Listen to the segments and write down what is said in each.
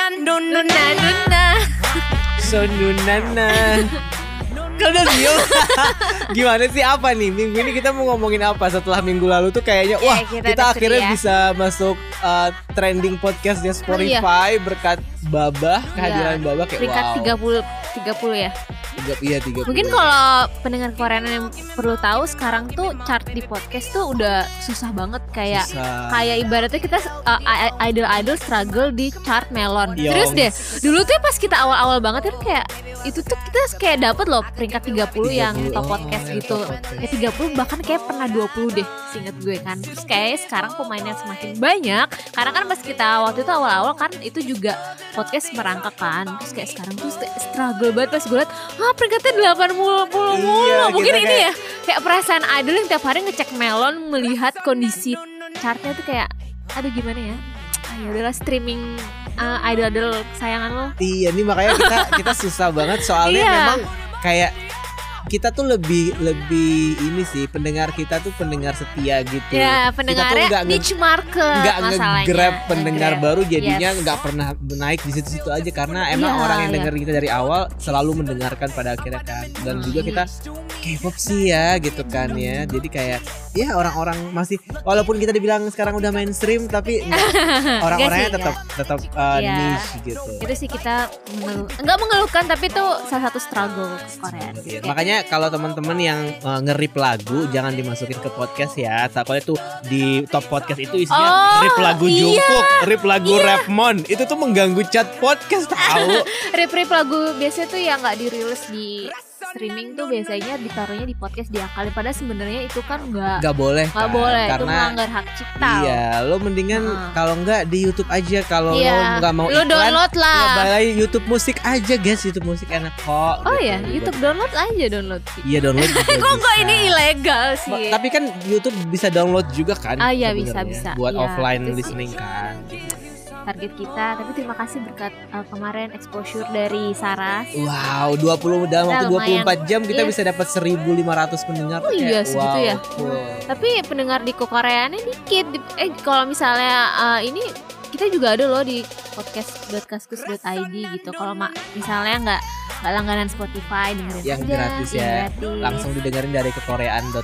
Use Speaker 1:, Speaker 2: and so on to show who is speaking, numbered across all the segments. Speaker 1: Nuna, Nuna.
Speaker 2: Sonunana. Kau udah diem? Gimana sih apa nih? Minggu ini kita mau ngomongin apa setelah minggu lalu tuh kayaknya
Speaker 1: Ya,
Speaker 2: wah kita
Speaker 1: kita dapet
Speaker 2: akhirnya
Speaker 1: ya. Oh,
Speaker 2: bisa masuk uh, trending podcastnya Spotify berkat Babah kehadiran
Speaker 1: Iya,
Speaker 2: Babah kayak
Speaker 1: Peringkat
Speaker 2: wow.
Speaker 1: 30 30 ya.
Speaker 2: Tiga, iya tiga.
Speaker 1: Mungkin kalau pendengar korean yang perlu tahu sekarang tuh chart di podcast tuh udah susah banget kayak kayak ibaratnya kita uh, i- i- idol-idol struggle di chart melon.
Speaker 2: Yongs.
Speaker 1: Terus deh, dulu tuh pas kita awal-awal banget kan kayak itu tuh kita kayak dapet loh peringkat 30, yang
Speaker 2: 30,
Speaker 1: top
Speaker 2: oh,
Speaker 1: podcast
Speaker 2: yang
Speaker 1: gitu.
Speaker 2: top podcast.
Speaker 1: Kayak 30 bahkan kayak pernah 20 deh, seinget gue kan. Terus kayak sekarang pemainnya semakin banyak karena kan pas kita waktu itu awal-awal kan itu juga podcast merangkak kan. Terus kayak sekarang tuh st- struggle banget pas gue liat, "Hah, peringkatnya 80 mulu."
Speaker 2: Iya,
Speaker 1: Mungkin
Speaker 2: kita
Speaker 1: ini
Speaker 2: kayak-
Speaker 1: ya kayak perasaan Adel yang tiap hari ngecek melon melihat kondisi chartnya tuh kayak aduh gimana ya ayo adalah streaming uh, idol idol kesayangan lo
Speaker 2: Iya nih makanya kita kita susah banget soalnya
Speaker 1: Iya.
Speaker 2: memang kayak kita tuh lebih lebih ini sih pendengar kita tuh pendengar setia gitu. kita
Speaker 1: ya
Speaker 2: tuh nggak
Speaker 1: pendengarnya
Speaker 2: nge-
Speaker 1: niche market
Speaker 2: nggak
Speaker 1: masalahnya
Speaker 2: nge-grab pendengar
Speaker 1: Nge-grab.
Speaker 2: baru jadinya
Speaker 1: Yes.
Speaker 2: nggak pernah naik di situ-situ aja karena emang
Speaker 1: Iya,
Speaker 2: orang yang
Speaker 1: iya.
Speaker 2: denger kita dari awal selalu mendengarkan pada akhirnya kan dan juga kita K-pop sih ya gitu kan ya jadi kayak ya orang-orang masih walaupun kita dibilang sekarang udah mainstream tapi nggak- orang-orangnya
Speaker 1: Nggak sih,
Speaker 2: tetap tetap uh,
Speaker 1: Iya.
Speaker 2: niche gitu
Speaker 1: itu sih kita mengeluh nggak mengeluhkan tapi itu salah satu struggle Korea
Speaker 2: Iya,
Speaker 1: Kayak-
Speaker 2: Makanya kalau teman-teman yang uh, nge-rip lagu jangan dimasukin ke podcast ya. Takutnya tuh di top podcast itu isinya
Speaker 1: Oh,
Speaker 2: rip lagu
Speaker 1: iya.
Speaker 2: Jungkook, rip lagu Rapmon. Itu tuh mengganggu chat podcast tahu.
Speaker 1: Rip-rip lagu biasanya tuh yang nggak dirilis di streaming tuh biasanya ditaruhnya di podcast diakalin padahal sebenarnya itu kan nggak
Speaker 2: Gak boleh.
Speaker 1: nggak
Speaker 2: kan,
Speaker 1: boleh itu
Speaker 2: karena
Speaker 1: melanggar hak cipta
Speaker 2: iya, lo mendingan
Speaker 1: Heeh.
Speaker 2: kalau enggak di YouTube aja kalau
Speaker 1: Iya.
Speaker 2: lo nggak mau
Speaker 1: Lu
Speaker 2: iklan,
Speaker 1: download lah.
Speaker 2: Ya, balai YouTube musik aja guys, YouTube musik enak kok.
Speaker 1: Oh
Speaker 2: gitu.
Speaker 1: ya, YouTube download aja download.
Speaker 2: Iya download. juga
Speaker 1: Kok kok
Speaker 2: bisa.
Speaker 1: ini ilegal
Speaker 2: Ma-
Speaker 1: sih?
Speaker 2: Tapi kan YouTube bisa download juga kan?
Speaker 1: Ah, iya, bisa,
Speaker 2: sebenarnya,
Speaker 1: bisa.
Speaker 2: Buat
Speaker 1: Iya,
Speaker 2: offline
Speaker 1: itu sih.
Speaker 2: listening kan.
Speaker 1: Target kita. Tapi terima kasih berkat uh, kemarin exposure dari Saras.
Speaker 2: Wow, 20 dalam waktu
Speaker 1: Nah, lumayan.
Speaker 2: 24 jam kita
Speaker 1: Iya.
Speaker 2: bisa dapat 1.500 pendengar.
Speaker 1: Oh
Speaker 2: Kayak,
Speaker 1: iya, segitu
Speaker 2: wow,
Speaker 1: ya?
Speaker 2: cool.
Speaker 1: Tapi pendengar di Koreanya dikit. Di- Eh kalau misalnya uh, ini kita juga ada loh di podcast.kaskus.id gitu. Kalau ma- misalnya nggak nggak langganan Spotify dengerin
Speaker 2: Yang
Speaker 1: aja,
Speaker 2: gratis ya.
Speaker 1: yang gratis.
Speaker 2: Langsung didengerin dari kekoreaan.id.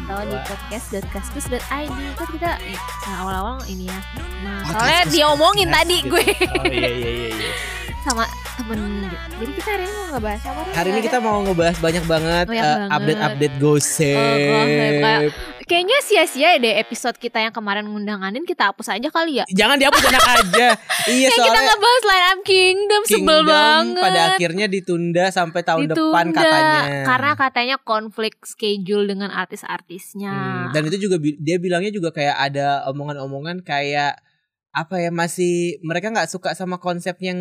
Speaker 1: atau di
Speaker 2: Wah.
Speaker 1: podcast.kaskus.id kan kita eh, nah, awal-awal ini ya nah,
Speaker 2: Podcast
Speaker 1: soalnya
Speaker 2: Kaskus
Speaker 1: diomongin
Speaker 2: Podcast
Speaker 1: tadi
Speaker 2: gitu.
Speaker 1: gue
Speaker 2: Oh iya iya iya. iya.
Speaker 1: sama temen gitu. Jadi kita hari ini mau ngebahas apa? ya, Ren?
Speaker 2: Hari ini kita mau ngebahas banyak banget
Speaker 1: Iya, kan? Banyak
Speaker 2: eh,
Speaker 1: banget.
Speaker 2: update-update gosip.
Speaker 1: Oh, gosip. Kayak- Kayaknya sia-sia ya deh episode kita yang kemarin ngundang Anin kita hapus aja kali ya.
Speaker 2: Jangan dihapus enak aja. iya
Speaker 1: Kayak Ya, kita
Speaker 2: soalnya
Speaker 1: nggak bahas Line Up Kingdom, sebel
Speaker 2: Kingdom
Speaker 1: banget.
Speaker 2: pada akhirnya ditunda sampai tahun
Speaker 1: Ditunda,
Speaker 2: depan katanya.
Speaker 1: Karena katanya konflik schedule dengan artis-artisnya.
Speaker 2: Hmm, dan itu juga bi- dia bilangnya juga kayak ada omongan-omongan kayak apa ya masih mereka nggak suka sama konsep yang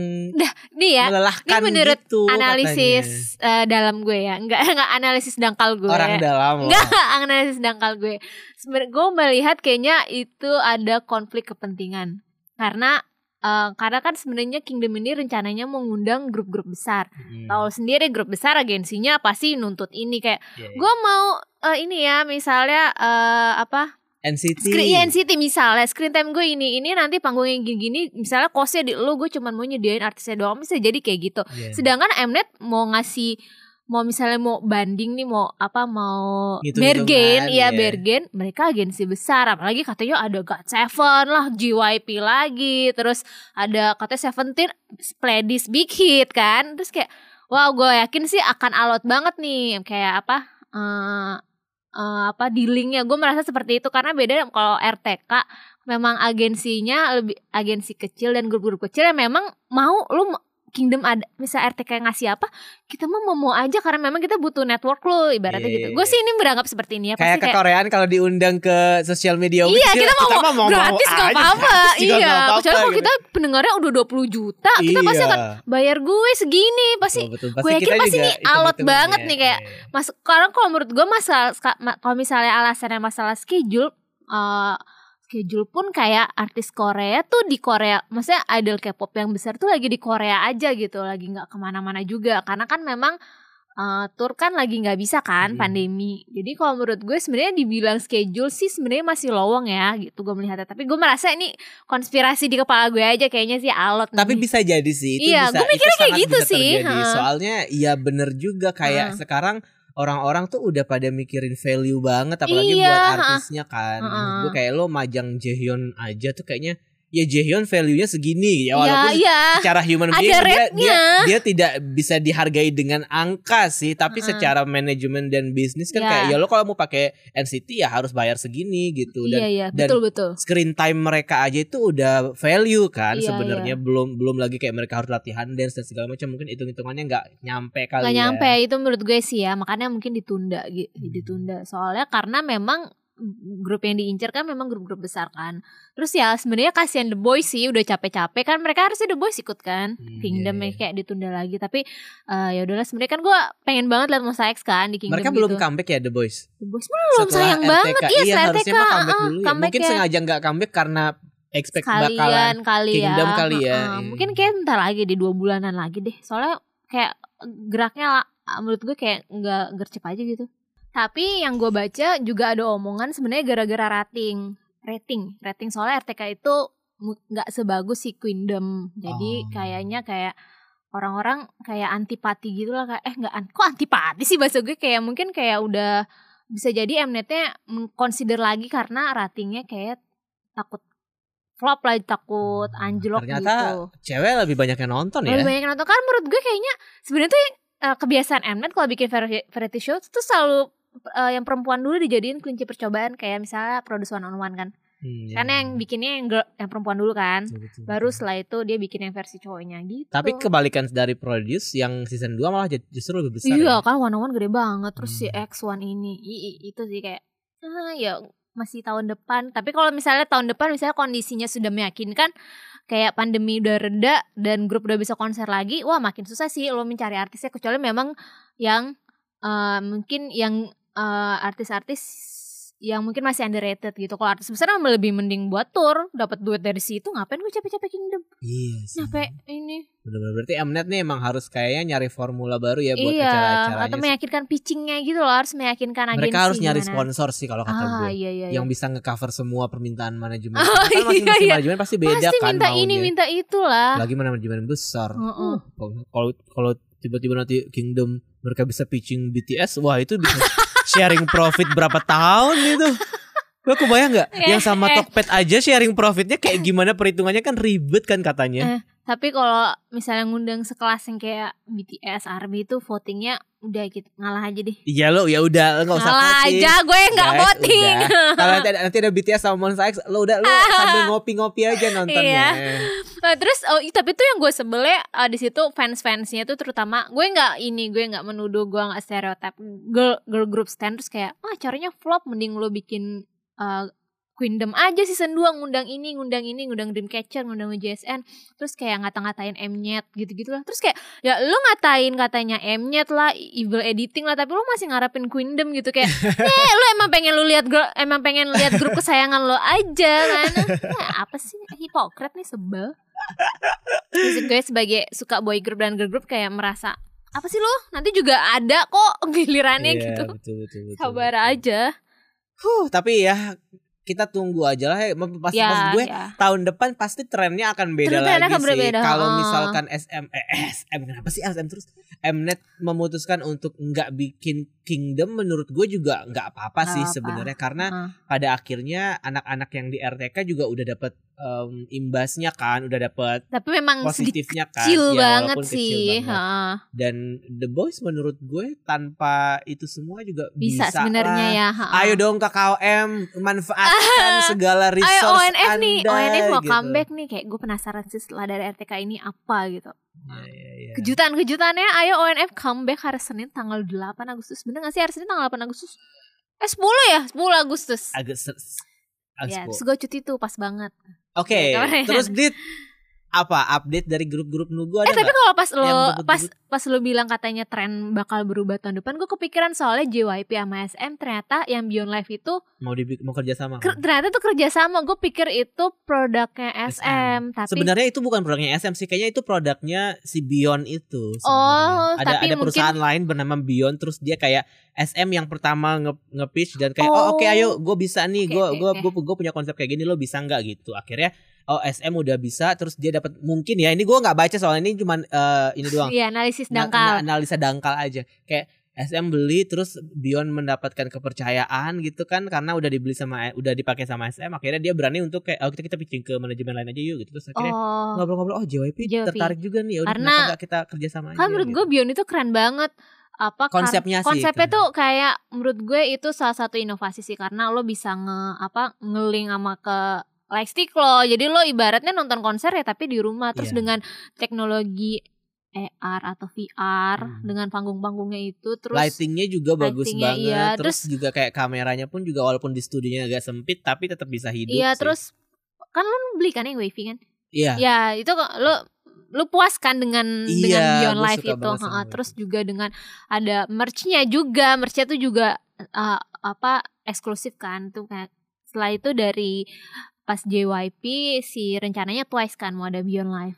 Speaker 1: Nih ya,
Speaker 2: melelahkan
Speaker 1: ini menurut
Speaker 2: gitu
Speaker 1: analisis eh, dalam gue ya. Enggak enggak analisis dangkal gue.
Speaker 2: katanya. orang dalam loh.
Speaker 1: Enggak, analisis dangkal gue. Sebenarnya gue melihat kayaknya itu ada konflik kepentingan. Karena eh, karena kan sebenarnya Kingdom ini rencananya mengundang grup-grup besar.
Speaker 2: Hmm,
Speaker 1: Tahu sendiri grup besar agensinya pasti nuntut ini kayak
Speaker 2: iya, iya.
Speaker 1: gue mau eh, ini ya misalnya eh, apa
Speaker 2: NCT
Speaker 1: screen iya, NCT misalnya screen time gue ini ini nanti panggungnya gini-gini misalnya kosnya di lu gue cuman mau nyediain artisnya doang bisa jadi kayak gitu.
Speaker 2: Iya.
Speaker 1: Sedangkan Mnet mau ngasih mau misalnya mau banding nih mau apa mau
Speaker 2: Ngitung-ngitungan,
Speaker 1: bergen
Speaker 2: iya.
Speaker 1: ya bergen mereka agensi besar apalagi katanya ada God Seven lah JYP lagi terus ada katanya Seventeen Pledis Big Hit kan terus kayak wow gue yakin sih akan alot banget nih kayak apa eh eh, apa dealingnya gue merasa seperti itu karena beda kalau RTK memang agensinya lebih agensi kecil dan grup-grup kecil yang memang mau lu Kingdom ada misalnya RTK yang ngasih apa kita mah mau mau aja karena memang kita butuh network lo ibaratnya
Speaker 2: Iya,
Speaker 1: gitu
Speaker 2: iya,
Speaker 1: gue
Speaker 2: iya.
Speaker 1: sih ini beranggap seperti ini ya
Speaker 2: kayak
Speaker 1: pasti kayak
Speaker 2: kekoreaan kalau diundang ke sosial media
Speaker 1: Iya,
Speaker 2: official,
Speaker 1: kita mau-
Speaker 2: mah mau
Speaker 1: gratis gak apa-apa iya kecuali kalau
Speaker 2: gitu.
Speaker 1: kita pendengarnya udah 20 juta kita pasti
Speaker 2: Iya.
Speaker 1: akan bayar gue segini pasti
Speaker 2: Betul, betul.
Speaker 1: gue yakin
Speaker 2: kita
Speaker 1: pasti
Speaker 2: juga
Speaker 1: nih alot
Speaker 2: hitung-hitungan
Speaker 1: banget
Speaker 2: ya.
Speaker 1: nih kayak- Mas, sekarang kalau menurut gue masalah ska- ma- kalau misalnya alasannya masalah schedule, eh, schedule pun kayak artis Korea tuh di Korea, maksudnya idol K-pop yang besar tuh lagi di Korea aja gitu, lagi nggak kemana-mana juga, karena kan memang eh, tour kan lagi nggak bisa kan
Speaker 2: Hmm.
Speaker 1: pandemi. Jadi kalau menurut gue sebenarnya dibilang schedule sih sebenarnya masih lowong ya gitu gue melihatnya. Tapi gue merasa ini konspirasi di kepala gue aja kayaknya sih alot.
Speaker 2: Tapi
Speaker 1: nih.
Speaker 2: bisa jadi sih itu
Speaker 1: Hmm. Iya,
Speaker 2: bisa
Speaker 1: gua mikirnya
Speaker 2: itu
Speaker 1: kayak
Speaker 2: sangat
Speaker 1: gitu
Speaker 2: bisa
Speaker 1: sih,
Speaker 2: terjadi.
Speaker 1: heeh.
Speaker 2: Soalnya iya bener juga kayak
Speaker 1: Heeh.
Speaker 2: sekarang orang-orang tuh udah pada mikirin value banget apalagi
Speaker 1: Iya,
Speaker 2: buat
Speaker 1: heeh.
Speaker 2: artisnya kan.
Speaker 1: Heeh.
Speaker 2: Menurut Gue kayak lo majang Jaehyun aja tuh kayaknya ya Jaehyun value-nya segini ya
Speaker 1: ya,
Speaker 2: walaupun
Speaker 1: iya.
Speaker 2: secara human being
Speaker 1: Ada
Speaker 2: dia, dia
Speaker 1: rate-nya.
Speaker 2: dia tidak bisa dihargai dengan angka sih tapi secara manajemen dan bisnis kan
Speaker 1: Iya.
Speaker 2: kayak ya lo kalau mau pakai NCT ya harus bayar segini gitu dan
Speaker 1: Iya, iya,
Speaker 2: dan-
Speaker 1: betul betul.
Speaker 2: screen time mereka aja itu udah value kan
Speaker 1: Iya,
Speaker 2: sebenarnya belum belum lagi kayak mereka harus latihan dance dan segala macam mungkin hitung hitungannya nggak nyampe kali
Speaker 1: nggak
Speaker 2: ya.
Speaker 1: nyampe itu menurut gue sih ya makanya mungkin ditunda gitu
Speaker 2: Hmm.
Speaker 1: ditunda soalnya karena memang grup yang diincar kan memang grup-grup besar kan terus ya sebenarnya kasihan The Boys sih udah capek-capek kan mereka harusnya The Boys ikut kan
Speaker 2: Hmm,
Speaker 1: Kingdom
Speaker 2: iya,
Speaker 1: yang
Speaker 2: iya.
Speaker 1: kayak ditunda lagi tapi eh, ya udahlah sebenarnya kan gue pengen banget lihat Musa X kan di Kingdom
Speaker 2: mereka
Speaker 1: gitu.
Speaker 2: belum comeback ya The Boys
Speaker 1: The Boys belum sayang banget iya,
Speaker 2: iya
Speaker 1: setelah
Speaker 2: harusnya
Speaker 1: RTK,
Speaker 2: mah comeback
Speaker 1: ah,
Speaker 2: dulu ya.
Speaker 1: comeback
Speaker 2: mungkin
Speaker 1: ya.
Speaker 2: sengaja nggak comeback karena expect bakalan
Speaker 1: kalian kali ya,
Speaker 2: Kingdom kali ya,
Speaker 1: Heeh.
Speaker 2: iya.
Speaker 1: mungkin kayak bentar lagi di dua bulanan lagi deh soalnya kayak geraknya la- menurut gue kayak nggak gercep aja gitu tapi yang gue baca juga ada omongan sebenarnya gara-gara rating rating rating soalnya RTK itu mu- nggak sebagus si Kingdom jadi
Speaker 2: Oh.
Speaker 1: kayaknya kayak orang-orang kayak antipati gitu lah kayak eh nggak an- kok antipati sih bahasa gue kayak mungkin kayak udah bisa jadi Mnetnya mengconsider lagi karena ratingnya kayak takut flop lah takut
Speaker 2: Hmm,
Speaker 1: anjlok
Speaker 2: ternyata
Speaker 1: gitu.
Speaker 2: cewek lebih banyak yang nonton ya
Speaker 1: Lebih banyak yang nonton kan menurut gue kayaknya sebenarnya tuh eh, kebiasaan Mnet kalau bikin vari- variety show tuh selalu eh, yang perempuan dulu dijadiin kunci percobaan kayak misalnya produce one on one kan.
Speaker 2: Hmm, iya.
Speaker 1: Karena yang bikinnya yang girl- yang perempuan dulu kan.
Speaker 2: Betul, betul.
Speaker 1: Baru setelah itu dia bikin yang versi cowoknya gitu.
Speaker 2: tapi kebalikan dari produce yang season 2 malah ju- justru lebih besar
Speaker 1: Iya
Speaker 2: ya.
Speaker 1: kan one on one gede banget terus si
Speaker 2: Hmm.
Speaker 1: X1 ini I- i- itu sih kayak ah, ya masih tahun depan tapi kalau misalnya tahun depan misalnya kondisinya sudah meyakinkan kayak pandemi udah reda dan grup udah bisa konser lagi wah makin susah sih lo mencari artisnya kecuali memang yang eh, mungkin yang eh, artis-artis yang mungkin masih underrated gitu kalau artis besar emang lebih mending buat tour dapat duit dari situ ngapain gue capek-capek kingdom
Speaker 2: iya sih.
Speaker 1: capek ini
Speaker 2: Bener-bener berarti Mnet nih emang harus kayaknya nyari formula baru ya buat
Speaker 1: iya,
Speaker 2: acara-acaranya.
Speaker 1: atau meyakinkan pitchingnya gitu loh, harus meyakinkan agensi.
Speaker 2: Mereka harus nyari
Speaker 1: gimana.
Speaker 2: sponsor sih kalau kata
Speaker 1: Ah,
Speaker 2: gue.
Speaker 1: iya iya.
Speaker 2: Yang bisa ngecover semua permintaan manajemen.
Speaker 1: Ah,
Speaker 2: Karena kan masing-masing
Speaker 1: iya, iya.
Speaker 2: manajemen pasti
Speaker 1: iya.
Speaker 2: beda
Speaker 1: Pasti
Speaker 2: kan
Speaker 1: minta
Speaker 2: maunya.
Speaker 1: ini, minta Oh. itulah.
Speaker 2: Lagi mana manajemen besar.
Speaker 1: Heeh.
Speaker 2: Uh, Kalau kalau tiba-tiba nanti Kingdom mereka bisa pitching BTS, wah itu bisa sharing profit berapa tahun itu. Lo kebayang nggak?
Speaker 1: Eh,
Speaker 2: Yang sama
Speaker 1: eh.
Speaker 2: Tokped aja sharing profitnya kayak gimana perhitungannya kan ribet kan
Speaker 1: Eh.
Speaker 2: katanya.
Speaker 1: Tapi kalau misalnya ngundang sekelas yang kayak BTS, ARMY itu votingnya udah gitu ngalah aja deh.
Speaker 2: Iya lo ya udah nggak usah
Speaker 1: Ngalah
Speaker 2: voting.
Speaker 1: aja, gue nggak
Speaker 2: Guys,
Speaker 1: voting.
Speaker 2: udah. Kalau nanti ada, nanti ada BTS sama Monsta X, lo udah lo sambil ngopi-ngopi aja nontonnya.
Speaker 1: Nah, terus oh, i- tapi tuh yang gue sebelnya eh, di situ fans-fansnya tuh terutama gue nggak ini gue nggak menuduh gue nggak stereotip girl girl group stand terus kayak ah caranya flop mending lo bikin eh, Queendom aja season 2 ngundang ini, ngundang ini, ngundang Dreamcatcher, ngundang JSN Terus kayak ngata-ngatain Mnet gitu-gitu lah Terus kayak ya lu ngatain katanya Mnet lah, evil editing lah Tapi lu masih ngarepin Queendom gitu kayak Eh lu emang pengen lu lihat gro- emang pengen lihat grup kesayangan lo aja kan Nah, apa sih hipokrit nih sebel Terus gue sebagai suka boy group dan girl group kayak merasa apa sih lu nanti juga ada kok
Speaker 2: Iya,
Speaker 1: gilirannya gitu
Speaker 2: betul, betul, betul,
Speaker 1: sabar
Speaker 2: betul.
Speaker 1: aja
Speaker 2: Huh, tapi ya kita tunggu aja lah. ya. Mem- Pasti
Speaker 1: ya,
Speaker 2: maksud gue
Speaker 1: ya.
Speaker 2: tahun depan pasti trennya akan beda
Speaker 1: Trennya
Speaker 2: lagi
Speaker 1: akan
Speaker 2: sih.
Speaker 1: berbeda,
Speaker 2: Kalau
Speaker 1: ah.
Speaker 2: misalkan SM, eh, SM kenapa sih SM terus? Mnet memutuskan untuk nggak bikin Kingdom, menurut gue juga nggak apa-apa
Speaker 1: Nggak
Speaker 2: sih
Speaker 1: apa-apa.
Speaker 2: sebenarnya karena
Speaker 1: Ah.
Speaker 2: pada akhirnya anak-anak yang di RTK juga udah dapet em, imbasnya kan, udah dapet
Speaker 1: tapi memang sedikit
Speaker 2: positifnya kan.
Speaker 1: Hmm, kecil
Speaker 2: Ya,
Speaker 1: banget
Speaker 2: walaupun kecil
Speaker 1: sih
Speaker 2: banget
Speaker 1: Heeh.
Speaker 2: dan The Boys menurut gue tanpa itu semua juga
Speaker 1: bisa,
Speaker 2: bisa,
Speaker 1: sebenarnya
Speaker 2: lah.
Speaker 1: ya heeh.
Speaker 2: Ayo dong KKM manfaatkan segala
Speaker 1: Ayo
Speaker 2: resource
Speaker 1: ONF
Speaker 2: Anda,
Speaker 1: nih, ONF mau
Speaker 2: gitu.
Speaker 1: comeback nih Kayak gue penasaran sih setelah dari RTK ini apa gitu
Speaker 2: Iya, iya, iya.
Speaker 1: Kejutan-kejutannya ayo ONF comeback hari Senin tanggal 8 Agustus Bener gak sih hari Senin tanggal 8 Agustus? Eh 10 ya? 10 Agustus
Speaker 2: Agak se- agak
Speaker 1: Ya,
Speaker 2: sepuluh.
Speaker 1: terus gue cuti tuh pas banget
Speaker 2: Oke,
Speaker 1: Ya, kemarin.
Speaker 2: terus Dit apa update dari grup-grup nunggu ada
Speaker 1: Eh tapi
Speaker 2: nggak?
Speaker 1: kalau pas lo
Speaker 2: Yang
Speaker 1: pas
Speaker 2: ngebut-ngebut.
Speaker 1: pas lo bilang katanya tren bakal berubah tahun depan, gue kepikiran soalnya JYP sama SM ternyata yang Beyond Life itu
Speaker 2: mau di mau kerja sama
Speaker 1: ker- ternyata tuh kerjasama. Gue pikir itu produknya SM, tapi
Speaker 2: sebenarnya itu bukan produknya SM sih kayaknya itu produknya si Beyond itu sebenarnya.
Speaker 1: oh
Speaker 2: ada
Speaker 1: tapi
Speaker 2: ada
Speaker 1: mungkin
Speaker 2: perusahaan lain bernama Beyond terus dia kayak SM yang pertama nge, nge-pitch dan kayak oh,
Speaker 1: Oh.
Speaker 2: oke ayo gue bisa nih
Speaker 1: Oke,
Speaker 2: gue
Speaker 1: oke,
Speaker 2: gue
Speaker 1: oke.
Speaker 2: gue punya konsep kayak gini lo bisa nggak gitu akhirnya oh SM udah bisa terus dia dapat mungkin ya ini gue nggak baca soalnya ini cuman eh, ini doang
Speaker 1: Iya analisis
Speaker 2: Na- na-
Speaker 1: dangkal.
Speaker 2: analisa dangkal aja kayak SM beli terus Beyond mendapatkan kepercayaan gitu kan karena udah dibeli sama udah dipakai sama SM akhirnya dia berani untuk kayak oh, kita kita pitching ke manajemen lain aja yuk gitu terus akhirnya
Speaker 1: oh.
Speaker 2: ngobrol-ngobrol oh JYP,
Speaker 1: JYP.
Speaker 2: tertarik juga nih ya udah
Speaker 1: Karena-
Speaker 2: kenapa nggak kita kerja sama aja
Speaker 1: Kan menurut
Speaker 2: gitu.
Speaker 1: gue Beyond itu keren banget apa kar-
Speaker 2: Konsepnya sih
Speaker 1: konsepnya
Speaker 2: itu.
Speaker 1: tuh kayak menurut gue itu salah satu inovasi sih karena lo bisa nge apa ngeling sama ke lightstick lo jadi lo ibaratnya nonton konser ya tapi di rumah terus
Speaker 2: Iya.
Speaker 1: dengan teknologi AR atau VR
Speaker 2: Hmm.
Speaker 1: dengan panggung-panggungnya itu terus
Speaker 2: lightingnya juga bagus
Speaker 1: lightingnya,
Speaker 2: banget
Speaker 1: iya.
Speaker 2: terus, juga kayak kameranya pun juga walaupun di studionya agak sempit tapi tetap bisa hidup
Speaker 1: iya
Speaker 2: sih.
Speaker 1: terus kan lo beli kan yang wavy kan
Speaker 2: iya
Speaker 1: ya itu kok lo lo puas kan dengan
Speaker 2: Iya,
Speaker 1: dengan Beyond
Speaker 2: gua
Speaker 1: Live
Speaker 2: suka
Speaker 1: itu
Speaker 2: banget sama
Speaker 1: Ha-ha.
Speaker 2: itu.
Speaker 1: terus juga dengan ada merchnya juga merchnya tuh juga eh, apa eksklusif kan tuh kayak setelah itu dari pas JYP si rencananya Twice kan mau ada Beyond Live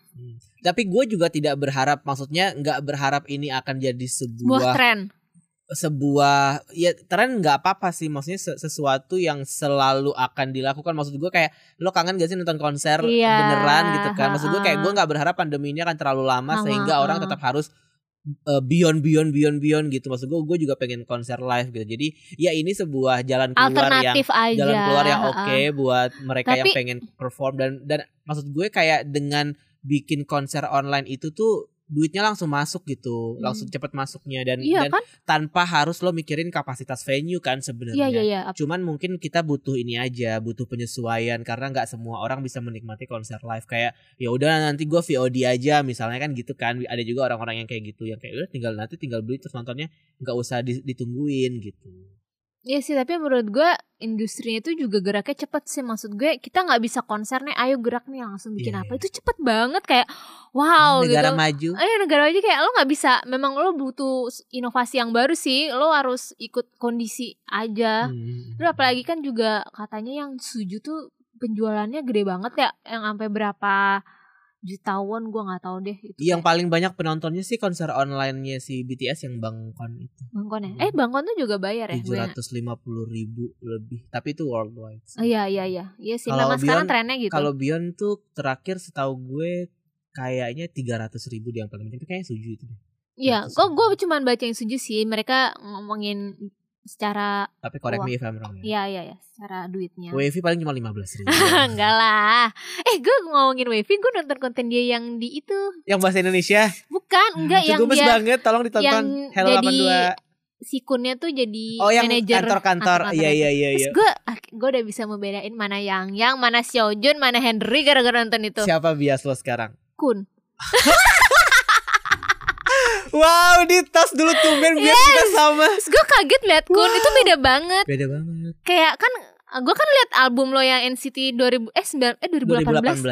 Speaker 2: tapi gue juga tidak berharap maksudnya nggak berharap ini akan jadi
Speaker 1: buah
Speaker 2: sebuah
Speaker 1: tren
Speaker 2: sebuah ya tren nggak apa-apa sih maksudnya se- sesuatu yang selalu akan dilakukan maksud gue kayak lo kangen gak sih nonton konser
Speaker 1: Iya,
Speaker 2: beneran gitu kan maksud gue kayak gue nggak berharap pandemi ini akan terlalu lama
Speaker 1: Ha-ha,
Speaker 2: sehingga orang
Speaker 1: ha.
Speaker 2: tetap harus eh, beyond beyond beyond beyond gitu maksud gue gue juga pengen konser live gitu jadi ya ini sebuah jalan keluar yang
Speaker 1: alternatif aja
Speaker 2: jalan keluar yang oke
Speaker 1: Ha-ha.
Speaker 2: buat mereka yang
Speaker 1: Tapi-
Speaker 2: pengen perform dan dan maksud gue kayak dengan bikin konser online itu tuh duitnya langsung masuk gitu
Speaker 1: Hmm.
Speaker 2: langsung cepet masuknya dan
Speaker 1: iya
Speaker 2: dan
Speaker 1: kan
Speaker 2: tanpa harus lo mikirin kapasitas venue kan
Speaker 1: iya
Speaker 2: sebenarnya
Speaker 1: iya iya
Speaker 2: cuman mungkin kita butuh ini aja butuh penyesuaian karena nggak semua orang bisa menikmati konser live kayak ya udah nanti gue VOD aja misalnya kan gitu kan ada juga orang-orang yang kayak gitu yang kayak udah tinggal nanti tinggal beli terus nontonnya nggak usah di- ditungguin gitu
Speaker 1: Iya sih tapi menurut gue industrinya itu juga geraknya cepet sih maksud gue kita nggak bisa konser nih ayo gerak nih langsung bikin
Speaker 2: Iya,
Speaker 1: apa
Speaker 2: iya.
Speaker 1: itu cepet banget kayak wow
Speaker 2: negara
Speaker 1: gitu.
Speaker 2: maju
Speaker 1: Eh negara aja kayak lo nggak bisa memang lo butuh s- inovasi yang baru sih lo harus ikut kondisi aja.
Speaker 2: Hmm.
Speaker 1: Iya. Terus apalagi kan juga katanya yang suju tuh penjualannya gede banget ya yang sampai berapa jutawan gue nggak tahu deh itu.
Speaker 2: Yang paling banyak penontonnya sih konser online-nya si BTS yang Bangkon itu
Speaker 1: Bangkon
Speaker 2: Hmm.
Speaker 1: ya? Eh Bangkon tuh juga bayar ya? gue nggak-
Speaker 2: 750 ribu lebih, tapi itu worldwide.
Speaker 1: Oh, Iya iya iya iya sih
Speaker 2: Kalau
Speaker 1: memang sekarang
Speaker 2: Beyond-
Speaker 1: trennya gitu.
Speaker 2: Kalau Beyond tuh terakhir setahu gue kayaknya 300 ribu dia yang paling banyak, itu kayaknya Suju itu. deh.
Speaker 1: Iya,
Speaker 2: Gitu
Speaker 1: kok
Speaker 2: sih.
Speaker 1: gue cuma baca yang setuju sih. Mereka ngomongin secara,
Speaker 2: Tapi correct
Speaker 1: Wah.
Speaker 2: me if I'm wrong. Ya.
Speaker 1: ya ya ya, secara duitnya.
Speaker 2: Wavy paling cuma 15 ribu.
Speaker 1: Enggak lah. Eh, gue ngomongin Wavy, gue nonton konten dia yang di itu.
Speaker 2: yang bahasa Indonesia.
Speaker 1: Bukan,
Speaker 2: itu
Speaker 1: enggak yang
Speaker 2: gemes
Speaker 1: dia
Speaker 2: banget, tolong ditonton.
Speaker 1: yang
Speaker 2: Hello
Speaker 1: jadi
Speaker 2: 82.
Speaker 1: si kunnya tuh jadi
Speaker 2: Oh, yang
Speaker 1: manajer
Speaker 2: kantor-kantor. Iya, iya, iya,
Speaker 1: Terus
Speaker 2: iya.
Speaker 1: gue, gue udah bisa membedain mana yang yang mana Xiaojun, mana Henry gara-gara nonton itu.
Speaker 2: Siapa bias lo sekarang?
Speaker 1: Kun.
Speaker 2: Wow, di tas dulu tumben bias kita sama.
Speaker 1: Terus gue kaget liat Kun, itu beda banget.
Speaker 2: Beda banget.
Speaker 1: Kayak kan gue kan liat album lo yang NCT 2000 eh 9 eh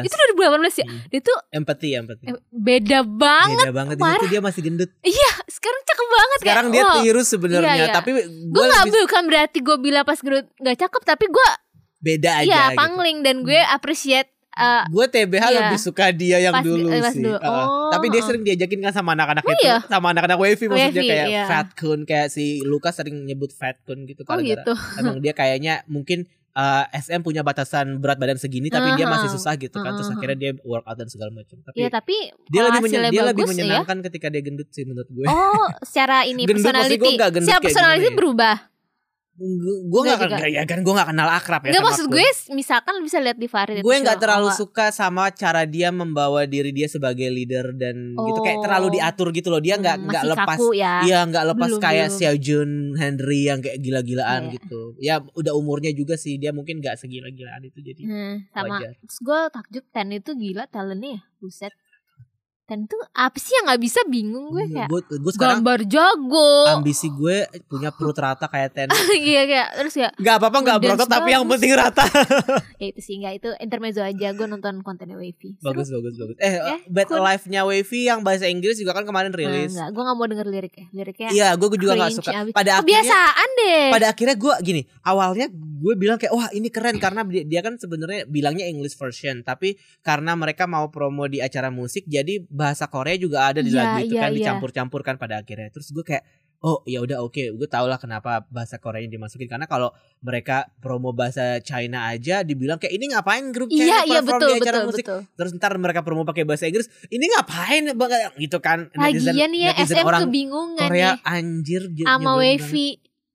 Speaker 1: 2018.
Speaker 2: 2018.
Speaker 1: Itu 2018 ya.
Speaker 2: Hmm.
Speaker 1: Dia tuh
Speaker 2: Empati, empati.
Speaker 1: Eh, beda banget
Speaker 2: Beda banget di situ dia masih gendut.
Speaker 1: sekarang cakep banget
Speaker 2: Iya. Sekarang
Speaker 1: kayak,
Speaker 2: dia
Speaker 1: wow.
Speaker 2: tirus sebenarnya,
Speaker 1: Iya, iya.
Speaker 2: tapi
Speaker 1: gue
Speaker 2: gue
Speaker 1: nggak
Speaker 2: lebih
Speaker 1: bukan berarti gue bilang pas gue nggak cakep tapi gue
Speaker 2: beda aja.
Speaker 1: ya
Speaker 2: gitu.
Speaker 1: pangling dan gue appreciate eh,
Speaker 2: gue TBH
Speaker 1: Iya.
Speaker 2: lebih suka dia yang
Speaker 1: Pas-
Speaker 2: dulu
Speaker 1: eh, pas
Speaker 2: sih.
Speaker 1: dulu.
Speaker 2: Heeh.
Speaker 1: Oh,
Speaker 2: Tapi dia
Speaker 1: heeh.
Speaker 2: sering diajakin kan sama anak-anak
Speaker 1: Oh,
Speaker 2: itu,
Speaker 1: iya?
Speaker 2: sama anak-anak wavy maksudnya
Speaker 1: Wavy,
Speaker 2: kayak
Speaker 1: iya.
Speaker 2: fat kun kayak si Lukas sering nyebut fat kun gitu
Speaker 1: oh
Speaker 2: kalau
Speaker 1: gitu
Speaker 2: emang dia kayaknya mungkin eh, SM punya batasan berat badan segini tapi dia masih
Speaker 1: Aha.
Speaker 2: susah gitu kan terus
Speaker 1: Aha.
Speaker 2: akhirnya dia workout dan segala macam. Tapi
Speaker 1: ya tapi
Speaker 2: Iya. dia
Speaker 1: kalau
Speaker 2: lebih menye-
Speaker 1: hasilnya
Speaker 2: dia lebih
Speaker 1: bagus, ya.
Speaker 2: menyenangkan ketika dia gendut sih menurut gue.
Speaker 1: oh secara ini
Speaker 2: Gendut, maksud gue
Speaker 1: personality
Speaker 2: nggak gendut
Speaker 1: secara
Speaker 2: kayak
Speaker 1: personality
Speaker 2: gimana ya?
Speaker 1: berubah
Speaker 2: Gue- Gue gak
Speaker 1: Enggak
Speaker 2: kan,
Speaker 1: juga.
Speaker 2: ya kan gue gak kenal akrab ya
Speaker 1: nggak
Speaker 2: sama
Speaker 1: maksud
Speaker 2: Kun.
Speaker 1: gue misalkan lu bisa lihat di Farid
Speaker 2: gue nggak terlalu suka
Speaker 1: suka
Speaker 2: sama cara dia membawa diri dia sebagai leader dan gitu kayak
Speaker 1: Oh.
Speaker 2: terlalu diatur gitu loh dia nggak nggak lepas
Speaker 1: Hmm, kaku ya
Speaker 2: Iya nggak lepas
Speaker 1: Belum,
Speaker 2: kayak
Speaker 1: belum.
Speaker 2: Seojun Henry yang kayak gila-gilaan
Speaker 1: Iya.
Speaker 2: gitu ya udah umurnya juga sih dia mungkin nggak segila-gilaan itu jadi
Speaker 1: Hmm, sama
Speaker 2: wajar
Speaker 1: Terus gue takjub Ten itu gila talentnya ya buset Dan tuh apa sih yang nggak bisa bingung gue kayak
Speaker 2: Hmm, gue gue Iya, sekarang
Speaker 1: gambar jago.
Speaker 2: ambisi gue punya perut rata kayak ten
Speaker 1: Iya kayak terus ya
Speaker 2: Gak apa-apa gak
Speaker 1: Dance
Speaker 2: berotot tapi yang
Speaker 1: bagus.
Speaker 2: penting rata
Speaker 1: ya itu sih nggak itu intermezzo aja gue nonton kontennya Wavy. Seru.
Speaker 2: Bagus bagus bagus Eh
Speaker 1: Ya,
Speaker 2: Bad
Speaker 1: cool.
Speaker 2: Alive-nya Wavy yang bahasa Inggris juga kan kemarin
Speaker 1: Nah,
Speaker 2: rilis
Speaker 1: enggak, gue nggak Oh, mau denger liriknya. Liriknya
Speaker 2: Iya gue juga gak
Speaker 1: cringe
Speaker 2: suka
Speaker 1: abis.
Speaker 2: Pada akhirnya
Speaker 1: kebiasaan deh.
Speaker 2: pada akhirnya gue gini awalnya gue bilang kayak wah ini keren karena dia, dia kan sebenarnya bilangnya English version tapi karena mereka mau promo di acara musik jadi bahasa Korea juga ada di
Speaker 1: Iya,
Speaker 2: lagu itu
Speaker 1: iya,
Speaker 2: kan
Speaker 1: iya.
Speaker 2: dicampur-campurkan pada akhirnya terus gue kayak oh ya udah oke gue tau lah kenapa bahasa Koreanya dimasukin karena kalau mereka promo bahasa China aja dibilang kayak ini ngapain grup
Speaker 1: iya
Speaker 2: China
Speaker 1: iya
Speaker 2: perform
Speaker 1: betul
Speaker 2: di acara
Speaker 1: betul
Speaker 2: musik
Speaker 1: betul.
Speaker 2: terus ntar mereka promo pakai bahasa Inggris ini ngapain Bang?" gitu kan netizen-
Speaker 1: Lagian ya
Speaker 2: netizen
Speaker 1: SM
Speaker 2: orang
Speaker 1: kebingungan
Speaker 2: Korea
Speaker 1: nih
Speaker 2: anjir dia
Speaker 1: sama
Speaker 2: nyebelin Iya, banget.
Speaker 1: Wavy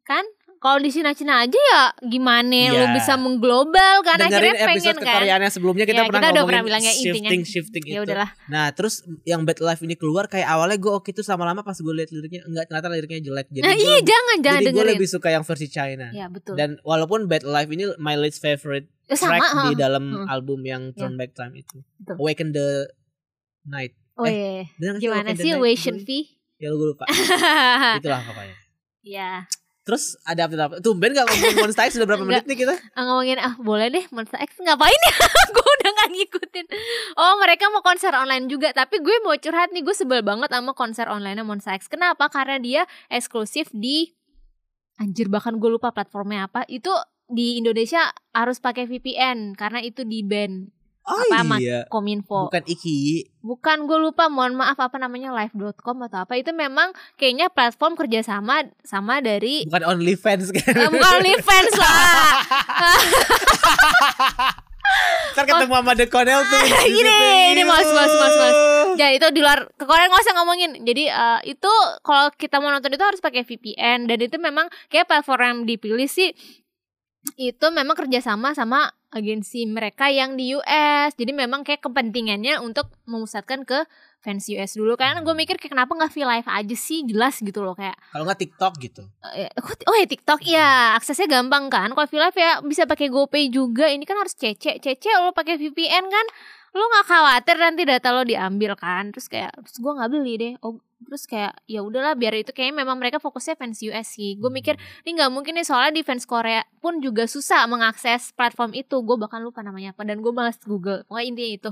Speaker 1: kan? Kalau di Cina-Cina aja ya gimana
Speaker 2: Iya.
Speaker 1: lu bisa mengglobal kan
Speaker 2: dengerin
Speaker 1: akhirnya pengen
Speaker 2: episode
Speaker 1: kan.
Speaker 2: kekariannya sebelumnya kita
Speaker 1: Ya,
Speaker 2: pernah
Speaker 1: kita udah
Speaker 2: ngomongin
Speaker 1: pernah bilang ya intinya.
Speaker 2: shifting shifting
Speaker 1: Ya
Speaker 2: itu.
Speaker 1: udahlah.
Speaker 2: Nah terus yang Bad Life ini keluar kayak awalnya gue oke terus lama-lama pas gue liat liriknya enggak ternyata liriknya jelek jadi
Speaker 1: Nah,
Speaker 2: gua-
Speaker 1: iya jangan jangan
Speaker 2: jadi gue
Speaker 1: dengerin.
Speaker 2: lebih suka yang versi China.
Speaker 1: Ya betul.
Speaker 2: Dan walaupun Bad Life ini my least favorite
Speaker 1: Eh,
Speaker 2: track
Speaker 1: sama.
Speaker 2: di
Speaker 1: heeh.
Speaker 2: dalam
Speaker 1: heeh.
Speaker 2: album yang
Speaker 1: Ya.
Speaker 2: Turn Back Time itu.
Speaker 1: Betul.
Speaker 2: Awaken the Night.
Speaker 1: Oh iya.
Speaker 2: Bener nggak
Speaker 1: Gimana
Speaker 2: Awaken the
Speaker 1: sih
Speaker 2: Night?
Speaker 1: Wation V?
Speaker 2: Ya gue lupa. Itulah pokoknya.
Speaker 1: ya,
Speaker 2: Terus ada apa? Tuh Ben gak ngomongin Monster X sudah berapa menit nih kita?
Speaker 1: ngomongin ah boleh deh Monster X ngapain ya? gue udah gak ngikutin. Oh mereka mau konser online juga, tapi gue mau curhat nih gue sebel banget sama konser online Monster X. Kenapa? Karena dia eksklusif di anjir bahkan gue lupa platformnya apa. Itu di Indonesia harus pakai VPN karena itu di ban
Speaker 2: Oh
Speaker 1: Apa, Oh.
Speaker 2: iya.
Speaker 1: Kominfo.
Speaker 2: Bukan Iki.
Speaker 1: Bukan gue lupa, mohon maaf apa namanya live.com atau apa itu memang kayaknya platform kerjasama sama dari
Speaker 2: Bukan OnlyFans kan?
Speaker 1: Eh, bukan OnlyFans lah.
Speaker 2: Ntar ketemu sama The Connell tuh Gitu. di
Speaker 1: Gini,
Speaker 2: situ.
Speaker 1: ini mas, mas, mas, mas. Jadi Ya, itu di luar ke Korea nggak usah ngomongin. Jadi eh, itu kalau kita mau nonton itu harus pakai VPN dan itu memang kayak platform yang dipilih sih itu memang kerjasama sama agensi mereka yang di US. Jadi memang kayak kepentingannya untuk memusatkan ke fans US dulu. Karena gue mikir kayak kenapa nggak V Live aja sih jelas gitu loh kayak.
Speaker 2: Kalau nggak TikTok gitu
Speaker 1: eh, Oh ya TikTok ya aksesnya gampang kan. Kalau V Live ya bisa pakai GoPay juga. Ini kan harus cece cece lo pakai VPN kan. Lo nggak khawatir nanti data lo diambil kan. Terus kayak terus gue nggak beli deh. Oh terus kayak ya udahlah biar itu kayaknya memang mereka fokusnya fans US sih.
Speaker 2: Hmm.
Speaker 1: Gue mikir ini nggak mungkin nih soalnya di fans Korea pun juga susah mengakses platform itu. Gue bahkan lupa namanya apa dan gue malas Google. Pokoknya intinya itu.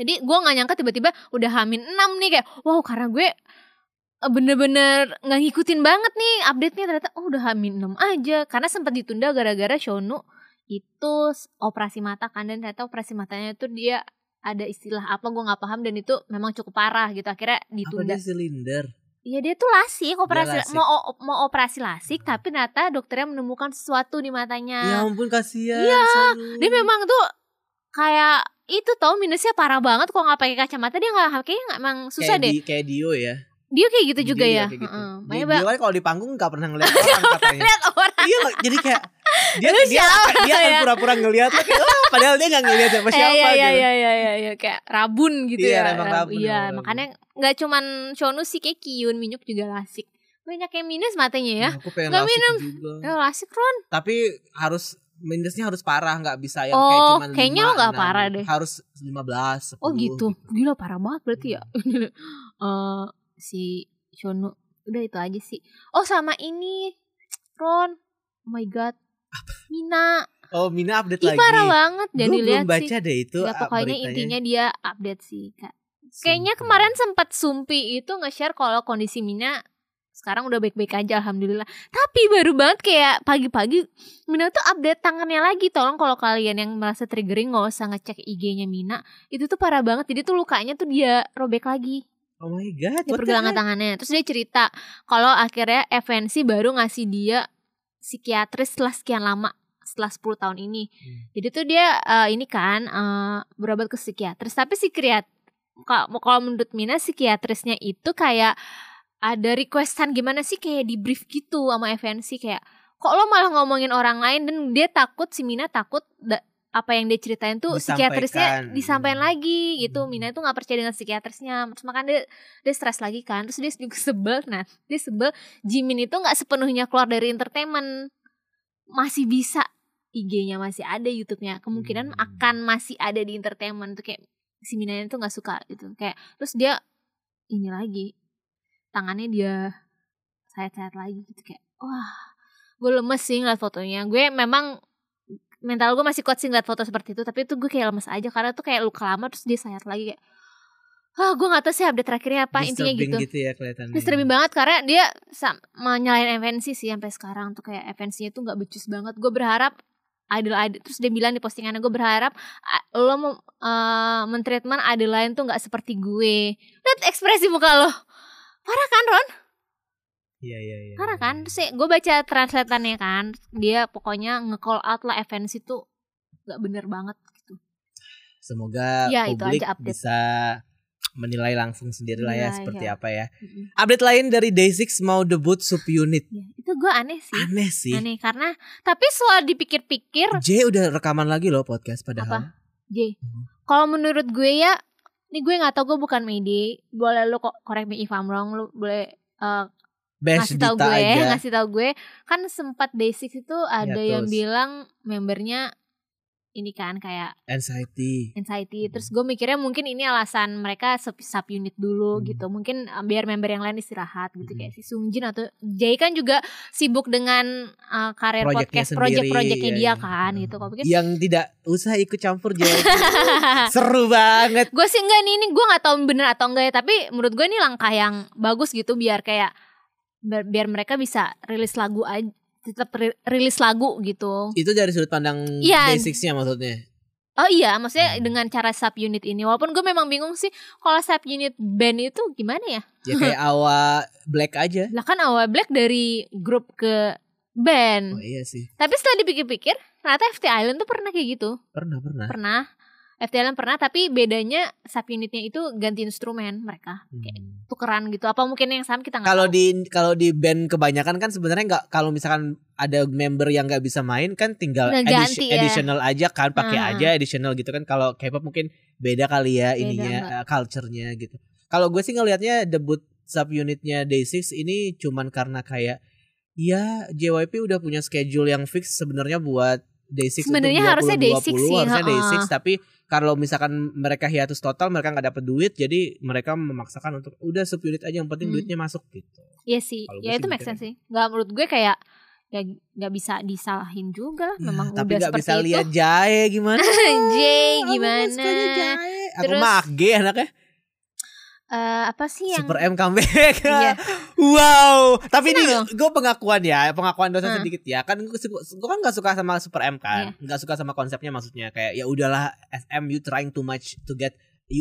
Speaker 1: Jadi gue nggak nyangka tiba-tiba udah hamin 6 nih kayak wow karena gue eh, bener-bener nggak ngikutin banget nih update-nya ternyata oh udah hamin 6 aja karena sempat ditunda gara-gara Shonu itu s- operasi mata kan dan ternyata operasi matanya itu dia ada istilah apa gue nggak paham dan itu memang cukup parah gitu akhirnya
Speaker 2: Apa
Speaker 1: ditunda
Speaker 2: dia silinder
Speaker 1: Iya dia tuh lasik operasi
Speaker 2: lasik. Hmm.
Speaker 1: mau o- mau operasi lasik tapi ternyata dokternya menemukan sesuatu di matanya.
Speaker 2: Ya ampun kasihan
Speaker 1: Nah. Iya,
Speaker 2: selalu.
Speaker 1: Dia memang tuh kayak itu tau minusnya parah banget kok nggak pakai kacamata dia nggak kayaknya nggak emang susah
Speaker 2: kayak
Speaker 1: deh.
Speaker 2: Di, kayak Dio ya
Speaker 1: dia kayak gitu juga
Speaker 2: Dio
Speaker 1: ya.
Speaker 2: kayak gitu.
Speaker 1: Heeh.
Speaker 2: Di-
Speaker 1: Makanya
Speaker 2: Dio kan kalau di panggung nggak pernah ngeliat orang katanya
Speaker 1: lihat orang
Speaker 2: Iya loh, jadi kayak Dia,
Speaker 1: Lu
Speaker 2: dia,
Speaker 1: siapa
Speaker 2: dia akan
Speaker 1: ya?
Speaker 2: pura-pura ngeliat lo kayak, "Oh," Padahal dia nggak ngeliat siapa-siapa
Speaker 1: Iya iya
Speaker 2: gitu
Speaker 1: iya iya iya iya. kayak rabun gitu
Speaker 2: Iya,
Speaker 1: ya.
Speaker 2: emang
Speaker 1: Rab-
Speaker 2: rabun,
Speaker 1: Iya,
Speaker 2: emang rabun.
Speaker 1: makanya nggak cuman Shonu sih kayak Kiyun Minyuk juga lasik. Banyak yang minus matanya ya.
Speaker 2: Nah, Aku pengen
Speaker 1: Nggak
Speaker 2: lasik
Speaker 1: minum.
Speaker 2: juga
Speaker 1: Ya lasik Ron.
Speaker 2: Tapi harus Minusnya harus parah nggak bisa yang kayak
Speaker 1: Oh,
Speaker 2: cuman
Speaker 1: kayaknya lo
Speaker 2: lima,
Speaker 1: nggak
Speaker 2: enam.
Speaker 1: parah deh.
Speaker 2: Harus 15 10
Speaker 1: Oh gitu. Gila parah banget berarti ya. Eh si Shonu udah itu aja sih. Oh sama ini Ron. Oh my god. Mina.
Speaker 2: Oh Mina update
Speaker 1: Ih
Speaker 2: lagi
Speaker 1: parah banget
Speaker 2: Gue
Speaker 1: jadi
Speaker 2: belum
Speaker 1: lihat
Speaker 2: baca
Speaker 1: sih.
Speaker 2: deh itu
Speaker 1: Ya
Speaker 2: ah,
Speaker 1: pokoknya
Speaker 2: beritanya.
Speaker 1: intinya dia update sih Kak.
Speaker 2: Sumpah.
Speaker 1: Kayaknya kemarin sempat Sumpi itu nge-share kalau kondisi Mina sekarang udah baik-baik aja alhamdulillah. Tapi baru banget kayak pagi-pagi Mina tuh update tangannya lagi. Tolong kalau kalian yang merasa triggering nggak usah ngecek IG-nya Mina. Itu tuh parah banget. Jadi tuh lukanya tuh dia robek lagi
Speaker 2: Oh my god what the
Speaker 1: di ya, pergelangan
Speaker 2: heck?
Speaker 1: tangannya. Terus dia cerita kalau akhirnya FNC baru ngasih dia psikiatris setelah sekian lama setelah 10 tahun ini.
Speaker 2: Hmm.
Speaker 1: Jadi tuh dia eh, ini kan eh, berobat ke psikiatris, tapi psikiat kalau kalau menurut Mina psikiatrisnya itu kayak ada requestan gimana sih kayak di brief gitu sama FNC kayak kok lo malah ngomongin orang lain dan dia takut si Mina takut da- apa yang dia ceritain tuh psikiatrisnya
Speaker 2: Disampaikan.
Speaker 1: disampaikan lagi gitu.
Speaker 2: Hmm.
Speaker 1: Mina itu nggak percaya dengan psikiatrisnya. Terus makanya dia dia stres lagi kan terus dia juga sebel nah dia sebel Jimin itu nggak sepenuhnya keluar dari entertainment masih bisa IG-nya masih ada YouTube-nya kemungkinan
Speaker 2: Hmm.
Speaker 1: akan masih ada di entertainment tuh kayak si Minanya tuh nggak suka gitu kayak terus dia ini lagi tangannya dia sayat-sayat lagi gitu kayak wah gue lemes sih ngeliat fotonya gue memang mental gue masih kuat sih ngeliat foto seperti itu tapi itu gue kayak lemes aja karena tuh kayak luka lama terus dia sayat lagi kayak ah gue nggak tahu sih update terakhirnya apa intinya
Speaker 2: Disturbing
Speaker 1: gitu
Speaker 2: ya kelihatannya.
Speaker 1: disturbing banget karena dia sam- menyalain FNC sih sampai sekarang tuh kayak FNC-nya tuh nggak becus banget gue berharap Adel Adel terus dia bilang di postingannya gue berharap a- lo mau eh, mentreatment Adeline tuh nggak seperti gue lihat ekspresi muka lo parah kan Ron
Speaker 2: Iya iya iya.
Speaker 1: parah kan terus ya, gue baca translatannya kan dia pokoknya nge-call out lah FNC tuh nggak bener banget gitu
Speaker 2: Semoga
Speaker 1: Ya, itu
Speaker 2: publik
Speaker 1: aja update.
Speaker 2: bisa menilai langsung sendiri lah ya
Speaker 1: Iya,
Speaker 2: seperti
Speaker 1: iya.
Speaker 2: apa ya.
Speaker 1: Mm-mm.
Speaker 2: Update lain dari Day6 mau debut subunit.
Speaker 1: Ya, itu gue aneh sih
Speaker 2: Aneh sih.
Speaker 1: Ah, aneh karena tapi setelah dipikir-pikir
Speaker 2: J udah rekaman lagi loh podcast padahal.
Speaker 1: J.
Speaker 2: Mhm.
Speaker 1: Kalau menurut gue ya, ini gue nggak tahu gue bukan media. Boleh lu kok korek me if I'm wrong, lu boleh eh,
Speaker 2: Best
Speaker 1: ngasih tahu
Speaker 2: Dita
Speaker 1: gue,
Speaker 2: aja.
Speaker 1: ngasih tahu gue. Kan sempat basic itu ada yang
Speaker 2: terus.
Speaker 1: bilang membernya ini kan kayak
Speaker 2: Anxiety. Hmm.
Speaker 1: anxiety. Terus gue mikirnya mungkin ini alasan mereka sub, sub unit dulu
Speaker 2: Hmm.
Speaker 1: gitu. Mungkin eh, biar member yang lain istirahat gitu
Speaker 2: Mhm.
Speaker 1: kayak si Sungjin atau Jay kan juga sibuk dengan eh, karir
Speaker 2: Proyeknya
Speaker 1: podcast,
Speaker 2: sendiri,
Speaker 1: project-projectnya
Speaker 2: iya,
Speaker 1: dia
Speaker 2: iya.
Speaker 1: kan gitu. Kalau mungkin
Speaker 2: Yang tidak usah ikut campur J. Seru banget.
Speaker 1: gue sih enggak nih ini gue nggak tahu bener atau enggak ya tapi menurut gue ini langkah yang bagus gitu biar kayak biar, biar mereka bisa rilis lagu aja tetap ri- rilis lagu gitu
Speaker 2: Itu dari sudut pandang
Speaker 1: Iya.
Speaker 2: Day6-nya maksudnya.
Speaker 1: oh iya maksudnya
Speaker 2: Hmm.
Speaker 1: dengan cara sub unit ini walaupun gue memang bingung sih kalau sub unit band itu gimana ya
Speaker 2: Ya kayak awa black aja.
Speaker 1: lah kan awal black dari grup ke
Speaker 2: Oh
Speaker 1: band
Speaker 2: iya sih.
Speaker 1: tapi setelah dipikir-pikir ternyata FT Island tuh pernah kayak gitu
Speaker 2: Pernah pernah.
Speaker 1: pernah FT Island pernah tapi bedanya sub unitnya itu ganti instrumen mereka
Speaker 2: Hmm.
Speaker 1: tukeran gitu apa mungkin yang sama kita nggak
Speaker 2: kalau
Speaker 1: tahu.
Speaker 2: di kalau di band kebanyakan kan sebenarnya nggak kalau misalkan ada member yang nggak bisa main kan tinggal
Speaker 1: Nah,
Speaker 2: edis-
Speaker 1: ganti ya.
Speaker 2: additional aja kan pakai
Speaker 1: Ah.
Speaker 2: aja additional gitu kan kalau K-pop mungkin beda kali ya
Speaker 1: Beda,
Speaker 2: ininya
Speaker 1: Mbak.
Speaker 2: eh, culture-nya gitu. Kalau gue sih ngelihatnya debut subunitnya Day6 ini cuman karena kayak ya JYP udah punya schedule yang fix sebenarnya buat Day6
Speaker 1: Sebenarnya harusnya Day6 sih,
Speaker 2: harusnya Day6
Speaker 1: heeh.
Speaker 2: tapi kalau misalkan mereka hiatus total mereka nggak dapat duit jadi mereka memaksakan untuk udah subunit aja yang penting
Speaker 1: Hmm.
Speaker 2: duitnya masuk gitu.
Speaker 1: Iya sih,
Speaker 2: Kalau gue
Speaker 1: ya
Speaker 2: sih
Speaker 1: itu make
Speaker 2: mikirnya.
Speaker 1: sense sih. Gak menurut gue kayak ya nggak bisa disalahin juga lah, Nah, memang
Speaker 2: Nah, tapi
Speaker 1: udah
Speaker 2: nggak
Speaker 1: seperti
Speaker 2: bisa
Speaker 1: itu.
Speaker 2: lihat jahe gimana
Speaker 1: Jay
Speaker 2: Aku
Speaker 1: gimana?
Speaker 2: sukanya jahe. aku
Speaker 1: Terus-
Speaker 2: mah G anaknya
Speaker 1: Eh, apa sih yang
Speaker 2: super M comeback
Speaker 1: Iya.
Speaker 2: wow tapi ini
Speaker 1: Senang
Speaker 2: gue pengakuan ya pengakuan dosa
Speaker 1: Hmm.
Speaker 2: sedikit ya kan gue kan nggak suka sama super M kan
Speaker 1: Iya.
Speaker 2: nggak suka sama konsepnya maksudnya kayak ya udahlah SM you trying too much to get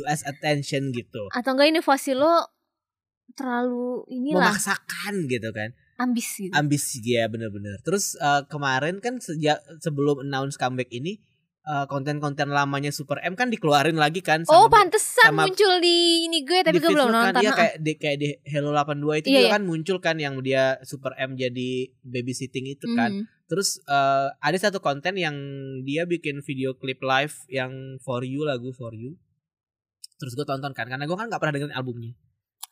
Speaker 2: US attention gitu
Speaker 1: atau enggak ini vosi lo terlalu inilah
Speaker 2: memaksakan gitu kan
Speaker 1: ambis gitu.
Speaker 2: ambisi dia bener-bener. Terus eh, kemarin kan sejak sebelum announce comeback ini eh, konten-konten lamanya Super M kan dikeluarin lagi kan
Speaker 1: oh pantesan
Speaker 2: sama-
Speaker 1: muncul di ini gue tapi
Speaker 2: di
Speaker 1: gue belum
Speaker 2: Facebook kan,
Speaker 1: nonton.
Speaker 2: Iya
Speaker 1: ha.
Speaker 2: kayak di, kayak di Hello 82 itu
Speaker 1: Iya,
Speaker 2: juga
Speaker 1: iya.
Speaker 2: kan muncul kan yang dia Super M jadi babysitting itu kan.
Speaker 1: Mhm.
Speaker 2: Terus eh, ada satu konten yang dia bikin video klip live yang For You lagu For You. Terus gue tonton kan karena gue kan nggak pernah dengerin albumnya.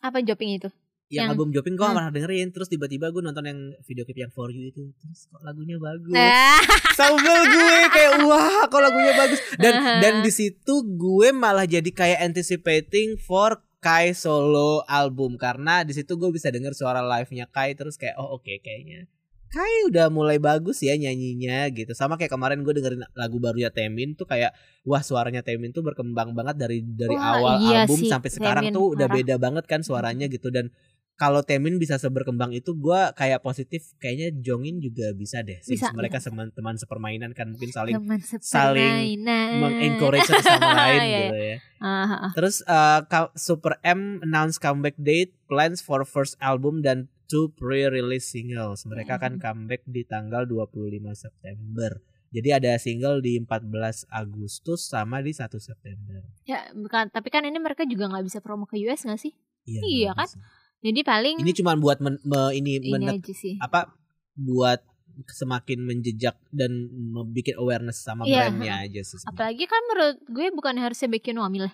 Speaker 1: Apa joping itu?
Speaker 2: Yang,
Speaker 1: Yang-
Speaker 2: album Jopin gue nggak
Speaker 1: Hmm.
Speaker 2: pernah dengerin. Terus tiba-tiba gue nonton yang video klip yang For You itu. Terus kok lagunya bagus.
Speaker 1: Ah,
Speaker 2: Sambel gue kayak wah kok lagunya bagus dan
Speaker 1: Aha.
Speaker 2: dan di situ gue malah jadi kayak anticipating for Kai solo album karena di situ gue bisa denger suara live-nya Kai terus kayak oh oke kayaknya Kai udah mulai bagus ya nyanyinya gitu sama kayak kemarin gue dengerin lagu barunya Temin tuh kayak wah suaranya Temin tuh berkembang banget dari dari
Speaker 1: Wah,
Speaker 2: awal
Speaker 1: iya
Speaker 2: album
Speaker 1: sih,
Speaker 2: sampai sekarang
Speaker 1: Taemin,
Speaker 2: tuh udah
Speaker 1: parah.
Speaker 2: beda banget kan suaranya gitu dan kalau Temin bisa seberkembang itu gue kayak positif kayaknya Jongin juga bisa deh since
Speaker 1: Bisa,
Speaker 2: mereka teman-teman sepermainan kan mungkin saling
Speaker 1: teman
Speaker 2: saling
Speaker 1: sepermainan.
Speaker 2: mengencourage satu sama lain
Speaker 1: Iya,
Speaker 2: gitu ya.
Speaker 1: Ah, ah, ah.
Speaker 2: Terus eh, ka- Super M announce comeback date, plans for first album dan two pre-release singles. Mereka
Speaker 1: Hmm.
Speaker 2: akan comeback di tanggal 25 September. Jadi ada single di 14 Agustus sama di 1 September.
Speaker 1: Ya, bukan, tapi kan ini mereka juga nggak bisa promo ke US nggak sih? Iya
Speaker 2: bagus.
Speaker 1: Jadi paling
Speaker 2: Ini cuman buat men- me- ini
Speaker 1: ini
Speaker 2: menek
Speaker 1: aja sih.
Speaker 2: apa buat semakin menjejak dan membuat awareness sama
Speaker 1: Iya,
Speaker 2: brandnya aja sih. sebenarnya.
Speaker 1: Apalagi kan menurut gue bukan harusnya bikin wamil ya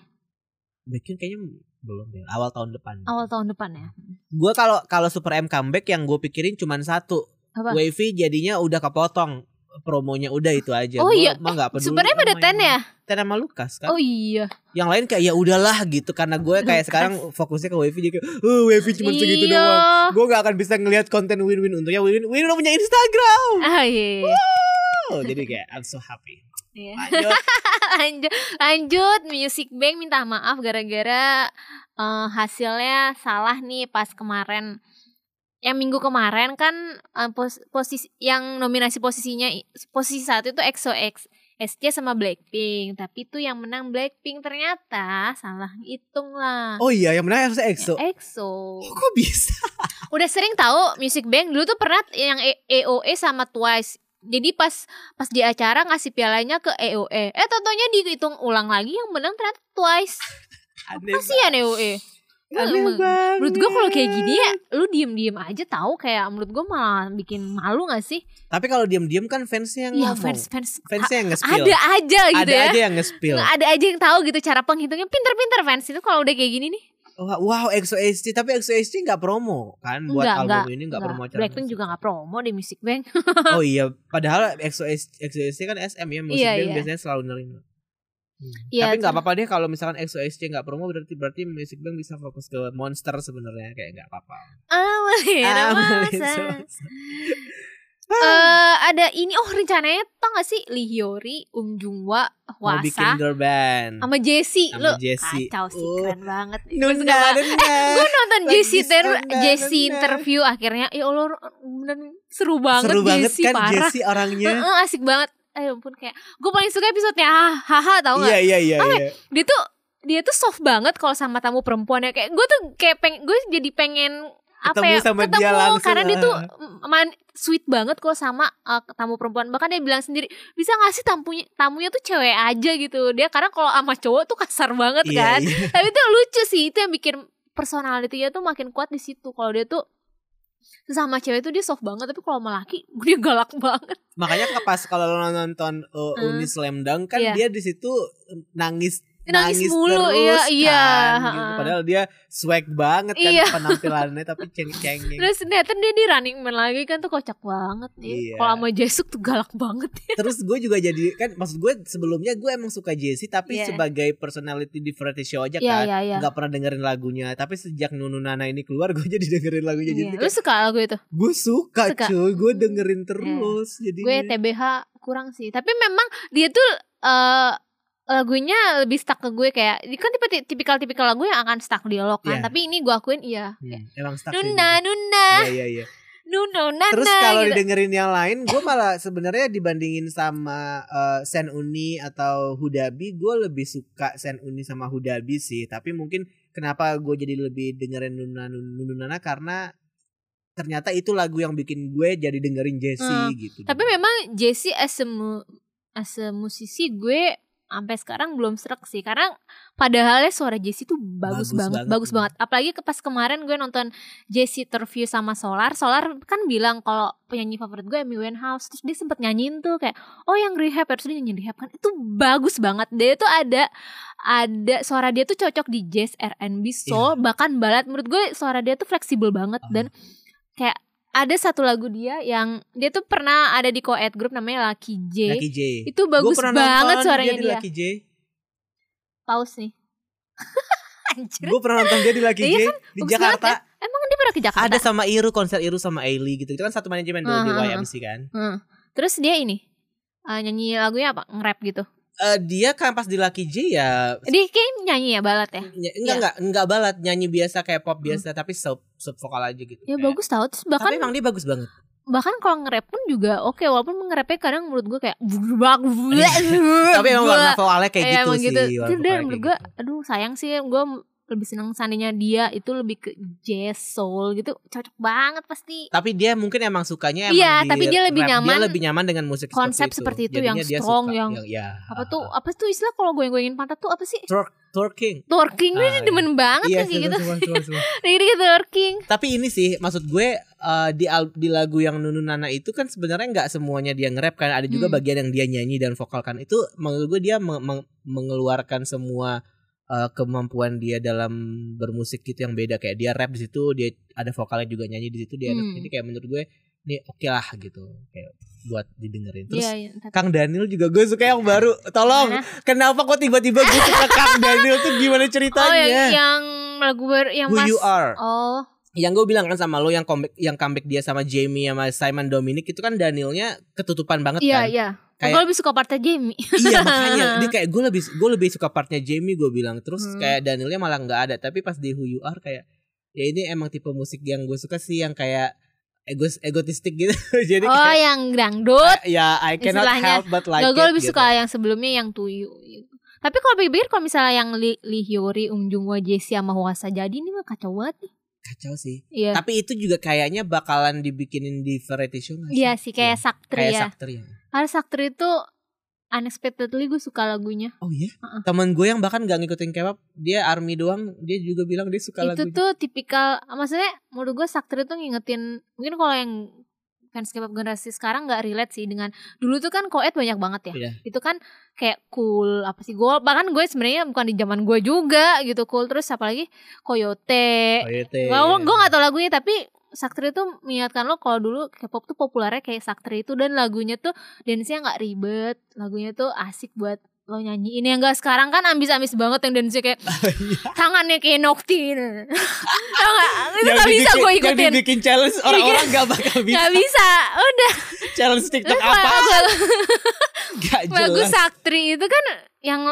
Speaker 2: Bikin kayaknya belum deh, awal tahun depan.
Speaker 1: awal tahun depan ya.
Speaker 2: Gue kalau kalau Super M comeback yang gue pikirin cuman satu.
Speaker 1: Apa?
Speaker 2: Wavy jadinya udah kepotong promonya udah itu aja.
Speaker 1: Oh
Speaker 2: Gua
Speaker 1: iya.
Speaker 2: mah nggak peduli.
Speaker 1: Sebenarnya pada ten ya?
Speaker 2: Ten sama Lukas kan.
Speaker 1: Oh iya.
Speaker 2: Yang lain kayak ya udahlah gitu karena gue kayak
Speaker 1: Lukas.
Speaker 2: sekarang fokusnya ke Wevi jadi kayak, "Uh, Wevi cuma segitu
Speaker 1: Iya.
Speaker 2: doang." Gue gak akan bisa ngelihat konten Win-Win untungnya Win-Win Win udah punya Instagram.
Speaker 1: Ah iya.
Speaker 2: Oh, jadi kayak I'm so happy.
Speaker 1: Iya.
Speaker 2: Lanjut.
Speaker 1: lanjut lanjut Music Bank minta maaf gara-gara eh, hasilnya salah nih pas kemarin yang minggu kemarin kan eh, pos- posisi yang nominasi posisinya i- posisi satu itu EXO-X SJ sama Blackpink tapi tuh yang menang Blackpink ternyata salah hitung lah
Speaker 2: Oh iya, yang menang harusnya EXO.
Speaker 1: Eh. EXO
Speaker 2: Oh, kok bisa?
Speaker 1: udah sering tahu Music Bank dulu tuh pernah yang E- EOE sama Twice. Jadi pas pas di acara ngasih pialanya ke EOE. Eh tentunya dihitung ulang lagi yang menang ternyata Twice. ya,
Speaker 2: Aneh.
Speaker 1: Kasihan EOE.
Speaker 2: Aneh
Speaker 1: Emang.
Speaker 2: banget.
Speaker 1: E? Menurut gua kalau kayak gini ya lu diem-diem aja tahu kayak menurut gua malah bikin malu gak sih?
Speaker 2: Tapi kalau diam-diam kan fansnya yang
Speaker 1: Iya
Speaker 2: ngomong.
Speaker 1: fans-fans
Speaker 2: fansnya yang
Speaker 1: a-
Speaker 2: nge-spill.
Speaker 1: ada aja gitu
Speaker 2: Ada
Speaker 1: ya.
Speaker 2: aja yang nge-spill.
Speaker 1: Ada aja yang tahu gitu cara penghitungnya pinter-pinter fans itu kalau udah kayak gini nih.
Speaker 2: Wah, Wow, XOST tapi XOST nggak promo kan buat
Speaker 1: Enggak,
Speaker 2: album
Speaker 1: enggak,
Speaker 2: ini nggak promo acara.
Speaker 1: Blackpink juga nggak promo di Music Bank.
Speaker 2: Oh iya, padahal XOST XOST kan SM ya, musik
Speaker 1: Iya,
Speaker 2: band
Speaker 1: iya.
Speaker 2: biasanya selalu nerima. Hmm.
Speaker 1: Iya,
Speaker 2: tapi nggak
Speaker 1: ter-
Speaker 2: apa-apa deh kalau misalkan XOST nggak promo berarti berarti musik band bisa fokus ke monster sebenarnya kayak nggak apa-apa.
Speaker 1: Ah,
Speaker 2: Ah,
Speaker 1: masa. Eh ada ini oh rencananya tau gak sih Lee Hyori, Um Jungwa,
Speaker 2: Mau bikin
Speaker 1: Hwasa
Speaker 2: girl band.
Speaker 1: sama Jessie
Speaker 2: Sama
Speaker 1: lo
Speaker 2: Jessie.
Speaker 1: kacau sih
Speaker 2: Oh.
Speaker 1: keren banget. Gue suka
Speaker 2: Nunda,
Speaker 1: banget.
Speaker 2: nunda.
Speaker 1: Gue nonton
Speaker 2: Lagi
Speaker 1: Jessie ter
Speaker 2: nunda,
Speaker 1: Jessie
Speaker 2: nunda.
Speaker 1: interview akhirnya ya Allah bener seru banget
Speaker 2: Seru banget
Speaker 1: Jessie
Speaker 2: kan
Speaker 1: parah.
Speaker 2: Jessie orangnya.
Speaker 1: Heeh, asik banget. Ayo ampun kayak gue paling suka episodenya haha tau gak?
Speaker 2: Iya iya iya
Speaker 1: Ah,
Speaker 2: iya.
Speaker 1: Dia tuh dia tuh soft banget kalau sama tamu perempuannya kayak gue tuh kayak pengen gue jadi pengen apa
Speaker 2: Ketemu
Speaker 1: ya
Speaker 2: sama dia langsung,
Speaker 1: karena dia tuh
Speaker 2: ah.
Speaker 1: mm, man- sweet banget kalau sama uh, tamu perempuan bahkan dia bilang sendiri bisa ngasih tamunya tamunya tuh cewek aja gitu dia karena kalau sama cowok tuh kasar banget
Speaker 2: Iya,
Speaker 1: kan
Speaker 2: iya.
Speaker 1: tapi itu lucu sih itu yang bikin personalitinya tuh makin kuat di situ kalau dia tuh sama cewek tuh dia soft banget tapi kalau sama laki dia galak banget
Speaker 2: Makanya ke- pas kalau lo nonton uh,
Speaker 1: Hmm.
Speaker 2: Uni Slam Dunk kan
Speaker 1: Iya.
Speaker 2: dia di situ nangis
Speaker 1: Dia nangis mulu, iya,
Speaker 2: terus
Speaker 1: iya,
Speaker 2: kan, gitu.
Speaker 1: ha-ha.
Speaker 2: Padahal dia swag banget kan
Speaker 1: Iya.
Speaker 2: penampilannya tapi ceng-cengeng.
Speaker 1: terus ternyata dia di running man lagi kan tuh kocak banget ya.
Speaker 2: Iya.
Speaker 1: kalau sama Jesuk tuh galak banget
Speaker 2: Terus gue juga jadi kan maksud gue sebelumnya gue emang suka Jessie tapi
Speaker 1: Iya.
Speaker 2: sebagai personality di variety show aja
Speaker 1: Iya,
Speaker 2: kan.
Speaker 1: iya, iya.
Speaker 2: Gak pernah dengerin lagunya Tapi sejak Nunu Nana ini keluar Gue jadi dengerin lagunya
Speaker 1: Iya,
Speaker 2: Jadi gitu.
Speaker 1: Lu suka lagu itu?
Speaker 2: Gue suka,
Speaker 1: Suka. Iya.
Speaker 2: cuy Gue dengerin terus Jadi
Speaker 1: Gue TBH kurang sih. Tapi memang dia tuh eh lagunya lebih stuck ke gue kayak kan tipe tipikal-tipikal lagu yang akan stuck dialog
Speaker 2: Iya.
Speaker 1: kan. Tapi ini gue akuin iya.
Speaker 2: Hmm, Emang stuck sih
Speaker 1: Nuna nuna
Speaker 2: Iya iya iya
Speaker 1: nuna nana.
Speaker 2: Terus kalau
Speaker 1: gitu.
Speaker 2: didengerin yang lain, gue malah sebenarnya dibandingin sama eh, Sen Uni atau Hudabi, gue lebih suka Sen Uni sama Hudabi sih. Tapi mungkin kenapa gue jadi lebih dengerin Nuna Nunu Nana karena ternyata itu lagu yang bikin gue jadi dengerin Jesse
Speaker 1: Hmm,
Speaker 2: gitu.
Speaker 1: Tapi memang Jesse as a, mu- as a musisi gue sampai sekarang belum serak sih karena padahalnya suara Jesse tuh
Speaker 2: Bagus
Speaker 1: bagus, banget,
Speaker 2: banget.
Speaker 1: bagus banget. Apalagi ke pas kemarin gue nonton Jesse interview sama Solar. Solar kan bilang kalau penyanyi favorit gue Amy Winehouse terus dia sempet nyanyiin tuh kayak oh yang rehab harus dia nyanyi rehab kan itu bagus banget. Dia tuh ada ada suara dia tuh cocok di jazz, R&B, soul,
Speaker 2: Iya.
Speaker 1: bahkan balat. Menurut gue suara dia tuh fleksibel banget
Speaker 2: Ah.
Speaker 1: dan kayak ada satu lagu dia yang dia tuh pernah ada di co-ed group namanya Lucky J.
Speaker 2: Lucky J.
Speaker 1: Itu bagus
Speaker 2: Gua pernah
Speaker 1: banget
Speaker 2: nonton
Speaker 1: suaranya
Speaker 2: dia. Di
Speaker 1: dia.
Speaker 2: Lucky J.
Speaker 1: Paus nih. Anjir.
Speaker 2: Gue pernah nonton dia di Lucky
Speaker 1: Iya
Speaker 2: J di
Speaker 1: bagus
Speaker 2: Jakarta.
Speaker 1: banget ya. Emang kan dia pernah ke Jakarta?
Speaker 2: Ada sama Iru konser Iru sama Ailey gitu. Itu kan satu manajemen dulu di
Speaker 1: Ah, ah, ah.
Speaker 2: YMC kan.
Speaker 1: Hmm. Terus dia ini eh, nyanyi lagunya apa? Nge-rap gitu.
Speaker 2: Eh, dia kan pas di Lucky J ya
Speaker 1: Dia kayak nyanyi ya balat ya.
Speaker 2: Ny- enggak
Speaker 1: Iya. Hmm.
Speaker 2: enggak enggak balat nyanyi biasa kayak pop biasa tapi sub sub vokal aja gitu.
Speaker 1: Ya
Speaker 2: Kayak-
Speaker 1: bagus kan? tau terus bahkan
Speaker 2: tapi emang dia bagus banget.
Speaker 1: bahkan kalau nge-rap pun juga oke walaupun nge-rapnya kadang menurut gue kayak
Speaker 2: tapi emang warna vokalnya kayak
Speaker 1: Iya,
Speaker 2: gitu
Speaker 1: emang
Speaker 2: sih.
Speaker 1: gitu.
Speaker 2: warna
Speaker 1: Terus dia
Speaker 2: vokalnya
Speaker 1: menurut
Speaker 2: kayak
Speaker 1: gue,
Speaker 2: gitu.
Speaker 1: aduh sayang sih gue lebih seneng seandainya dia itu lebih ke jazz soul gitu cocok banget pasti
Speaker 2: Tapi dia mungkin emang sukanya emang
Speaker 1: Iya,
Speaker 2: di
Speaker 1: tapi dia lebih
Speaker 2: rap.
Speaker 1: nyaman
Speaker 2: Dia lebih nyaman dengan musik
Speaker 1: konsep seperti itu, yang strong, yang-
Speaker 2: ya.
Speaker 1: apa tuh apa tuh istilah kalau gue goyangin pantat tuh apa sih
Speaker 2: twerking.
Speaker 1: twerking
Speaker 2: Ah,
Speaker 1: ini
Speaker 2: iya.
Speaker 1: demen banget
Speaker 2: Iya,
Speaker 1: kan kayak
Speaker 2: semua,
Speaker 1: gitu
Speaker 2: semua, semua, semua.
Speaker 1: dikit-dikit twerking
Speaker 2: Tapi ini sih maksud gue eh, di al- di lagu yang Nunu Nana itu kan sebenarnya nggak semuanya dia nge-rap kan ada juga
Speaker 1: Hmm.
Speaker 2: bagian yang dia nyanyi dan vokal kan itu menurut gue dia meng- meng- mengeluarkan semua eh, kemampuan dia dalam bermusik gitu yang beda kayak dia rap di situ dia ada vokalnya juga nyanyi di situ dia
Speaker 1: Hmm.
Speaker 2: jadi kayak menurut gue ini oke lah gitu kayak buat didengerin terus
Speaker 1: Iya, iya. Ntar-
Speaker 2: Kang Daniel juga gue suka yang baru tolong
Speaker 1: Mana?
Speaker 2: kenapa kok tiba-tiba gue suka Kang Daniel tuh gimana
Speaker 1: Oh yang,
Speaker 2: ceritanya
Speaker 1: yang lagu baru yang
Speaker 2: Who
Speaker 1: mas
Speaker 2: You Are
Speaker 1: Oh
Speaker 2: yang gue bilang kan sama lo yang comeback yang comeback dia sama Jamie sama Simon Dominic itu kan Danielnya ketutupan banget
Speaker 1: iya
Speaker 2: kan
Speaker 1: iya
Speaker 2: Kayak-
Speaker 1: Gue lebih suka partnya Jamie
Speaker 2: iya makanya dia kayak gue lebih gue lebih suka partnya Jamie gue bilang terus
Speaker 1: Hmm.
Speaker 2: kayak Danielnya malah nggak ada tapi pas di Who You Are kayak ya ini emang tipe musik yang gue suka sih yang kayak egos egotistik gitu jadi
Speaker 1: Oh
Speaker 2: kayak
Speaker 1: yang dangdut
Speaker 2: ya I cannot
Speaker 1: istilahnya.
Speaker 2: help but like
Speaker 1: Gak, gue
Speaker 2: it,
Speaker 1: lebih
Speaker 2: gitu.
Speaker 1: suka yang sebelumnya yang Tuyu gitu. Tapi kalau pikir kalau misalnya yang Li, Lee Hyori, Ung Jungwa, Jessie sama Hwasa jadi ini mah kacau banget nih.
Speaker 2: kacau sih
Speaker 1: Iya.
Speaker 2: tapi itu juga kayaknya bakalan dibikinin di variety show nggak sih?
Speaker 1: Iya sih kayak Saktri
Speaker 2: kayak
Speaker 1: ya.
Speaker 2: Saktria.
Speaker 1: Karena Saktri itu unexpectedly gue suka lagunya.
Speaker 2: Oh iya,
Speaker 1: Uh-uh.
Speaker 2: teman gue yang bahkan gak ngikutin K-pop, dia army doang, dia juga bilang dia suka lagu.
Speaker 1: itu tuh tipikal maksudnya menurut gue Saktri tuh ngingetin mungkin kalau yang fans K-pop generasi sekarang nggak relate sih dengan dulu tuh kan koet banyak banget ya.
Speaker 2: Iya.
Speaker 1: Itu kan kayak cool apa sih gue bahkan gue sebenarnya bukan di zaman gue juga gitu cool terus apalagi Koyote
Speaker 2: Oh, iya, teh.
Speaker 1: Gue gue gak tau lagunya tapi Saktri tuh mengingatkan lo kalau dulu K-pop tuh populernya kayak Saktri itu dan lagunya tuh dance-nya nggak ribet, lagunya tuh asik buat lo nyanyiin yang gak sekarang kan ambis-ambis banget yang dance kayak
Speaker 2: Oh, iya.
Speaker 1: tangannya kayak nokti tau gak? itu
Speaker 2: Yang
Speaker 1: gak bisa
Speaker 2: dibikin-
Speaker 1: gue
Speaker 2: Yang
Speaker 1: ikutin
Speaker 2: dibikin challenge orang-orang gak bakal bisa.
Speaker 1: gak bisa udah
Speaker 2: challenge TikTok
Speaker 1: Terus
Speaker 2: apa?
Speaker 1: lagu-
Speaker 2: Gak
Speaker 1: lagu
Speaker 2: jelas.
Speaker 1: Saktri itu kan yang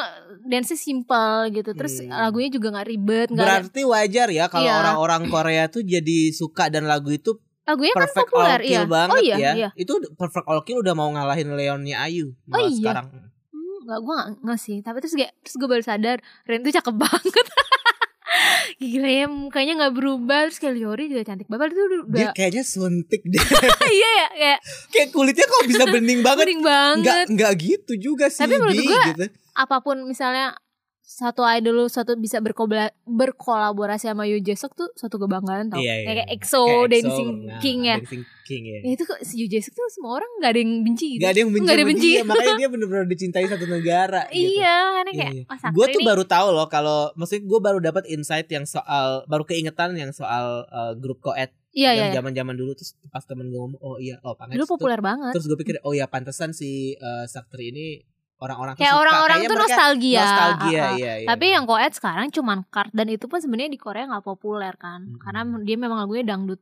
Speaker 1: dance simple gitu terus
Speaker 2: Hmm.
Speaker 1: lagunya juga nggak ribet nggak ada-
Speaker 2: Berarti wajar ya kalau
Speaker 1: Iya.
Speaker 2: orang-orang Korea tuh jadi suka dan lagu itu
Speaker 1: lagunya kan
Speaker 2: perfect all
Speaker 1: populer
Speaker 2: kill
Speaker 1: iya
Speaker 2: banget
Speaker 1: oh iya
Speaker 2: ya.
Speaker 1: iya
Speaker 2: Itu perfect all kill udah mau ngalahin Leonnya Ayu malah
Speaker 1: iya.
Speaker 2: sekarang.
Speaker 1: Hmm, nggak gue nggak nggak sih tapi terus kayak terus gue baru sadar Ren tuh cakep banget gila ya mukanya nggak berubah terus kayak Liori juga cantik banget itu
Speaker 2: Dia
Speaker 1: udah
Speaker 2: kayaknya suntik deh.
Speaker 1: iya ya kayak
Speaker 2: Kayak kulitnya kok bisa bening banget.
Speaker 1: bening banget
Speaker 2: Enggak enggak gitu juga sih.
Speaker 1: Tapi menurut
Speaker 2: Bi,
Speaker 1: gua-
Speaker 2: gitu.
Speaker 1: apapun misalnya satu idol lu suatu bisa berkobla- berkolaborasi sama Yoo Jesok tuh suatu kebanggaan tau
Speaker 2: Iya, iya.
Speaker 1: kayak EXO
Speaker 2: Kayak EXO
Speaker 1: Dancing
Speaker 2: pernah,
Speaker 1: King ya
Speaker 2: Dancing King ya.
Speaker 1: Ya itu kok si Yoo Jesok tuh semua orang nggak ada yang benci gitu
Speaker 2: Gak ada yang benci,
Speaker 1: Nggak ada
Speaker 2: sama
Speaker 1: benci.
Speaker 2: dia, makanya dia bener-bener dicintai satu negara gitu.
Speaker 1: iya karena kayak
Speaker 2: Iya, iya.
Speaker 1: wah Sakti
Speaker 2: gue tuh
Speaker 1: nih,
Speaker 2: baru tahu loh kalau maksudnya gue baru dapat insight yang soal baru keingetan yang soal eh, grup koed
Speaker 1: iya iya
Speaker 2: yang
Speaker 1: iya.
Speaker 2: zaman zaman dulu terus pas temen gue ngomong oh iya oh Pangex
Speaker 1: dulu
Speaker 2: tuh.
Speaker 1: populer banget
Speaker 2: terus gue pikir oh ya pantesan si eh, Saktri ini orang-orang tuh
Speaker 1: kayak
Speaker 2: suka.
Speaker 1: orang-orang
Speaker 2: Kayaknya
Speaker 1: tuh
Speaker 2: mereka
Speaker 1: nostalgia
Speaker 2: nostalgia
Speaker 1: Ah, ah.
Speaker 2: iya, iya.
Speaker 1: Tapi yang koet sekarang cuman card dan itu pun sebenarnya di Korea nggak populer kan,
Speaker 2: Hmm.
Speaker 1: karena dia memang lagunya dangdut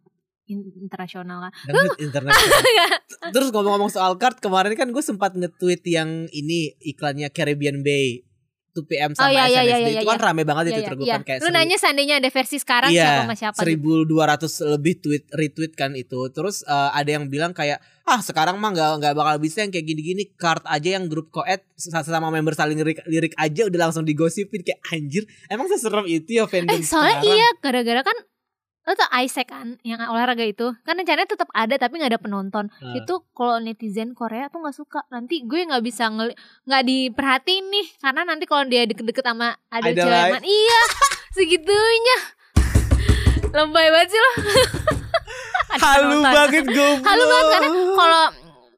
Speaker 1: in- internasional kan.
Speaker 2: Dangdut internasional.
Speaker 1: Ya.
Speaker 2: Terus ngomong-ngomong soal card kemarin kan gue sempat nge-tweet yang ini iklannya Caribbean Bay 2PM sama
Speaker 1: Oh, iya, iya,
Speaker 2: SNSD
Speaker 1: iya, iya,
Speaker 2: itu kan rame banget di
Speaker 1: Iya,
Speaker 2: Twitter gue
Speaker 1: iya,
Speaker 2: kan kayak
Speaker 1: Lu
Speaker 2: seri- Iya,
Speaker 1: nanya seandainya ada versi sekarang siapa sama siapa? gitu.
Speaker 2: 1200 lebih tweet retweet kan itu. Terus eh, ada yang bilang kayak ah sekarang mah nggak nggak bakal bisa yang kayak gini-gini card aja yang grup koed sama member saling lirik, lirik aja udah langsung digosipin kayak anjir. Emang seserem itu ya fandom
Speaker 1: Eh soalnya
Speaker 2: sekarang?
Speaker 1: iya gara-gara kan lo tau Isaac kan yang olahraga itu kan rencananya tetap ada tapi nggak ada penonton
Speaker 2: Nah,
Speaker 1: itu kalau netizen Korea tuh nggak suka nanti gue nggak bisa ngeli- nggak diperhatiin nih karena nanti kalau dia deket-deket sama ada
Speaker 2: Idolize.
Speaker 1: celengan iya segitunya lebay banget sih lo Ada
Speaker 2: halu
Speaker 1: penonton.
Speaker 2: banget goblok.
Speaker 1: Halu banget karena kalau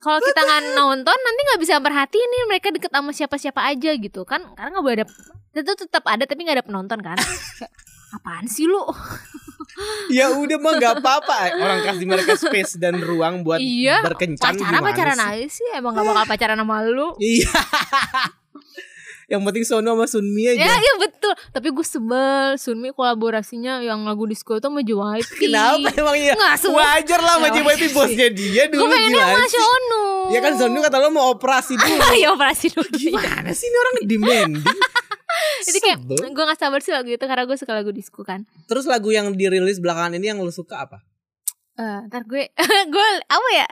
Speaker 1: kalau kita nggak nonton nanti nggak bisa perhatiin mereka deket sama siapa-siapa aja gitu kan karena nggak boleh ada itu tetap ada tapi nggak ada penonton kan Kayak, apaan sih lu
Speaker 2: ya udah mah nggak apa-apa orang kasih mereka space dan ruang buat
Speaker 1: Iya,
Speaker 2: berkencan
Speaker 1: pacaran
Speaker 2: gimana
Speaker 1: pacaran
Speaker 2: sih?
Speaker 1: aja sih emang gak bakal pacaran sama lu
Speaker 2: Iya. yang penting Sono sama Sunmi
Speaker 1: ya
Speaker 2: aja.
Speaker 1: iya betul tapi gue sebel Sunmi kolaborasinya yang lagu disco itu sama JYP
Speaker 2: Kenapa emang iya?
Speaker 1: nggak semua
Speaker 2: Wajar lah sama
Speaker 1: Ya,
Speaker 2: JYP bosnya dia
Speaker 1: gue
Speaker 2: dulu
Speaker 1: pengennya
Speaker 2: gila
Speaker 1: sama Shonu
Speaker 2: Ya kan Sonu kata lo mau operasi dulu
Speaker 1: ya operasi dulu
Speaker 2: Gimana sih ini orang demanding
Speaker 1: jadi kayak
Speaker 2: Sebel.
Speaker 1: gue gak sabar sih lagu itu karena gue suka lagu disco kan
Speaker 2: Terus lagu yang dirilis belakangan ini yang lo suka apa?
Speaker 1: Eh, ntar gue gue apa ya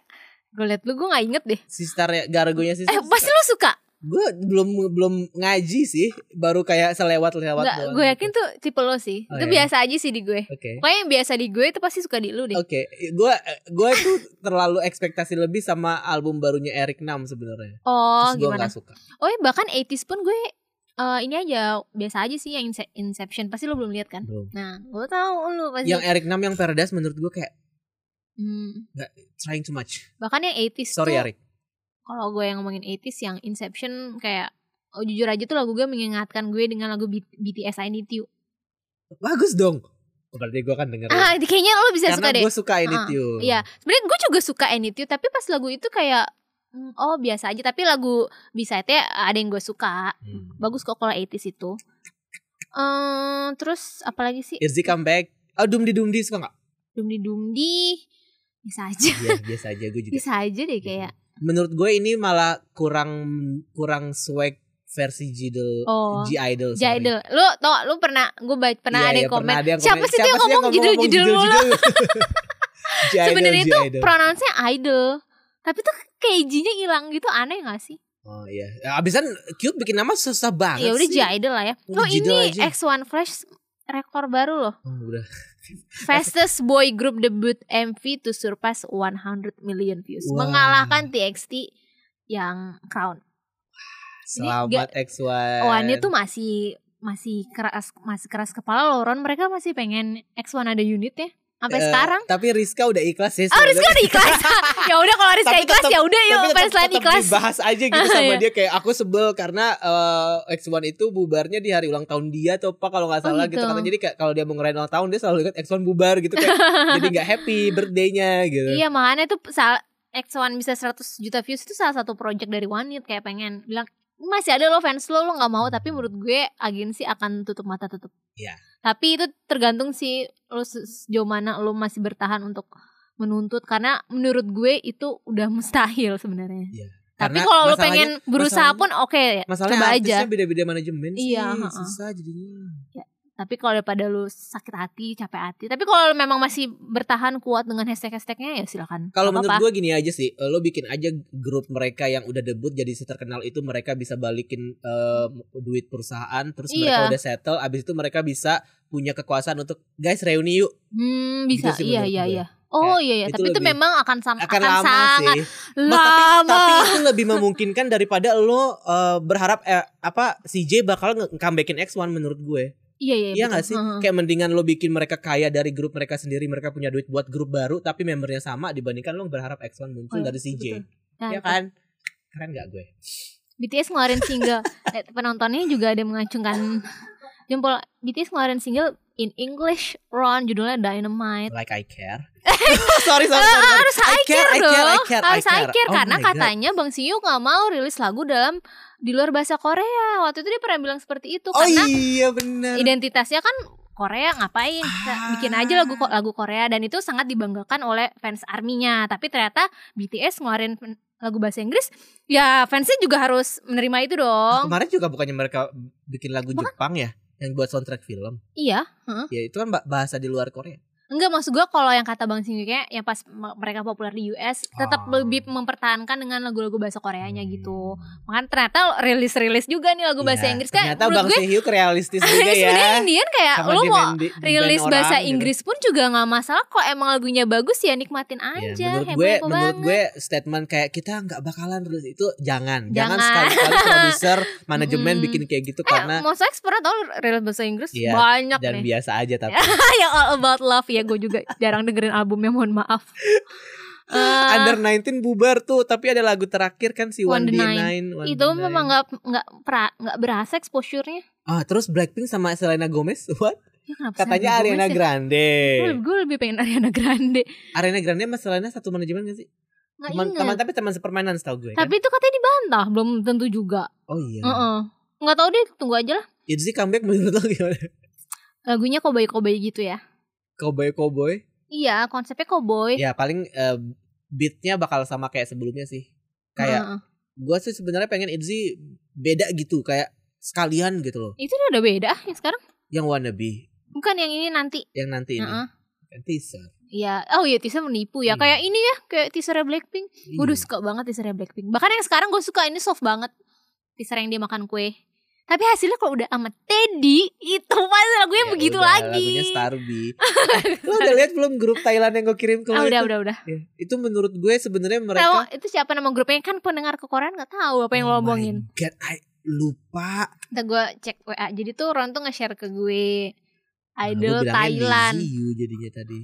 Speaker 1: gue liat lu gue nggak inget deh
Speaker 2: Sister ya, Gargonya sih
Speaker 1: eh pasti lu suka
Speaker 2: Gue belum belum ngaji sih Baru kayak selewat-lewat
Speaker 1: nggak
Speaker 2: doang
Speaker 1: gue yakin tuh tipe lo sih
Speaker 2: gitu. Oh,
Speaker 1: itu
Speaker 2: iya.
Speaker 1: biasa aja sih di gue
Speaker 2: Oke
Speaker 1: pokoknya yang biasa di gue itu pasti suka di lu deh
Speaker 2: Oke, gue gue tuh terlalu ekspektasi lebih sama album barunya Eric Nam sebenarnya.
Speaker 1: oh
Speaker 2: Terus gue
Speaker 1: gimana
Speaker 2: gak suka.
Speaker 1: oh ya bahkan 80s pun gue eh, ini aja biasa aja sih yang Inse- Inception pasti lu belum lihat kan
Speaker 2: Belum.
Speaker 1: nah gue tahu lu pasti
Speaker 2: Yang e- Eric Nam yang Paradise menurut gue kayak
Speaker 1: Hmm,
Speaker 2: trying too much.
Speaker 1: bahkan yang 80s
Speaker 2: Sorry
Speaker 1: tuh
Speaker 2: Eric.
Speaker 1: kalau gue yang ngomongin 80s yang Inception kayak oh, jujur aja tuh lagu gue mengingatkan gue dengan lagu B- BTS I Need You
Speaker 2: Bagus dong. berarti gue kan denger
Speaker 1: Ah, kayaknya lo bisa
Speaker 2: karena
Speaker 1: suka deh.
Speaker 2: gue suka Anytune
Speaker 1: Iya, sebenarnya gue juga suka Anytune tapi pas lagu itu kayak hmm, oh biasa aja tapi lagu bisa itu ada yang gue suka.
Speaker 2: Hmm.
Speaker 1: Bagus kok kalau 80s itu. Eh terus apalagi sih?
Speaker 2: Izzy comeback Oh Dumdi Dumdi suka gak?
Speaker 1: Dumdi Dumdi bisa aja.
Speaker 2: Iya biasa aja gue juga gitu.
Speaker 1: Bisa aja deh kayak.
Speaker 2: Menurut gue ini malah kurang kurang swag versi G Idol
Speaker 1: Oh.
Speaker 2: G Idol sorry.
Speaker 1: Jadel, lu tau lu pernah gue baca pernah
Speaker 2: Iya,
Speaker 1: ada yang
Speaker 2: iya,
Speaker 1: komen.
Speaker 2: pernah ada yang
Speaker 1: siapa
Speaker 2: komen.
Speaker 1: sih tuh yang ngomong judul-judul mulu?
Speaker 2: G Idol,
Speaker 1: Sebenarnya
Speaker 2: G
Speaker 1: itu
Speaker 2: Idol.
Speaker 1: pronounce-nya idol. Tapi tuh kayak J-nya hilang gitu aneh gak sih?
Speaker 2: Oh iya. Ya, Abisan Cute bikin nama susah banget
Speaker 1: Ya udah
Speaker 2: sih.
Speaker 1: J-idol lah ya.
Speaker 2: Udah
Speaker 1: Lo
Speaker 2: J-idol
Speaker 1: ini
Speaker 2: aja.
Speaker 1: X1 Flash rekor baru loh.
Speaker 2: Oh, udah.
Speaker 1: Fastest boy group debut MV to surpass 100 million views.
Speaker 2: Wah.
Speaker 1: Mengalahkan TXT yang Crown.
Speaker 2: Selamat X1.
Speaker 1: One Oh, tuh masih masih keras masih keras kepala loh Ron. Mereka masih pengen X1 ada unitnya sampai
Speaker 2: Eh,
Speaker 1: sekarang.
Speaker 2: Tapi Rizka udah ikhlas sih.
Speaker 1: Oh Rizka udah ikhlas. ya udah kalau Rizka
Speaker 2: Tapi
Speaker 1: ikhlas
Speaker 2: tetep-
Speaker 1: ya udah yuk
Speaker 2: Tapi tetap,
Speaker 1: fans lain
Speaker 2: tetap
Speaker 1: ikhlas.
Speaker 2: dibahas aja gitu sama
Speaker 1: Iya.
Speaker 2: dia kayak aku sebel karena eh, X1 itu bubarnya di hari ulang tahun dia atau apa kalau nggak
Speaker 1: Oh,
Speaker 2: salah gitu.
Speaker 1: gitu.
Speaker 2: Karena jadi kayak kalau dia mau ngerayain ulang tahun dia selalu ikut X1 bubar gitu kayak jadi nggak happy birthday-nya gitu.
Speaker 1: Iya makanya tuh sal- X1 bisa 100 juta views itu salah satu project dari One Hit kayak pengen bilang masih ada lo fans lo lo nggak mau tapi menurut gue agensi akan tutup mata tutup.
Speaker 2: Hmm. Iya.
Speaker 1: Tapi itu tergantung sih lo se- sejauh mana lo masih bertahan untuk menuntut karena menurut gue itu udah mustahil sebenarnya.
Speaker 2: Iya.
Speaker 1: Tapi
Speaker 2: Karena
Speaker 1: kalau lo
Speaker 2: masalahnya-
Speaker 1: pengen berusaha pun oke
Speaker 2: Masalahnya
Speaker 1: coba aja.
Speaker 2: artisnya beda-beda manajemen sih.
Speaker 1: Iya, heeh.
Speaker 2: Susah jadinya.
Speaker 1: Tapi kalau daripada lo sakit hati, capek hati. Tapi kalau lo memang masih bertahan kuat dengan hashtag-hashtagnya ya silakan.
Speaker 2: Kalau
Speaker 1: Nggak
Speaker 2: menurut
Speaker 1: apa-apa.
Speaker 2: gue gini aja sih, eh, lo bikin aja grup mereka yang udah debut jadi terkenal itu mereka bisa balikin eh, duit perusahaan, terus mereka
Speaker 1: Iya.
Speaker 2: udah settle, abis itu mereka bisa punya kekuasaan untuk guys reuni yuk.
Speaker 1: Hmm, bisa.
Speaker 2: Gitu sih
Speaker 1: iya,
Speaker 2: menurut
Speaker 1: iya,
Speaker 2: gue.
Speaker 1: iya. Oh iya iya,
Speaker 2: itu
Speaker 1: tapi itu
Speaker 2: lebih-
Speaker 1: memang akan sama
Speaker 2: Akan Ya, kan lama
Speaker 1: sangat
Speaker 2: sih.
Speaker 1: lama.
Speaker 2: Mas, tapi, tapi itu lebih memungkinkan daripada lo eh, berharap eh, apa CJ bakal nge- comebackin X1 menurut gue.
Speaker 1: iya iya.
Speaker 2: Iya
Speaker 1: betul.
Speaker 2: gak sih?
Speaker 1: Heeh.
Speaker 2: Kayak mendingan lo bikin mereka kaya dari grup mereka sendiri, mereka punya duit buat grup baru tapi membernya sama dibandingkan lo berharap X1 muncul
Speaker 1: Oh,
Speaker 2: dari CJ.
Speaker 1: betul. Nah,
Speaker 2: Iya kan? Keren gak gue?
Speaker 1: BTS ngeluarin single, Eh, penontonnya juga ada yang mengacungkan jempol. BTS ngeluarin single in English, Ron judulnya Dynamite.
Speaker 2: like I care. sorry, sorry, sorry, sorry.
Speaker 1: Harus I care,
Speaker 2: I
Speaker 1: dong.
Speaker 2: care, I care,
Speaker 1: Harus
Speaker 2: I care. Oh
Speaker 1: karena
Speaker 2: my God.
Speaker 1: katanya Bang Siu nggak mau rilis lagu dalam di luar bahasa Korea. Waktu itu dia pernah bilang seperti itu
Speaker 2: Oh
Speaker 1: karena
Speaker 2: iya benar.
Speaker 1: identitasnya kan Korea ngapain Kita
Speaker 2: Ah.
Speaker 1: bikin aja lagu lagu Korea dan itu sangat dibanggakan oleh fans arminya tapi ternyata BTS ngeluarin pen- lagu bahasa Inggris ya fansnya juga harus menerima itu dong
Speaker 2: Kemarin juga bukannya mereka bikin lagu Jepang ya yang buat soundtrack film.
Speaker 1: iya
Speaker 2: Ya itu kan ba- bahasa di luar Korea.
Speaker 1: enggak maksud gua kalau yang kata Bang Singgi kayak yang pas me- mereka populer di US tetap
Speaker 2: Ah.
Speaker 1: lebih mempertahankan dengan lagu-lagu bahasa Koreanya
Speaker 2: Hmm.
Speaker 1: gitu makanya ternyata rilis-rilis juga nih lagu bahasa
Speaker 2: Iya,
Speaker 1: Inggris kan
Speaker 2: Ternyata Bang
Speaker 1: gue
Speaker 2: Sehyuk realistis juga ya.
Speaker 1: sebenarnya Indian kayak
Speaker 2: Sama
Speaker 1: lo
Speaker 2: di
Speaker 1: mau
Speaker 2: band- di- di
Speaker 1: rilis
Speaker 2: band
Speaker 1: bahasa
Speaker 2: orang, gitu.
Speaker 1: Inggris pun juga nggak masalah kok emang lagunya bagus ya nikmatin
Speaker 2: Ya,
Speaker 1: aja
Speaker 2: menurut
Speaker 1: heboh
Speaker 2: gue,
Speaker 1: heboh
Speaker 2: menurut
Speaker 1: banget
Speaker 2: gue statement kayak kita nggak bakalan rilis itu jangan, jangan,
Speaker 1: Jangan.
Speaker 2: sekali-kali produser, manajemen
Speaker 1: Mm.
Speaker 2: bikin kayak gitu
Speaker 1: eh
Speaker 2: karena
Speaker 1: Mos X pernah tau rilis bahasa Inggris
Speaker 2: Iya,
Speaker 1: banyak
Speaker 2: dan
Speaker 1: nih
Speaker 2: biasa aja tapi.
Speaker 1: yang All About Love ya gue juga jarang dengerin albumnya mohon maaf Eh,
Speaker 2: Under 19 bubar tuh, tapi ada lagu terakhir kan si One
Speaker 1: One
Speaker 2: D
Speaker 1: D
Speaker 2: Nine. One
Speaker 1: itu
Speaker 2: D Nine.
Speaker 1: memang nggak nggak pra- nggak berasa exposure-nya
Speaker 2: Ah, terus Blackpink sama Selena Gomez, what?
Speaker 1: ya, kenapa sih
Speaker 2: Katanya
Speaker 1: Ariana
Speaker 2: Ariana
Speaker 1: Gomez ya?
Speaker 2: Grande.
Speaker 1: Gue- gue lebih pengen Ariana Grande
Speaker 2: Ariana Grande sama Selena satu manajemen gak sih?
Speaker 1: nggak
Speaker 2: Teman,
Speaker 1: ingat
Speaker 2: teman kan? tapi teman sepermainan setahu gue
Speaker 1: tapi itu katanya dibantah belum tentu juga
Speaker 2: kan. Oh iya.
Speaker 1: Heeh. nggak tahu deh tunggu aja lah
Speaker 2: Itu sih comeback menurut lo gimana?
Speaker 1: lagunya kobay kobay gitu ya
Speaker 2: Cowboy Cowboy.
Speaker 1: iya konsepnya kobay
Speaker 2: Ya paling eh, beatnya bakal sama kayak sebelumnya sih. Kayak gue sih sebenarnya pengen Itzy beda gitu kayak sekalian gitu loh.
Speaker 1: Itu udah beda ah, yang sekarang.
Speaker 2: Yang wannabe,
Speaker 1: Bukan yang ini nanti.
Speaker 2: yang nanti ini.
Speaker 1: Heeh.
Speaker 2: Yang teaser.
Speaker 1: Iya. Oh iya teaser menipu
Speaker 2: Iya.
Speaker 1: ya. Kayak ini ya, kayak teasernya Blackpink. Gue udah suka banget teasernya Blackpink. Bahkan yang sekarang gue suka ini soft banget. Teaser yang dia makan kue. Tapi hasilnya kalau udah sama Teddy itu pasti lagunya
Speaker 2: Ya
Speaker 1: begitu
Speaker 2: udah,
Speaker 1: lagi.
Speaker 2: Lagunya Starby. Lo udah lihat belum grup Thailand yang gue kirim ke
Speaker 1: Ah,
Speaker 2: lo
Speaker 1: udah,
Speaker 2: itu?
Speaker 1: udah, udah.
Speaker 2: Ya, Itu menurut gue sebenarnya mereka
Speaker 1: Tahu itu siapa nama grupnya kan pendengar ke Korea nggak tahu apa yang
Speaker 2: Oh
Speaker 1: lo
Speaker 2: my
Speaker 1: omongin.
Speaker 2: God, I lupa.
Speaker 1: Ntar gue cek WA. Jadi tuh Ron tuh nge-share ke gue
Speaker 2: Nah, gua
Speaker 1: idol
Speaker 2: bilangnya
Speaker 1: Thailand.
Speaker 2: DZU jadinya tadi.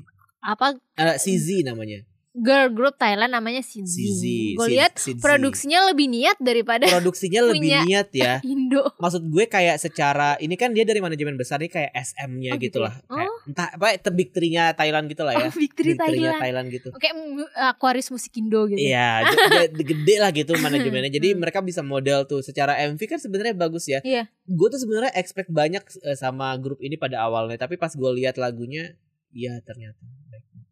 Speaker 1: Apa
Speaker 2: Eh, CZ namanya.
Speaker 1: girl group Thailand namanya
Speaker 2: CZ.
Speaker 1: Shinzy. Gue
Speaker 2: Si-
Speaker 1: lihat
Speaker 2: CZ.
Speaker 1: produksinya lebih niat daripada
Speaker 2: produksinya lebih
Speaker 1: punya.
Speaker 2: niat ya.
Speaker 1: Indo.
Speaker 2: Maksud gue kayak secara ini kan dia dari manajemen besar nih kayak SM-nya
Speaker 1: Oh,
Speaker 2: gitu
Speaker 1: gitu ya?
Speaker 2: lah. Kayak- entah apa te- big three-nya Thailand gitu lah ya.
Speaker 1: Oh, Victory
Speaker 2: Big three-nya
Speaker 1: Thailand.
Speaker 2: Thailand gitu.
Speaker 1: Oke, mm, Aquarius Musikindo gitu.
Speaker 2: Iya, j- j- gede lah gitu manajemennya. Jadi
Speaker 1: Hmm.
Speaker 2: mereka bisa model tuh secara MV kan sebenarnya bagus ya.
Speaker 1: Iya.
Speaker 2: Gue tuh sebenarnya expect banyak eh, sama grup ini pada awalnya, tapi pas gue lihat lagunya, iya ternyata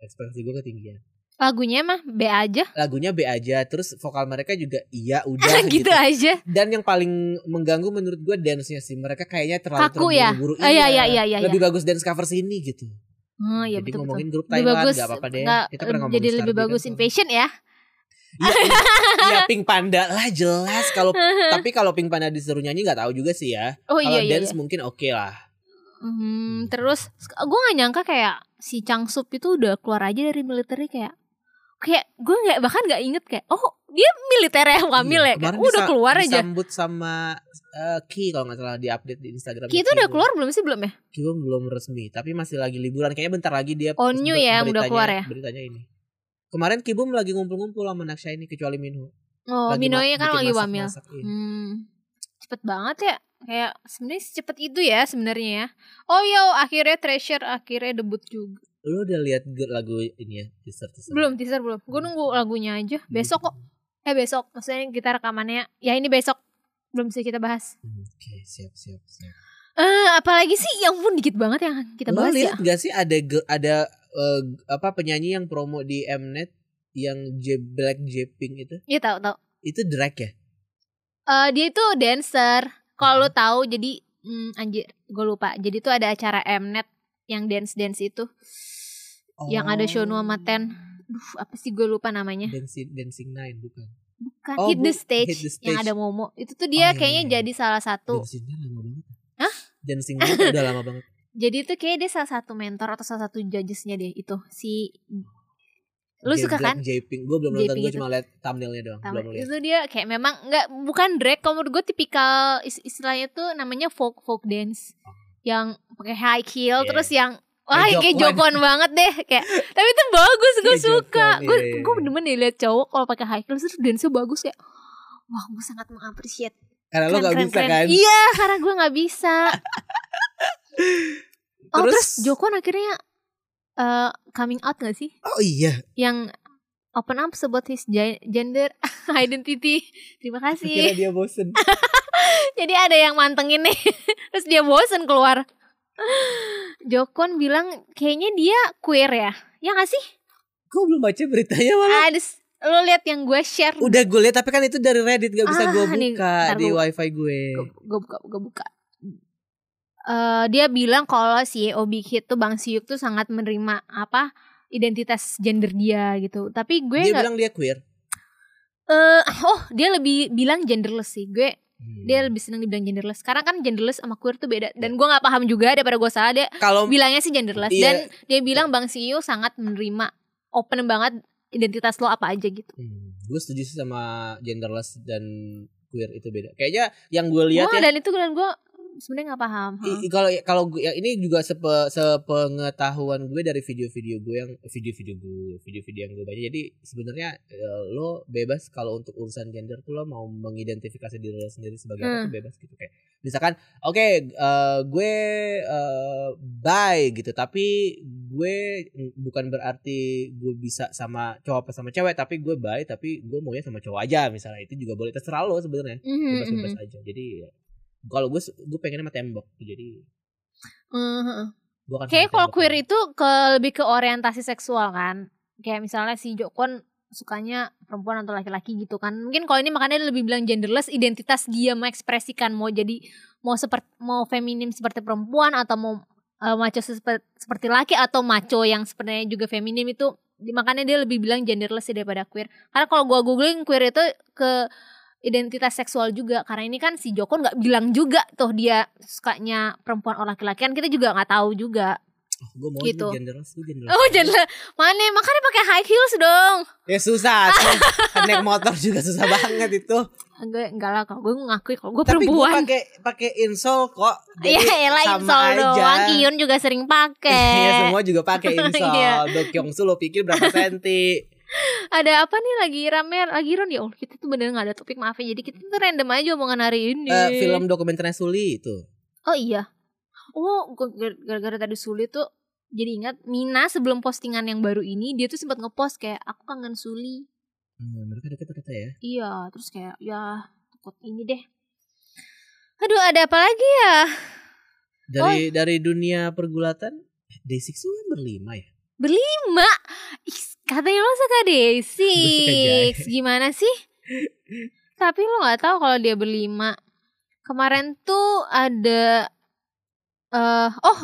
Speaker 2: ekspektasi gue ketinggian.
Speaker 1: Lagunya mah B aja.
Speaker 2: Lagunya B aja, terus vokal mereka juga iya udah
Speaker 1: gitu, aja.
Speaker 2: Dan yang paling mengganggu menurut gue dance-nya sih. Mereka kayaknya terlalu
Speaker 1: Kaku ya.
Speaker 2: terburu-buru.
Speaker 1: Ah, iya iya iya iya. iya.
Speaker 2: Lebih bagus dance cover sini gitu.
Speaker 1: Oh, iya
Speaker 2: Jadi
Speaker 1: betul betul.
Speaker 2: ngomongin grup
Speaker 1: Lebih
Speaker 2: Thailand
Speaker 1: bagus.
Speaker 2: nggak apa-apa deh.
Speaker 1: nggak,
Speaker 2: Kita pernah
Speaker 1: eh,
Speaker 2: ngomongin
Speaker 1: jadi lebih
Speaker 2: Starbeat
Speaker 1: bagus
Speaker 2: kan
Speaker 1: in
Speaker 2: soalnya.
Speaker 1: fashion ya.
Speaker 2: Iya, iya Pink Panda lah jelas kalau tapi kalau Pink Panda disuruh nyanyi nggak tahu juga sih ya.
Speaker 1: Oh
Speaker 2: kalau
Speaker 1: iya iya.
Speaker 2: dance
Speaker 1: iya.
Speaker 2: mungkin oke lah.
Speaker 1: Hmm, terus gue gak nyangka kayak si Changsup itu udah keluar aja dari militer kayak kayak gue nggak bahkan nggak inget kayak oh dia militer ya bukan mil
Speaker 2: Iya,
Speaker 1: ya kayak,
Speaker 2: kemarin
Speaker 1: udah
Speaker 2: disa-
Speaker 1: keluar aja
Speaker 2: Disambut sama eh, Ki kalau nggak salah di update di Instagram.
Speaker 1: Ki itu udah keluar belum sih belum ya
Speaker 2: Ki belum- belum resmi tapi masih lagi liburan kayaknya bentar lagi dia.
Speaker 1: Oh, new
Speaker 2: ber-
Speaker 1: ya, yang udah
Speaker 2: beritanya-
Speaker 1: keluar ya?
Speaker 2: Beritanya ini. Kemarin Kibum lagi ngumpul-ngumpul sama Naksha ini kecuali Minho.
Speaker 1: oh
Speaker 2: Lagi
Speaker 1: Minoy
Speaker 2: ma-
Speaker 1: kan
Speaker 2: bikin
Speaker 1: lagi
Speaker 2: masak-
Speaker 1: wamil
Speaker 2: masak, iya.
Speaker 1: Hmm, cepet banget ya. Kayak sebenarnya cepet itu ya sebenarnya ya. Oh ya, akhirnya Treasure akhirnya debut juga.
Speaker 2: Lu udah lihat ge- lagu ini ya teaser teaser.
Speaker 1: Belum teaser belum. Gue nunggu lagunya aja.
Speaker 2: Hmm.
Speaker 1: Besok kok. Eh besok. Maksudnya kita rekamannya. Ya ini besok. Belum bisa kita bahas.
Speaker 2: Hmm, Oke, siap siap siap.
Speaker 1: Eh apalagi sih? Ya ampun dikit banget yang kita
Speaker 2: Lo
Speaker 1: bahas ya.
Speaker 2: lihat gak sih ada ge- ada eh, apa penyanyi yang promo di Mnet yang J Black J Pink itu?
Speaker 1: Iya tahu tahu.
Speaker 2: Itu drag ya?
Speaker 1: Eh dia itu dancer. Kalau lo tahu jadi hmm, anjir gue lupa. Jadi tuh ada acara Mnet yang dance dance itu. Yang ada Shonu sama Ten. Duh, apa sih gue lupa namanya.
Speaker 2: Oh. Dancing Dancing Nine bukan?
Speaker 1: Bukan
Speaker 2: Oh,
Speaker 1: hit,
Speaker 2: bu-
Speaker 1: the stage,
Speaker 2: Hit the Stage.
Speaker 1: yang ada Momo. Itu
Speaker 2: Oh,
Speaker 1: tuh
Speaker 2: iya,
Speaker 1: dia kayaknya
Speaker 2: iya, iya.
Speaker 1: jadi salah satu.
Speaker 2: Dancing Nine lama banget.
Speaker 1: Hah?
Speaker 2: Dancing Nine tuh udah lama banget.
Speaker 1: Jadi itu kayaknya dia salah satu mentor atau salah satu judgesnya dia itu si lu
Speaker 2: J
Speaker 1: suka
Speaker 2: Black
Speaker 1: kan?
Speaker 2: J Pink. Gue belum
Speaker 1: J
Speaker 2: nonton, gue
Speaker 1: Pink itu. Iya,
Speaker 2: cuma liat thumbnailnya doang.
Speaker 1: Tama-
Speaker 2: Belum liat.
Speaker 1: itu dia kayak memang nggak bukan drag kalau menurut gue tipikal is- istilahnya tuh namanya folk folk dance yang pakai high
Speaker 2: Iya.
Speaker 1: heel terus yang wah
Speaker 2: Kayak
Speaker 1: kayak
Speaker 2: Jokwan.
Speaker 1: jokon banget deh kayak tapi itu bagus gue
Speaker 2: Kayak
Speaker 1: suka
Speaker 2: Jokwan,
Speaker 1: gue
Speaker 2: iya, iya,
Speaker 1: gue
Speaker 2: iya.
Speaker 1: demen nih lihat cowok kalau pakai high heels terus dance bagus kayak wah gue sangat mengapresiasi
Speaker 2: Karena lo gak
Speaker 1: Keren,
Speaker 2: bisa
Speaker 1: keren,
Speaker 2: kan?
Speaker 1: keren. Iya, karena gue nggak bisa. oh, terus,
Speaker 2: Terus-
Speaker 1: Jokwan akhirnya eh, coming out gak sih?
Speaker 2: Oh iya.
Speaker 1: Yang open up about his ge- gender identity. Terima
Speaker 2: Kira
Speaker 1: kasih.
Speaker 2: dia bosen.
Speaker 1: Jadi ada yang mantengin nih. terus dia bosen keluar. Jokwan bilang kayaknya dia queer ya. Ya gak sih?
Speaker 2: Gue belum baca beritanya malah.
Speaker 1: Ada s- lo lihat yang gue share.
Speaker 2: Udah gue liat tapi kan itu dari Reddit gak bisa
Speaker 1: iya. Ah,
Speaker 2: gue
Speaker 1: nih,
Speaker 2: buka
Speaker 1: ntar
Speaker 2: di
Speaker 1: gua-
Speaker 2: wifi gue.
Speaker 1: gue buka gue buka Eh, dia bilang kalau CEO Big Hit tuh Bang Siuk tuh sangat menerima apa identitas gender dia gitu tapi gue
Speaker 2: Dia
Speaker 1: nggak
Speaker 2: bilang dia queer.
Speaker 1: eh, oh dia lebih bilang genderless sih gue
Speaker 2: Hmm.
Speaker 1: dia lebih seneng dibilang genderless karena kan genderless sama queer tuh beda dan gue nggak paham juga daripada gue salah dia
Speaker 2: kalau
Speaker 1: bilangnya sih genderless
Speaker 2: Iya.
Speaker 1: dan dia bilang Bang CEO sangat menerima open banget identitas lo apa aja gitu
Speaker 2: Hmm, gue setuju sih sama genderless dan queer itu beda. Kayaknya yang gue lihat
Speaker 1: Wah,
Speaker 2: ya
Speaker 1: dan itu dan gue sebenarnya nggak paham ha.
Speaker 2: i- i- kalau kalau gue- ya ini juga sepe, sepengetahuan gue dari video-video gue yang video-video gue, video-video yang gue baca. Jadi sebenarnya eh, lo bebas kalau untuk urusan gender tuh lo mau mengidentifikasi diri lo sendiri sebagai apa
Speaker 1: Hmm.
Speaker 2: tuh bebas gitu kayak. Misalkan oke eh, gue eh, bi gitu tapi gue mm, bukan berarti gue bisa sama cowok apa sama cewek tapi gue bi tapi gue maunya sama cowok aja misalnya itu juga boleh terserah lo sebenarnya
Speaker 1: Mhm,
Speaker 2: bebas-bebas
Speaker 1: mhm.
Speaker 2: aja jadi ya, kalau gue gue pengennya sama tembok jadi
Speaker 1: Mhm.
Speaker 2: gue akan
Speaker 1: Kayaknya kalau queer itu ke lebih ke orientasi seksual kan. Kayak misalnya si Jokon sukanya perempuan atau laki-laki gitu kan. Mungkin kalau ini makanya dia lebih bilang genderless, identitas dia mengekspresikan mau jadi mau seperti mau feminim seperti perempuan atau mau eh, maco seperti, seperti laki atau maco yang sebenarnya juga feminim itu di- makanya dia lebih bilang genderless sih daripada queer. Karena kalau gua googling queer itu ke identitas seksual juga karena ini kan si Joko nggak bilang juga tuh dia sukanya perempuan atau laki-laki kan kita juga nggak tahu juga
Speaker 2: gue mau
Speaker 1: gitu.
Speaker 2: itu genderless gue genderless
Speaker 1: oh jangan mana makanya pakai high heels dong
Speaker 2: ya susah cuman naik motor juga susah banget itu
Speaker 1: gue enggak lah kalau gue ngakui kalau gue
Speaker 2: tapi gue
Speaker 1: perempuan
Speaker 2: pakai pakai insole kok
Speaker 1: ya elah
Speaker 2: sama
Speaker 1: insol doang Kiyun juga sering
Speaker 2: Iya
Speaker 1: pakai
Speaker 2: semua juga pakai insol.
Speaker 1: Iya.
Speaker 2: Dok Kyongsu lo pikir berapa senti?
Speaker 1: ada apa nih lagi rame lagi Ron ya Allah kita tuh bener nggak ada topik maaf ya jadi kita tuh random aja omongan hari ini
Speaker 2: Eh, film dokumenternya Suli itu.
Speaker 1: oh iya oh gue- gara- gara-gara tadi sulit tuh jadi ingat Mina sebelum postingan yang baru ini dia tuh sempat ngepost kayak aku kangen Suli
Speaker 2: Hmm, mereka deket ternyata ya.
Speaker 1: iya terus kayak ya takut ini deh aduh ada apa lagi ya Oh.
Speaker 2: Dari dari dunia pergulatan Day6 tuh kan berlima ya.
Speaker 1: lima Ih, katanya lo suka Desi
Speaker 2: Gua suka Jaya.
Speaker 1: gimana sih tapi lo nggak tahu kalau dia berlima kemarin tuh ada eh oh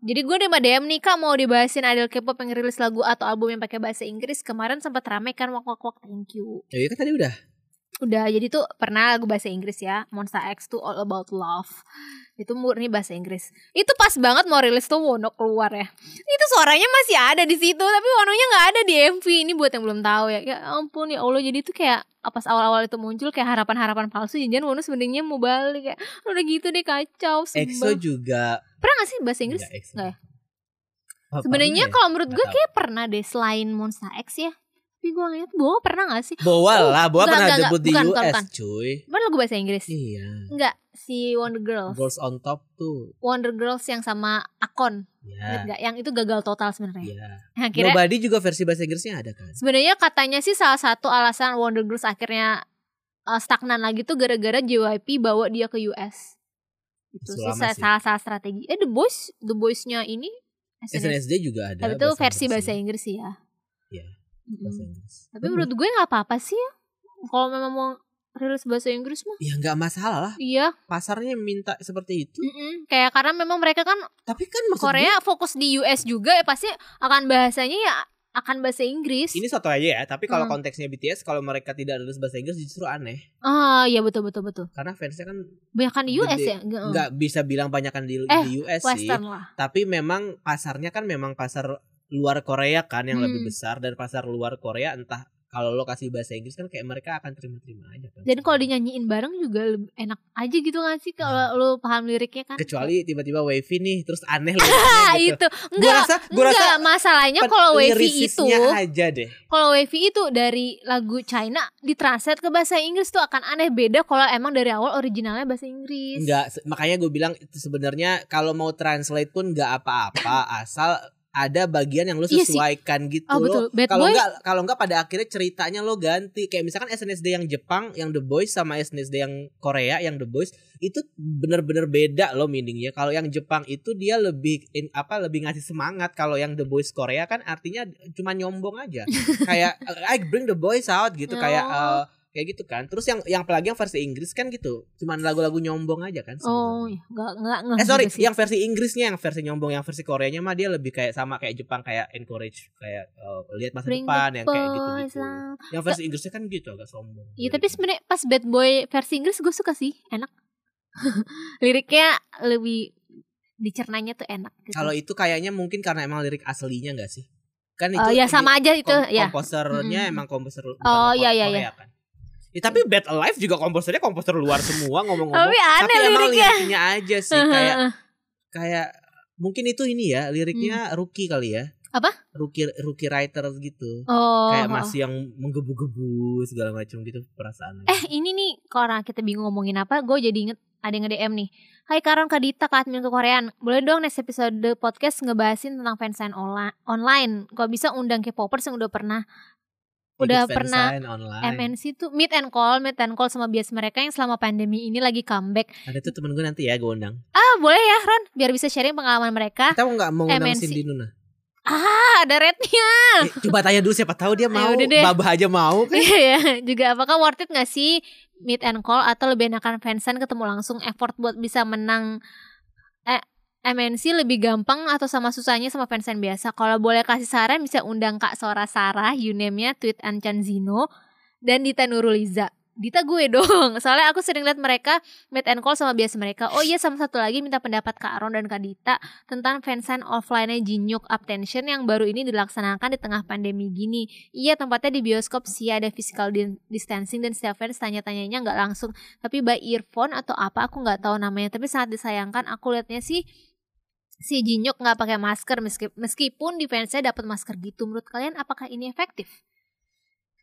Speaker 1: jadi gue udah DM nih kak mau dibahasin idol K-pop yang rilis lagu atau album yang pakai bahasa Inggris kemarin sempat rame kan wak wak wak thank you
Speaker 2: Oh, iya kan tadi udah.
Speaker 1: udah jadi tuh pernah lagu bahasa Inggris ya Monsta X tuh All About Love itu murni bahasa Inggris itu pas banget mau rilis tuh Wono keluar ya itu suaranya masih ada di situ tapi Wononya nggak ada di MV ini buat yang belum tahu ya ya ampun ya Allah jadi tuh kayak pas awal-awal itu muncul kayak harapan-harapan palsu jangan Wono sebenarnya mau balik kayak udah gitu deh kacau
Speaker 2: EXO
Speaker 1: sebel
Speaker 2: juga.
Speaker 1: pernah gak sih bahasa Inggris
Speaker 2: Enggak, EXO.
Speaker 1: Nggak ya?
Speaker 2: Apa-
Speaker 1: sebenarnya
Speaker 2: apa ya?
Speaker 1: kalau menurut gue
Speaker 2: Nggak tahu.
Speaker 1: kayak pernah deh selain Monsta X ya tapi gue ngeliat Bowo pernah gak sih
Speaker 2: Boa lah, Boa pernah
Speaker 1: Nggak, nggak, nggak.
Speaker 2: debut di
Speaker 1: Bukan, bukan,
Speaker 2: US
Speaker 1: bukan.
Speaker 2: cuy.
Speaker 1: Mana lagu bahasa Inggris?
Speaker 2: Iya.
Speaker 1: Enggak, si Wonder Girls.
Speaker 2: Girls on top tuh.
Speaker 1: Wonder Girls yang sama Akon ingat
Speaker 2: Ya.
Speaker 1: gak? Yang itu gagal total sebenarnya. Nah,
Speaker 2: Iya.
Speaker 1: Akhirnya
Speaker 2: Nobody juga versi bahasa Inggrisnya ada kan?
Speaker 1: sebenarnya katanya sih salah satu alasan Wonder Girls akhirnya uh, stagnan lagi tuh gara-gara JYP bawa dia ke US. Itu sih,
Speaker 2: Selama
Speaker 1: sa-
Speaker 2: sih.
Speaker 1: salah-salah strategi. Eh The Boys, The Boys-nya ini SNS.
Speaker 2: SNSD juga ada.
Speaker 1: Tapi itu versi bahasa Inggris sih ya.
Speaker 2: Iya.
Speaker 1: Mm-mm.
Speaker 2: Bahasa Inggris. Hmm.
Speaker 1: Tapi menurut gue nggak apa-apa sih ya. Kalau memang mau rilis bahasa Inggris mah
Speaker 2: Ya nggak masalah lah.
Speaker 1: iya,
Speaker 2: Pasarnya minta seperti itu.
Speaker 1: mm-mm. kayak karena memang mereka kan
Speaker 2: Tapi kan maksud gue,
Speaker 1: Hmm. Korea fokus di US juga ya pasti akan bahasanya ya akan bahasa Inggris.
Speaker 2: ini satu aja ya. Tapi kalau
Speaker 1: Hmm.
Speaker 2: konteksnya BTS, kalau mereka tidak lulus bahasa Inggris justru aneh.
Speaker 1: Ah ya betul betul betul.
Speaker 2: Karena fansnya kan
Speaker 1: Banyak di US
Speaker 2: Gede.
Speaker 1: ya? Nggak, eh.
Speaker 2: nggak bisa bilang banyakan di,
Speaker 1: Eh,
Speaker 2: di US sih.
Speaker 1: Western lah.
Speaker 2: Tapi memang pasarnya kan memang pasar luar Korea kan yang lebih
Speaker 1: Hmm.
Speaker 2: besar dan pasar luar Korea entah kalau lo kasih bahasa Inggris kan kayak mereka akan terima-terima aja kan.
Speaker 1: Dan kalau dinyanyiin bareng juga lebih enak aja gitu gak sih kalau lu paham liriknya
Speaker 2: Nah.
Speaker 1: kan?
Speaker 2: kecuali tiba-tiba wavy nih terus aneh lo
Speaker 1: Ah,
Speaker 2: gitu.
Speaker 1: itu.
Speaker 2: Gue
Speaker 1: Enggak.
Speaker 2: rasa gue rasa kan
Speaker 1: enggak masalahnya kalau Wavy itu,
Speaker 2: lirisisnya aja deh.
Speaker 1: kalau Wavy itu dari lagu China ditranslate ke bahasa Inggris tuh akan aneh beda kalau emang dari awal originalnya bahasa Inggris.
Speaker 2: Enggak, se- makanya gue bilang itu sebenarnya kalau mau translate pun nggak apa-apa asal ada bagian yang lo
Speaker 1: Iya sih.
Speaker 2: sesuaikan gitu lo.
Speaker 1: Oh betul. Bad
Speaker 2: Kalau
Speaker 1: Boy
Speaker 2: enggak kalau enggak pada akhirnya ceritanya lo ganti kayak misalkan SNSD yang Jepang yang The Boys sama SNSD yang Korea yang The Boys itu bener-bener beda lo meaningnya. Kalau yang Jepang itu dia lebih in- apa lebih ngasih semangat kalau yang The Boys Korea kan artinya cuma nyombong aja. kayak I bring the boys out gitu kayak eh,
Speaker 1: Oh.
Speaker 2: kayak gitu kan. Terus yang yang apalagi yang versi Inggris kan gitu. Cuman lagu-lagu nyombong aja kan.
Speaker 1: Oh,
Speaker 2: sebenarnya.
Speaker 1: iya. enggak enggak enggak.
Speaker 2: Eh sorry,
Speaker 1: juga gitu sih.
Speaker 2: yang versi Inggrisnya, yang versi nyombong, yang versi Koreanya mah dia lebih kayak sama kayak Jepang kayak encourage kayak eh, lihat masa
Speaker 1: Bring the
Speaker 2: depan yang kayak gitu
Speaker 1: Boys
Speaker 2: gitu.
Speaker 1: lah.
Speaker 2: Yang versi Inggrisnya kan gitu agak sombong.
Speaker 1: Iya tapi sebenarnya pas Bad Boy versi Inggris gue suka sih enak liriknya lebih dicernanya tuh enak gitu.
Speaker 2: kalau itu kayaknya mungkin karena emang lirik aslinya enggak sih? Kan
Speaker 1: Eh,
Speaker 2: itu
Speaker 1: ya
Speaker 2: di-
Speaker 1: sama aja itu
Speaker 2: kom-
Speaker 1: ya
Speaker 2: komposernya
Speaker 1: Mm-mm.
Speaker 2: emang komposer bukan
Speaker 1: Oh,
Speaker 2: Ko-
Speaker 1: iya, iya,
Speaker 2: Korea kan. Ya, tapi Bad Alive juga komposernya komposer luar semua ngomong-ngomong.
Speaker 1: tapi aneh
Speaker 2: emang
Speaker 1: liriknya
Speaker 2: liriknya aja sih kayak kayak mungkin itu ini ya liriknya rookie kali ya.
Speaker 1: Hmm. Apa?
Speaker 2: Rookie rookie writer gitu.
Speaker 1: oh
Speaker 2: kayak masih yang menggebu-gebu segala macam gitu perasaannya.
Speaker 1: eh ini nih kalau kita bingung ngomongin apa gue jadi inget ada yang nge-DM nih Hai Karon Kadita Kak Admin Koreaan Boleh dong next episode podcast ngebahasin tentang fansign onla- online Kalau bisa undang K-popers yang udah pernah udah
Speaker 2: Ikut
Speaker 1: pernah
Speaker 2: fansign online.
Speaker 1: MNC tuh meet and call Meet and call sama bias mereka yang selama pandemi ini lagi comeback
Speaker 2: Ada tuh temen gue nanti ya gue undang.
Speaker 1: Ah boleh ya Ron Biar bisa sharing pengalaman mereka
Speaker 2: Kita mau nggak mau undang
Speaker 1: MNC.
Speaker 2: Cindy Nuna?
Speaker 1: Ah ada rednya
Speaker 2: Eh, coba tanya dulu siapa tahu dia mau.
Speaker 1: Ah. ya udah deh.
Speaker 2: Babah aja mau.
Speaker 1: Iya ya Juga apakah worth it gak sih Meet and call Atau lebih enakan fansign ketemu langsung Effort buat bisa menang eh, MNC lebih gampang atau sama susahnya sama fansign biasa Kalau boleh kasih saran bisa undang Kak Sora Sarah You name-nya Tweet Anchan Zino Dan Dita Nuruliza Dita gue dong Soalnya aku sering lihat mereka Meet and call sama biasa mereka Oh iya sama satu lagi minta pendapat Kak Aron dan Kak Dita Tentang fansign offline-nya Jinyuk Uptension Yang baru ini dilaksanakan di tengah pandemi gini Iya tempatnya di bioskop sih ada physical di- distancing dan setiap fans tanya-tanyanya nggak langsung tapi by earphone atau apa aku nggak tahu namanya tapi sangat disayangkan aku lihatnya sih si Jinyuk nggak pakai masker meski- meskipun di fansnya dapat masker gitu menurut kalian apakah ini efektif?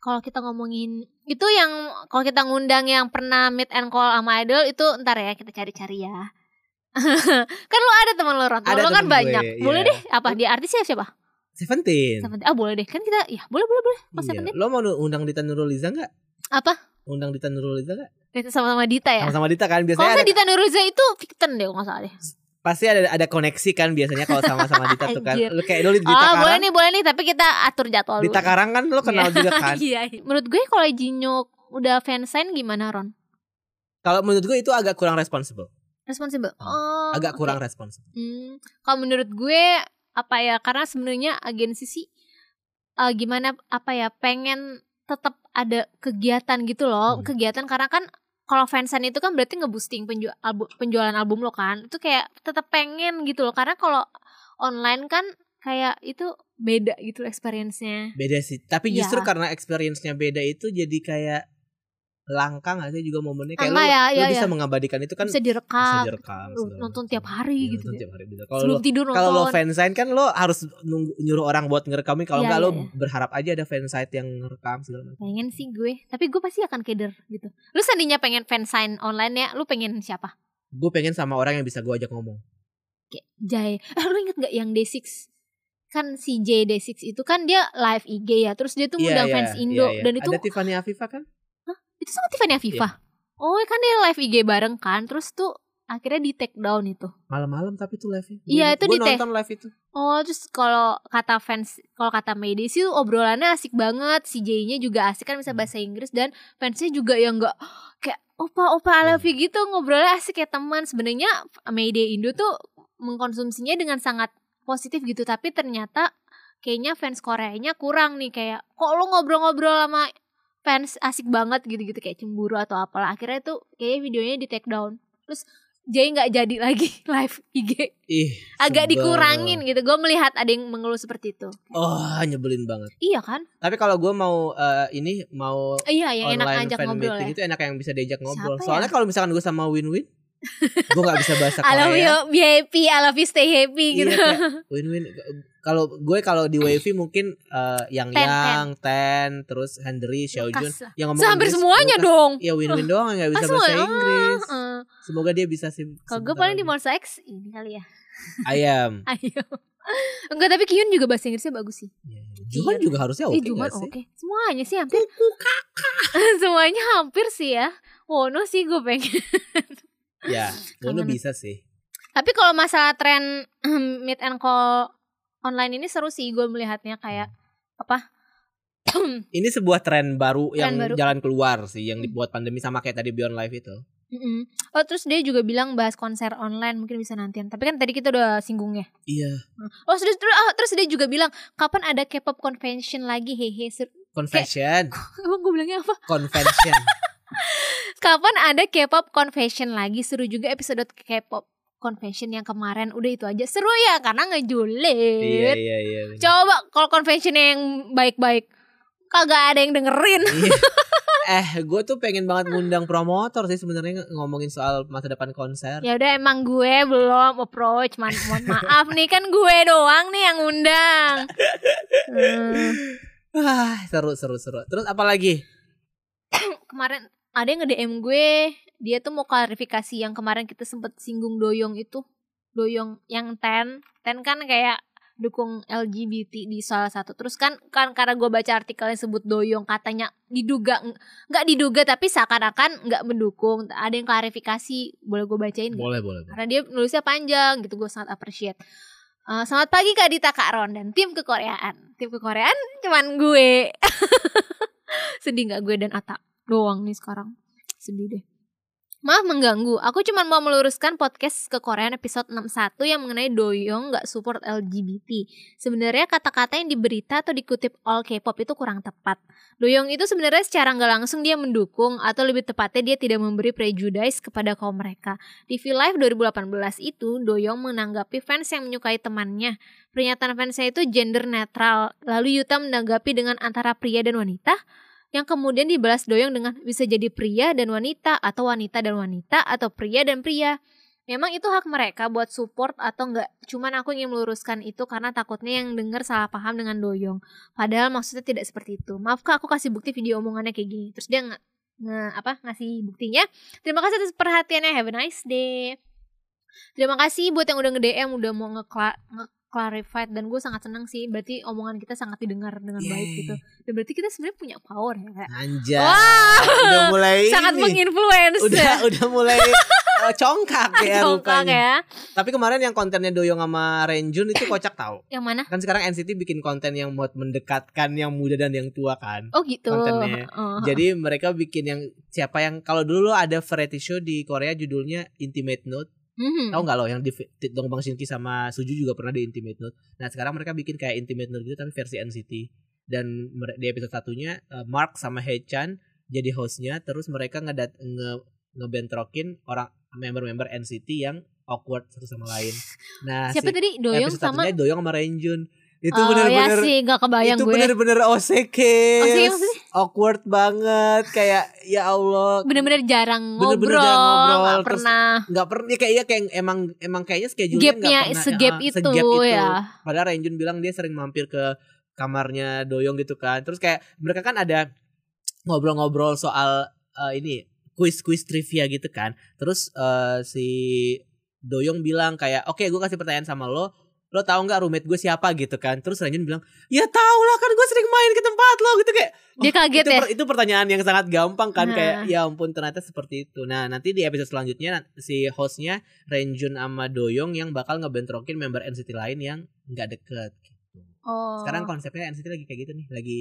Speaker 1: Kalau kita ngomongin itu yang kalau kita ngundang yang pernah meet and call sama idol itu ntar ya kita cari-cari ya kan lo ada teman lo Ron. Temen
Speaker 2: Ada
Speaker 1: lo
Speaker 2: temen
Speaker 1: kan
Speaker 2: gue,
Speaker 1: banyak. Boleh
Speaker 2: iya.
Speaker 1: deh apa dia artis siapa siapa?
Speaker 2: Seventeen.
Speaker 1: Seventeen. Ah boleh deh. Kan kita ya boleh boleh boleh. Mas
Speaker 2: Iya.
Speaker 1: Seventeen.
Speaker 2: Lo mau undang Dita Nurliza nggak?
Speaker 1: Apa?
Speaker 2: Undang Dita Nurliza nggak?
Speaker 1: Kita sama-sama Dita ya.
Speaker 2: Sama-sama Dita kan
Speaker 1: Kalau
Speaker 2: biasanya
Speaker 1: saya
Speaker 2: ada,
Speaker 1: Dita Nuriza itu Victon deh kalau nggak salah deh.
Speaker 2: pasti ada ada koneksi kan biasanya kalau sama-sama Dita tuh kan.
Speaker 1: Anjir.
Speaker 2: Lo kayak lo Dita
Speaker 1: Ah
Speaker 2: Karang.
Speaker 1: boleh nih boleh nih tapi kita atur jadwal dulu.
Speaker 2: Dita Karang kan lo kenal juga kan.
Speaker 1: Iya. iya. Menurut gue kalau Jinyo udah fansign gimana Ron?
Speaker 2: Kalau menurut gue itu agak kurang responsibel.
Speaker 1: Responsible.
Speaker 2: Hmm.
Speaker 1: Oh,
Speaker 2: Agak
Speaker 1: oke.
Speaker 2: kurang responsibel.
Speaker 1: Hmm, kalau menurut gue apa ya karena sebenarnya agensi sih eh, gimana apa ya pengen tetap ada kegiatan gitu
Speaker 2: Hmm.
Speaker 1: loh kegiatan karena kan kalau fansan itu kan berarti ngeboosting penju- albu- penjualan album lo kan itu kayak tetap pengen gitu loh karena kalau online kan kayak itu beda gitu experience-nya
Speaker 2: Beda sih. Tapi
Speaker 1: Iya.
Speaker 2: justru karena experience-nya beda itu jadi kayak langka gak sih juga momennya kayak
Speaker 1: Langka
Speaker 2: lo,
Speaker 1: ya,
Speaker 2: lo
Speaker 1: iya,
Speaker 2: bisa
Speaker 1: iya.
Speaker 2: mengabadikan itu kan bisa
Speaker 1: bisa direkam,
Speaker 2: direkam
Speaker 1: lu
Speaker 2: segala
Speaker 1: nonton
Speaker 2: macam.
Speaker 1: tiap hari
Speaker 2: Iya,
Speaker 1: gitu
Speaker 2: nonton
Speaker 1: ya.
Speaker 2: tiap hari bener. Kalau lo
Speaker 1: sebelum tidur nonton
Speaker 2: kalau lo fansign kan lo harus nunggu, nyuruh orang buat ngerekamin kalau
Speaker 1: Iya,
Speaker 2: enggak
Speaker 1: iya,
Speaker 2: lo
Speaker 1: iya.
Speaker 2: berharap aja ada fansite yang ngerekam segala macam.
Speaker 1: pengen sih gue tapi gue pasti akan keder gitu lu sandinya pengen fansign online ya lu pengen siapa
Speaker 2: Gue pengen sama orang yang bisa gue ajak ngomong.
Speaker 1: kayak Jai. Eh lu inget gak yang D6? Kan si J D6 itu kan dia live IG ya. Terus dia tuh ngundang
Speaker 2: iya,
Speaker 1: fans
Speaker 2: iya,
Speaker 1: Indo
Speaker 2: iya.
Speaker 1: dan itu
Speaker 2: ada Iya. Tiffany Afifa kan?
Speaker 1: itu sama Tiffany Afifa. Oh, kan dia live IG bareng kan. Terus tuh akhirnya di take down itu.
Speaker 2: Malam-malam tapi tuh live-nya. Gua
Speaker 1: Iya,
Speaker 2: ingat.
Speaker 1: itu
Speaker 2: Gua
Speaker 1: di teh.
Speaker 2: nonton live itu.
Speaker 1: Oh, terus kalau kata fans, kalau kata media sih obrolannya asik banget. Si J-nya juga asik kan bisa bahasa Inggris dan fansnya juga yang enggak kayak opa-opa I love you gitu ngobrolnya asik kayak teman. Sebenarnya media Indo tuh mengkonsumsinya dengan sangat positif gitu, tapi ternyata kayaknya fans Koreanya kurang nih kayak kok lo ngobrol-ngobrol sama fans asik banget gitu-gitu kayak cemburu atau apalah. Akhirnya tuh kayaknya videonya di take down. Terus J nggak jadi lagi live IG
Speaker 2: Ih,
Speaker 1: agak
Speaker 2: sebel.
Speaker 1: dikurangin gitu. Gue melihat ada yang mengeluh seperti itu.
Speaker 2: Oh, nyebelin banget.
Speaker 1: Iya kan?
Speaker 2: Tapi kalau gue mau eh, ini mau
Speaker 1: Iya, yang enak
Speaker 2: online
Speaker 1: ajak
Speaker 2: fan
Speaker 1: ngobrol
Speaker 2: meeting
Speaker 1: ya.
Speaker 2: itu enak yang bisa diajak ngobrol.
Speaker 1: Siapa ya?
Speaker 2: Soalnya kalau misalkan gue sama Win-Win, gue nggak bisa bahasa
Speaker 1: I love you,
Speaker 2: Korea.
Speaker 1: be happy, I love you, stay
Speaker 2: Iya,
Speaker 1: happy gitu.
Speaker 2: kayak Win-Win. Kalau gue kalau di Wavy mungkin eh, yang
Speaker 1: Ten,
Speaker 2: yang Ten, terus Henry, Xiaojun,
Speaker 1: Kas lah.
Speaker 2: yang ngomong
Speaker 1: Hampir
Speaker 2: Inggris,
Speaker 1: semuanya
Speaker 2: Lukas.
Speaker 1: dong.
Speaker 2: Ya Win-Win doang yang nggak bisa
Speaker 1: Ah, semua.
Speaker 2: bahasa Inggris.
Speaker 1: Heeh.
Speaker 2: Semoga dia bisa sih.
Speaker 1: ah. Kalau
Speaker 2: sebentar
Speaker 1: gue paling di
Speaker 2: lagi.
Speaker 1: Monster X ini kali ya.
Speaker 2: ayam.
Speaker 1: Ayo. Enggak tapi Kyun juga bahasa Inggrisnya bagus sih.
Speaker 2: Iya. Juman juga harusnya oke
Speaker 1: eh
Speaker 2: nggak
Speaker 1: Juman
Speaker 2: sih?
Speaker 1: oke. Semuanya sih hampir. Semuanya hampir sih ya. Wono sih gue pengen.
Speaker 2: Ya, Wono
Speaker 1: Kangen.
Speaker 2: bisa sih.
Speaker 1: Tapi kalau masalah tren meet and call online ini seru sih gue melihatnya kayak apa?
Speaker 2: Ini sebuah tren baru yang
Speaker 1: baru.
Speaker 2: jalan keluar sih yang dibuat pandemi sama kayak tadi Beyond Live itu.
Speaker 1: Mm-mm. Oh terus dia juga bilang bahas konser online mungkin bisa nantian. Tapi kan tadi kita udah singgung ya.
Speaker 2: Iya,
Speaker 1: Oh terus terus, ah, terus dia juga bilang kapan ada K-pop convention lagi hehe. Ser-
Speaker 2: convention,
Speaker 1: Emang gue bilangnya apa?
Speaker 2: convention.
Speaker 1: Kapan ada K-pop convention lagi? Seru juga episode K-pop convention yang kemarin. Udah itu aja seru ya karena
Speaker 2: iya, iya,
Speaker 1: ngejulit.
Speaker 2: iya. bener.
Speaker 1: Coba kalau convention yang baik-baik kagak ada yang dengerin.
Speaker 2: Iya. eh, gue tuh pengen banget ngundang promotor sih sebenarnya ng- ngomongin soal masa depan konser.
Speaker 1: Ya udah emang gue belum approach, man, mohon maaf nih kan gue doang nih yang undang. Hmm.
Speaker 2: Wah, seru, seru, seru. Terus apa lagi?
Speaker 1: kemarin ada yang nge-DM gue, dia tuh mau klarifikasi yang kemarin kita sempet singgung doyong itu. Doyong yang ten, ten kan kayak dukung LGBT di salah satu. Terus kan kan karena gue baca artikelnya sebut doyong katanya diduga nggak diduga tapi seakan-akan nggak mendukung. Ada yang klarifikasi, boleh gue bacain nggak?
Speaker 2: Boleh, boleh. boleh.
Speaker 1: Karena dia nulisnya panjang gitu, gue sangat appreciate. Eh, selamat pagi Kak Dita Kak Ron dan tim kekoreaan. Tim kekoreaan cuman gue. Sedih nggak gue dan Ata doang nih sekarang. Sedih deh. Maaf mengganggu, aku cuman mau meluruskan podcast kekoreaan episode 61 yang mengenai Doyong nggak support LGBT. Sebenarnya kata-kata yang diberita atau dikutip all K-pop itu kurang tepat. Doyong itu sebenarnya secara nggak langsung dia mendukung atau lebih tepatnya dia tidak memberi prejudice kepada kaum mereka. Di V Live 2018 itu, Doyong menanggapi fans yang menyukai temannya. Pernyataan fansnya itu gender netral. Lalu Yuta menanggapi dengan antara pria dan wanita, yang kemudian dibalas Doyong dengan bisa jadi pria dan wanita, atau wanita dan wanita, atau pria dan pria. Memang itu hak mereka buat support atau enggak. Cuman aku ingin meluruskan itu karena takutnya yang denger salah paham dengan Doyong. Padahal maksudnya tidak seperti itu. Maaf kak, aku kasih bukti video omongannya kayak gini. Terus dia nge, nge- apa ngasih buktinya Terima kasih atas perhatiannya. Have a nice day. Terima kasih buat yang udah nge-DM, udah mau ngekla nge- clarified dan gue sangat senang sih. Berarti omongan kita sangat didengar dengan baik
Speaker 2: Yeay.
Speaker 1: gitu. Dan berarti kita sebenarnya punya power ya, Kak.
Speaker 2: Anjay.
Speaker 1: Wah,
Speaker 2: udah mulai
Speaker 1: sangat
Speaker 2: ini.
Speaker 1: menginfluence.
Speaker 2: Udah udah mulai eh, ya. congkak ya
Speaker 1: Congkak
Speaker 2: rupanya.
Speaker 1: ya.
Speaker 2: Tapi kemarin yang kontennya Doyong sama Renjun itu kocak tahu.
Speaker 1: Yang mana?
Speaker 2: Kan sekarang NCT bikin konten yang buat mendekatkan yang muda dan yang tua kan.
Speaker 1: Oh gitu.
Speaker 2: Kontennya.
Speaker 1: Oh.
Speaker 2: Jadi mereka bikin yang siapa yang kalau dulu ada variety show di Korea judulnya Intimate Note.
Speaker 1: Mhm.
Speaker 2: Tahu nggak lo yang di di- Dong Bang Shinki sama Suju juga pernah di Intimate Note. Nah, sekarang mereka bikin kayak Intimate Note gitu tapi versi NCT. Dan mere- di episode satunya eh, Mark sama Hechan jadi hostnya terus mereka ngedat nge ngebentrokin orang member-member NCT yang awkward satu sama lain. Nah,
Speaker 1: Siapa
Speaker 2: si
Speaker 1: tadi? Doyong
Speaker 2: episode
Speaker 1: sama
Speaker 2: satunya Doyong sama Renjun. Itu
Speaker 1: Oh ya
Speaker 2: benar-benar
Speaker 1: sih gak kebayang
Speaker 2: itu
Speaker 1: gue
Speaker 2: bener-bener OCK
Speaker 1: Maksudnya maksudnya
Speaker 2: awkward banget kayak ya Allah
Speaker 1: Bener-bener jarang
Speaker 2: Bener-bener
Speaker 1: ngobrol,
Speaker 2: jarang ngobrol,
Speaker 1: Gak
Speaker 2: terus
Speaker 1: pernah
Speaker 2: nggak pernah kayaknya kayak emang emang kayaknya schedule-nya nggak
Speaker 1: Gapnya
Speaker 2: pernah
Speaker 1: segap
Speaker 2: ya,
Speaker 1: itu,
Speaker 2: segap itu.
Speaker 1: ya
Speaker 2: padahal Renjun bilang dia sering mampir ke kamarnya Doyong gitu kan terus kayak mereka kan ada ngobrol-ngobrol soal eh, ini kuis-kuis trivia gitu kan terus eh, si Doyong bilang kayak oke gue kasih pertanyaan sama lo lo tahu nggak roommate gue siapa gitu kan terus Renjun bilang ya tau lah kan gue sering main ke tempat lo gitu kayak
Speaker 1: Dia kaget
Speaker 2: itu,
Speaker 1: ya
Speaker 2: per- itu pertanyaan yang sangat gampang kan
Speaker 1: Nah.
Speaker 2: kayak ya ampun ternyata seperti itu. Nah, nanti di episode selanjutnya na- si hostnya Renjun sama Doyong yang bakal ngebentrokin member NCT lain yang nggak deket gitu.
Speaker 1: oh.
Speaker 2: Sekarang konsepnya NCT lagi kayak gitu nih, lagi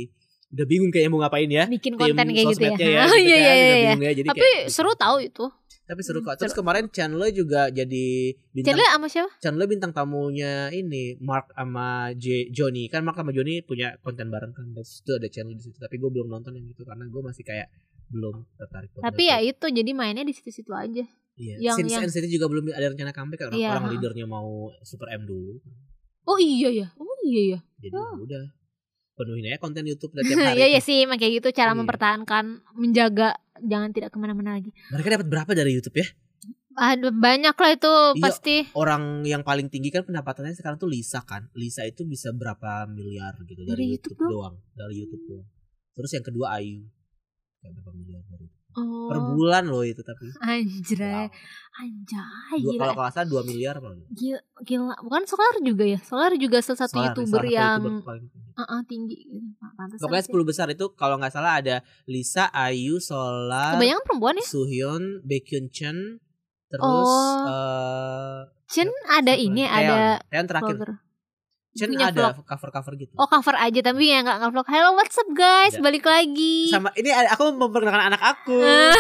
Speaker 2: udah bingung kayaknya mau ngapain ya.
Speaker 1: Bikin konten
Speaker 2: Tim
Speaker 1: kayak gitu ya
Speaker 2: sosmednya
Speaker 1: Ah,
Speaker 2: gitu kan,
Speaker 1: Iya iya
Speaker 2: udah
Speaker 1: iya iya.
Speaker 2: bingung ya, jadi
Speaker 1: Tapi
Speaker 2: kayak- Iya.
Speaker 1: seru tahu itu
Speaker 2: Tapi seru kok.
Speaker 1: Hmm,
Speaker 2: Terus
Speaker 1: seru.
Speaker 2: kemarin Chandler juga jadi bintang
Speaker 1: Chandler sama siapa?
Speaker 2: Chandler bintang tamunya ini Mark sama J- Johnny kan Mark sama Johnny punya konten bareng kan terus itu ada channel di situ tapi gue belum nonton yang itu karena gue masih kayak belum tertarik buat
Speaker 1: Tapi ya
Speaker 2: nonton.
Speaker 1: itu jadi mainnya di situ-situ aja
Speaker 2: Iya.
Speaker 1: yang-
Speaker 2: Since
Speaker 1: yang-
Speaker 2: NCT juga belum ada rencana comeback orang,
Speaker 1: Iya,
Speaker 2: orang
Speaker 1: ha.
Speaker 2: leadernya mau Super M dulu
Speaker 1: Oh iya ya Oh iya ya
Speaker 2: jadi
Speaker 1: Oh.
Speaker 2: udah penuhin aja konten YouTube dan tiap hari
Speaker 1: Iya iya
Speaker 2: tuh.
Speaker 1: sih emang kayak gitu cara
Speaker 2: Iya.
Speaker 1: mempertahankan Menjaga Jangan tidak kemana-mana lagi
Speaker 2: mereka dapat berapa dari YouTube ya
Speaker 1: Aduh, Banyak lah itu
Speaker 2: Iya.
Speaker 1: pasti
Speaker 2: orang yang paling tinggi kan pendapatannya sekarang tuh Lisa kan Lisa itu bisa berapa miliar gitu dari,
Speaker 1: Dari
Speaker 2: YouTube,
Speaker 1: YouTube
Speaker 2: doang dari YouTube doang terus yang kedua Ayu Kayak berapa miliar dari per
Speaker 1: Oh
Speaker 2: bulan loh itu tapi
Speaker 1: Anjay
Speaker 2: Wow.
Speaker 1: Oh, Anjay
Speaker 2: Dua-
Speaker 1: gila
Speaker 2: Iya. kalau kalau nggak salah 2 miliar kalau nggak salah.
Speaker 1: Gila, gila. Bukan Solar juga ya? Solar juga salah satu
Speaker 2: Salah,
Speaker 1: YouTuber
Speaker 2: salah satu
Speaker 1: yang
Speaker 2: YouTuber paling tinggi.
Speaker 1: uh-uh, tinggi gitu. Pak. Pantesan
Speaker 2: pokoknya
Speaker 1: sih.
Speaker 2: 10 besar itu kalau nggak salah ada Lisa Ayu Solar
Speaker 1: Kebanyakan perempuan ya?
Speaker 2: Suhyun Baekhyun Chen terus
Speaker 1: Oh.
Speaker 2: eh,
Speaker 1: Chen ada
Speaker 2: siapa
Speaker 1: ini,
Speaker 2: lagi?
Speaker 1: ada
Speaker 2: Taeyeon. Taeyeon terakhir
Speaker 1: vlogger.
Speaker 2: Chen
Speaker 1: Punya
Speaker 2: ada
Speaker 1: vlog.
Speaker 2: cover cover gitu
Speaker 1: Oh cover aja tapi ya nggak nge-vlog. Hello what's up guys,
Speaker 2: Nggak.
Speaker 1: balik lagi.
Speaker 2: Iya. sama ini ada- aku memperkenalkan anak aku
Speaker 1: Eh,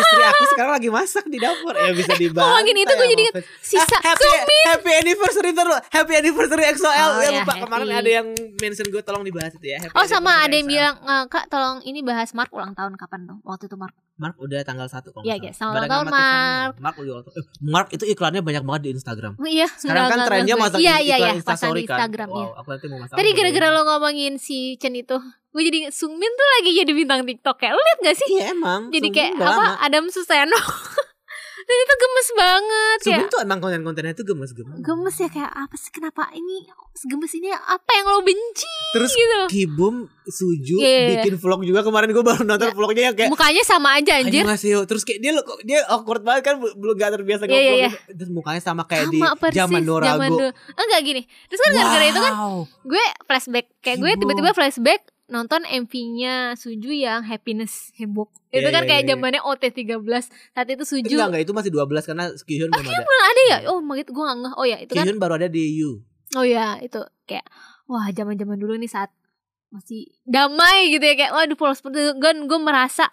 Speaker 2: istri aku sekarang lagi masak di dapur ya bisa dibantu
Speaker 1: ngomongin itu gue jadi inget. sisa
Speaker 2: happy, happy anniversary terus happy anniversary XOL
Speaker 1: Oh,
Speaker 2: ya
Speaker 1: ya,
Speaker 2: lupa kemarin
Speaker 1: happy.
Speaker 2: ada yang mention gue tolong dibahas itu ya happy
Speaker 1: Oh sama ada
Speaker 2: anniversary
Speaker 1: yang
Speaker 2: XOL.
Speaker 1: bilang "Eh, Kak tolong ini bahas Mark ulang tahun kapan tuh Waktu itu Mark
Speaker 2: Mark udah tanggal 1 kalau
Speaker 1: Iya,
Speaker 2: nggak
Speaker 1: guys. Selamat
Speaker 2: Bareng
Speaker 1: ulang
Speaker 2: sama
Speaker 1: tahun,
Speaker 2: Tiffany. Mark udah ulang tahun. Eh, Mark itu iklannya banyak banget di Instagram.
Speaker 1: oh, Iya
Speaker 2: Sekarang kan
Speaker 1: nggak
Speaker 2: trennya
Speaker 1: ngerti.
Speaker 2: masak
Speaker 1: Iya
Speaker 2: iklan
Speaker 1: iya iya pasang
Speaker 2: Instastory
Speaker 1: di Instagram
Speaker 2: kan.
Speaker 1: ya
Speaker 2: Wow, aku nanti mau masak.
Speaker 1: Tadi
Speaker 2: apa
Speaker 1: gara-gara
Speaker 2: ya?
Speaker 1: lo ngomongin si Chen itu Gue jadi inget Sungmin tuh lagi jadi bintang TikTok kayak Lo liat gak sih?
Speaker 2: Iya emang.
Speaker 1: jadi
Speaker 2: Subun
Speaker 1: kayak
Speaker 2: udah
Speaker 1: apa
Speaker 2: lama.
Speaker 1: Adam Suseno dan itu gemes banget ya
Speaker 2: Subun tuh emang konten-kontennya tuh gemes-gemes.
Speaker 1: gemes ya kayak apa sih kenapa ini gemes ini apa yang lo benci
Speaker 2: Terus
Speaker 1: gitu
Speaker 2: Kibum Suju
Speaker 1: Iya, iya.
Speaker 2: bikin vlog juga kemarin gue baru nonton vlognya yang kayak
Speaker 1: mukanya sama aja anjir
Speaker 2: Annyeonghaseyo. Terus kayak dia lo- dia awkward banget kan bu- belum gak terbiasa
Speaker 1: Iya,
Speaker 2: ngobrol.
Speaker 1: iya, iya.
Speaker 2: gitu. Terus mukanya sama kayak
Speaker 1: sama
Speaker 2: di zaman Norago.
Speaker 1: dulu. enggak gini terus kan gara-gara itu kan
Speaker 2: Wow.
Speaker 1: gue flashback kayak gue
Speaker 2: Heboh.
Speaker 1: tiba-tiba flashback nonton MV-nya Suju yang Happiness Heboh itu
Speaker 2: Iya,
Speaker 1: kan
Speaker 2: iya,
Speaker 1: kayak
Speaker 2: iya.
Speaker 1: zamannya OT13 saat itu Suju
Speaker 2: Enggak enggak itu masih 12 karena Kihyun belum ada.
Speaker 1: Nah, ada ya oh emang itu gue nggak ngeh oh ya itu kan
Speaker 2: Kihyun baru ada di You.
Speaker 1: Oh ya itu kayak wah zaman-zaman dulu nih saat masih damai gitu ya kayak waduh polos gun gue merasa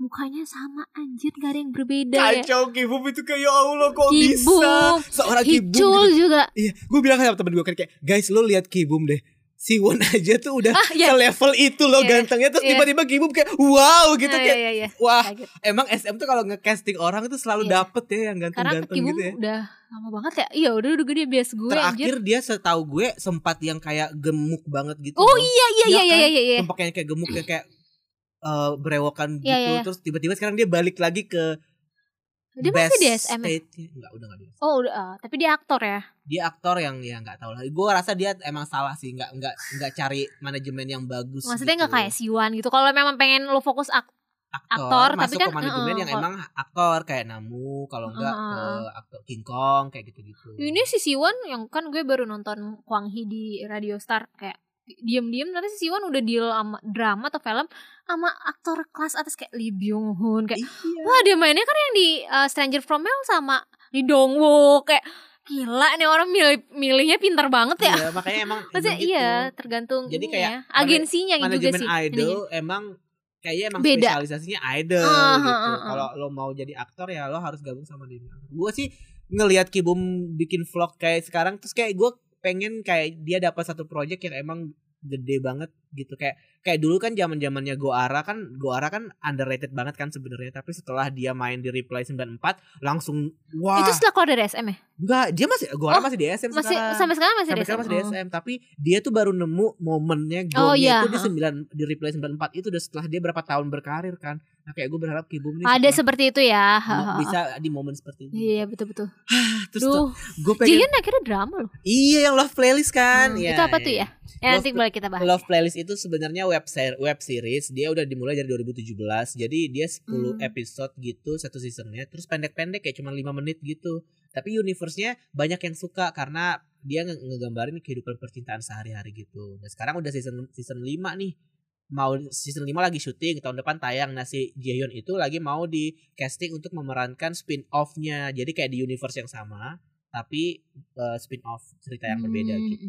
Speaker 1: mukanya sama anjir gak ada yang berbeda ya.
Speaker 2: Kacau Kibum itu kayak ya Allah kok bisa
Speaker 1: Kibum,
Speaker 2: seorang Kibum.
Speaker 1: Hicul
Speaker 2: gitu.
Speaker 1: juga.
Speaker 2: Iya, gue bilang sama temen gue kan kayak guys lo lihat Kibum deh. Si Won aja tuh udah
Speaker 1: Ah
Speaker 2: ke
Speaker 1: ya.
Speaker 2: level itu loh
Speaker 1: Iya,
Speaker 2: gantengnya terus
Speaker 1: iya.
Speaker 2: tiba-tiba Kibum kayak wow gitu
Speaker 1: Ah,
Speaker 2: kayak
Speaker 1: ya, ya, ya.
Speaker 2: wah
Speaker 1: Kaget.
Speaker 2: emang SM tuh kalau nge-casting orang tuh selalu
Speaker 1: Iya.
Speaker 2: dapet ya yang
Speaker 1: Karena
Speaker 2: ganteng-ganteng
Speaker 1: Kibum
Speaker 2: gitu ya.
Speaker 1: udah lama banget ya. Iya udah udah gede bias gue anjir.
Speaker 2: Terakhir dia setahu gue sempat yang kayak gemuk banget gitu.
Speaker 1: Oh
Speaker 2: loh.
Speaker 1: iya
Speaker 2: Iya
Speaker 1: iya iya iya
Speaker 2: kan?
Speaker 1: iya iya. iya.
Speaker 2: Sempat yang kayak gemuk yang kayak eh, berewokan gitu
Speaker 1: Iya, iya, iya.
Speaker 2: terus tiba-tiba sekarang dia balik lagi ke
Speaker 1: Dia
Speaker 2: best
Speaker 1: masih di SM ya?
Speaker 2: stage-nya. Enggak, udah enggak di
Speaker 1: Oh udah ah, tapi dia aktor ya.
Speaker 2: dia aktor yang ya nggak tahu lah. Gue rasa dia emang salah sih nggak nggak nggak cari manajemen yang bagus.
Speaker 1: Maksudnya nggak
Speaker 2: gitu.
Speaker 1: kayak Siwan gitu. Kalau memang pengen lo fokus ak-
Speaker 2: aktor,
Speaker 1: Aktor, tapi
Speaker 2: masuk
Speaker 1: kan,
Speaker 2: ke manajemen
Speaker 1: eh,
Speaker 2: yang
Speaker 1: eh,
Speaker 2: emang aktor kayak Namu kalau enggak
Speaker 1: Eh, eh,
Speaker 2: ke aktor King Kong kayak gitu-gitu.
Speaker 1: Ini si Siwon yang kan gue baru nonton Kwang Hee di Radio Star kayak diem-diem nanti si Siwon udah deal sama drama atau film sama aktor kelas atas kayak Lee Byung Hun kayak
Speaker 2: Iya.
Speaker 1: wah dia mainnya kan yang di uh, Stranger From Hell sama di Dongwoo kayak gila nih orang milih milihnya pinter banget ya.
Speaker 2: Iya, makanya emang
Speaker 1: Maksudnya
Speaker 2: emang gitu.
Speaker 1: iya tergantung
Speaker 2: Jadi
Speaker 1: ini
Speaker 2: kayak
Speaker 1: ya. agensinya juga
Speaker 2: manajemen
Speaker 1: sih.
Speaker 2: idol
Speaker 1: ininya.
Speaker 2: emang kayaknya emang
Speaker 1: Beda.
Speaker 2: spesialisasinya idol
Speaker 1: Ah,
Speaker 2: gitu.
Speaker 1: ah, ah.
Speaker 2: Kalau lo mau jadi aktor ya lo harus gabung sama dia. Gue sih ngelihat Kibum bikin vlog kayak sekarang terus kayak gue pengen kayak dia dapat satu project yang emang gede banget gitu kayak kayak dulu kan zaman zamannya Goara kan Goara kan underrated banget kan sebenarnya tapi setelah dia main di Reply 94 langsung wah
Speaker 1: Itu setelah keluar dari SM ya?
Speaker 2: enggak dia masih Goara
Speaker 1: Oh,
Speaker 2: masih di SM
Speaker 1: Masih
Speaker 2: sekarang
Speaker 1: sampai sekarang masih
Speaker 2: sampai
Speaker 1: di SM.
Speaker 2: sekarang masih di
Speaker 1: Oh.
Speaker 2: SM tapi dia tuh baru nemu momennya
Speaker 1: Oh,
Speaker 2: goalnya
Speaker 1: iya,
Speaker 2: itu di 9 di replay 94 itu udah setelah dia berapa tahun berkarir kan nah kayak gue berharap Kibum nih
Speaker 1: Ada
Speaker 2: setelah
Speaker 1: seperti itu ya.
Speaker 2: mo- bisa di momen seperti ini
Speaker 1: Iya betul-betul.
Speaker 2: terus tuh,
Speaker 1: Duh,
Speaker 2: gue pengen
Speaker 1: Jihyun akhirnya drama loh.
Speaker 2: iya yang love playlist kan
Speaker 1: Hmm,
Speaker 2: Iya,
Speaker 1: itu apa
Speaker 2: iya,
Speaker 1: tuh
Speaker 2: iya.
Speaker 1: ya? Ya nanti
Speaker 2: Love-
Speaker 1: boleh kita bahas.
Speaker 2: Love Playlist itu sebenarnya web ser- web series dia udah dimulai dari 2017 jadi dia 10
Speaker 1: Hmm.
Speaker 2: episode gitu satu seasonnya terus pendek-pendek kayak cuma 5 menit gitu tapi universe-nya banyak yang suka karena dia nge- ngegambarin kehidupan percintaan sehari-hari gitu nah sekarang udah season season 5 nih mau season 5 lagi syuting tahun depan tayang nah si Jaehyun itu lagi mau di casting untuk memerankan spin off-nya jadi kayak di universe yang sama tapi eh, spin off cerita yang berbeda
Speaker 1: Hmm.
Speaker 2: gitu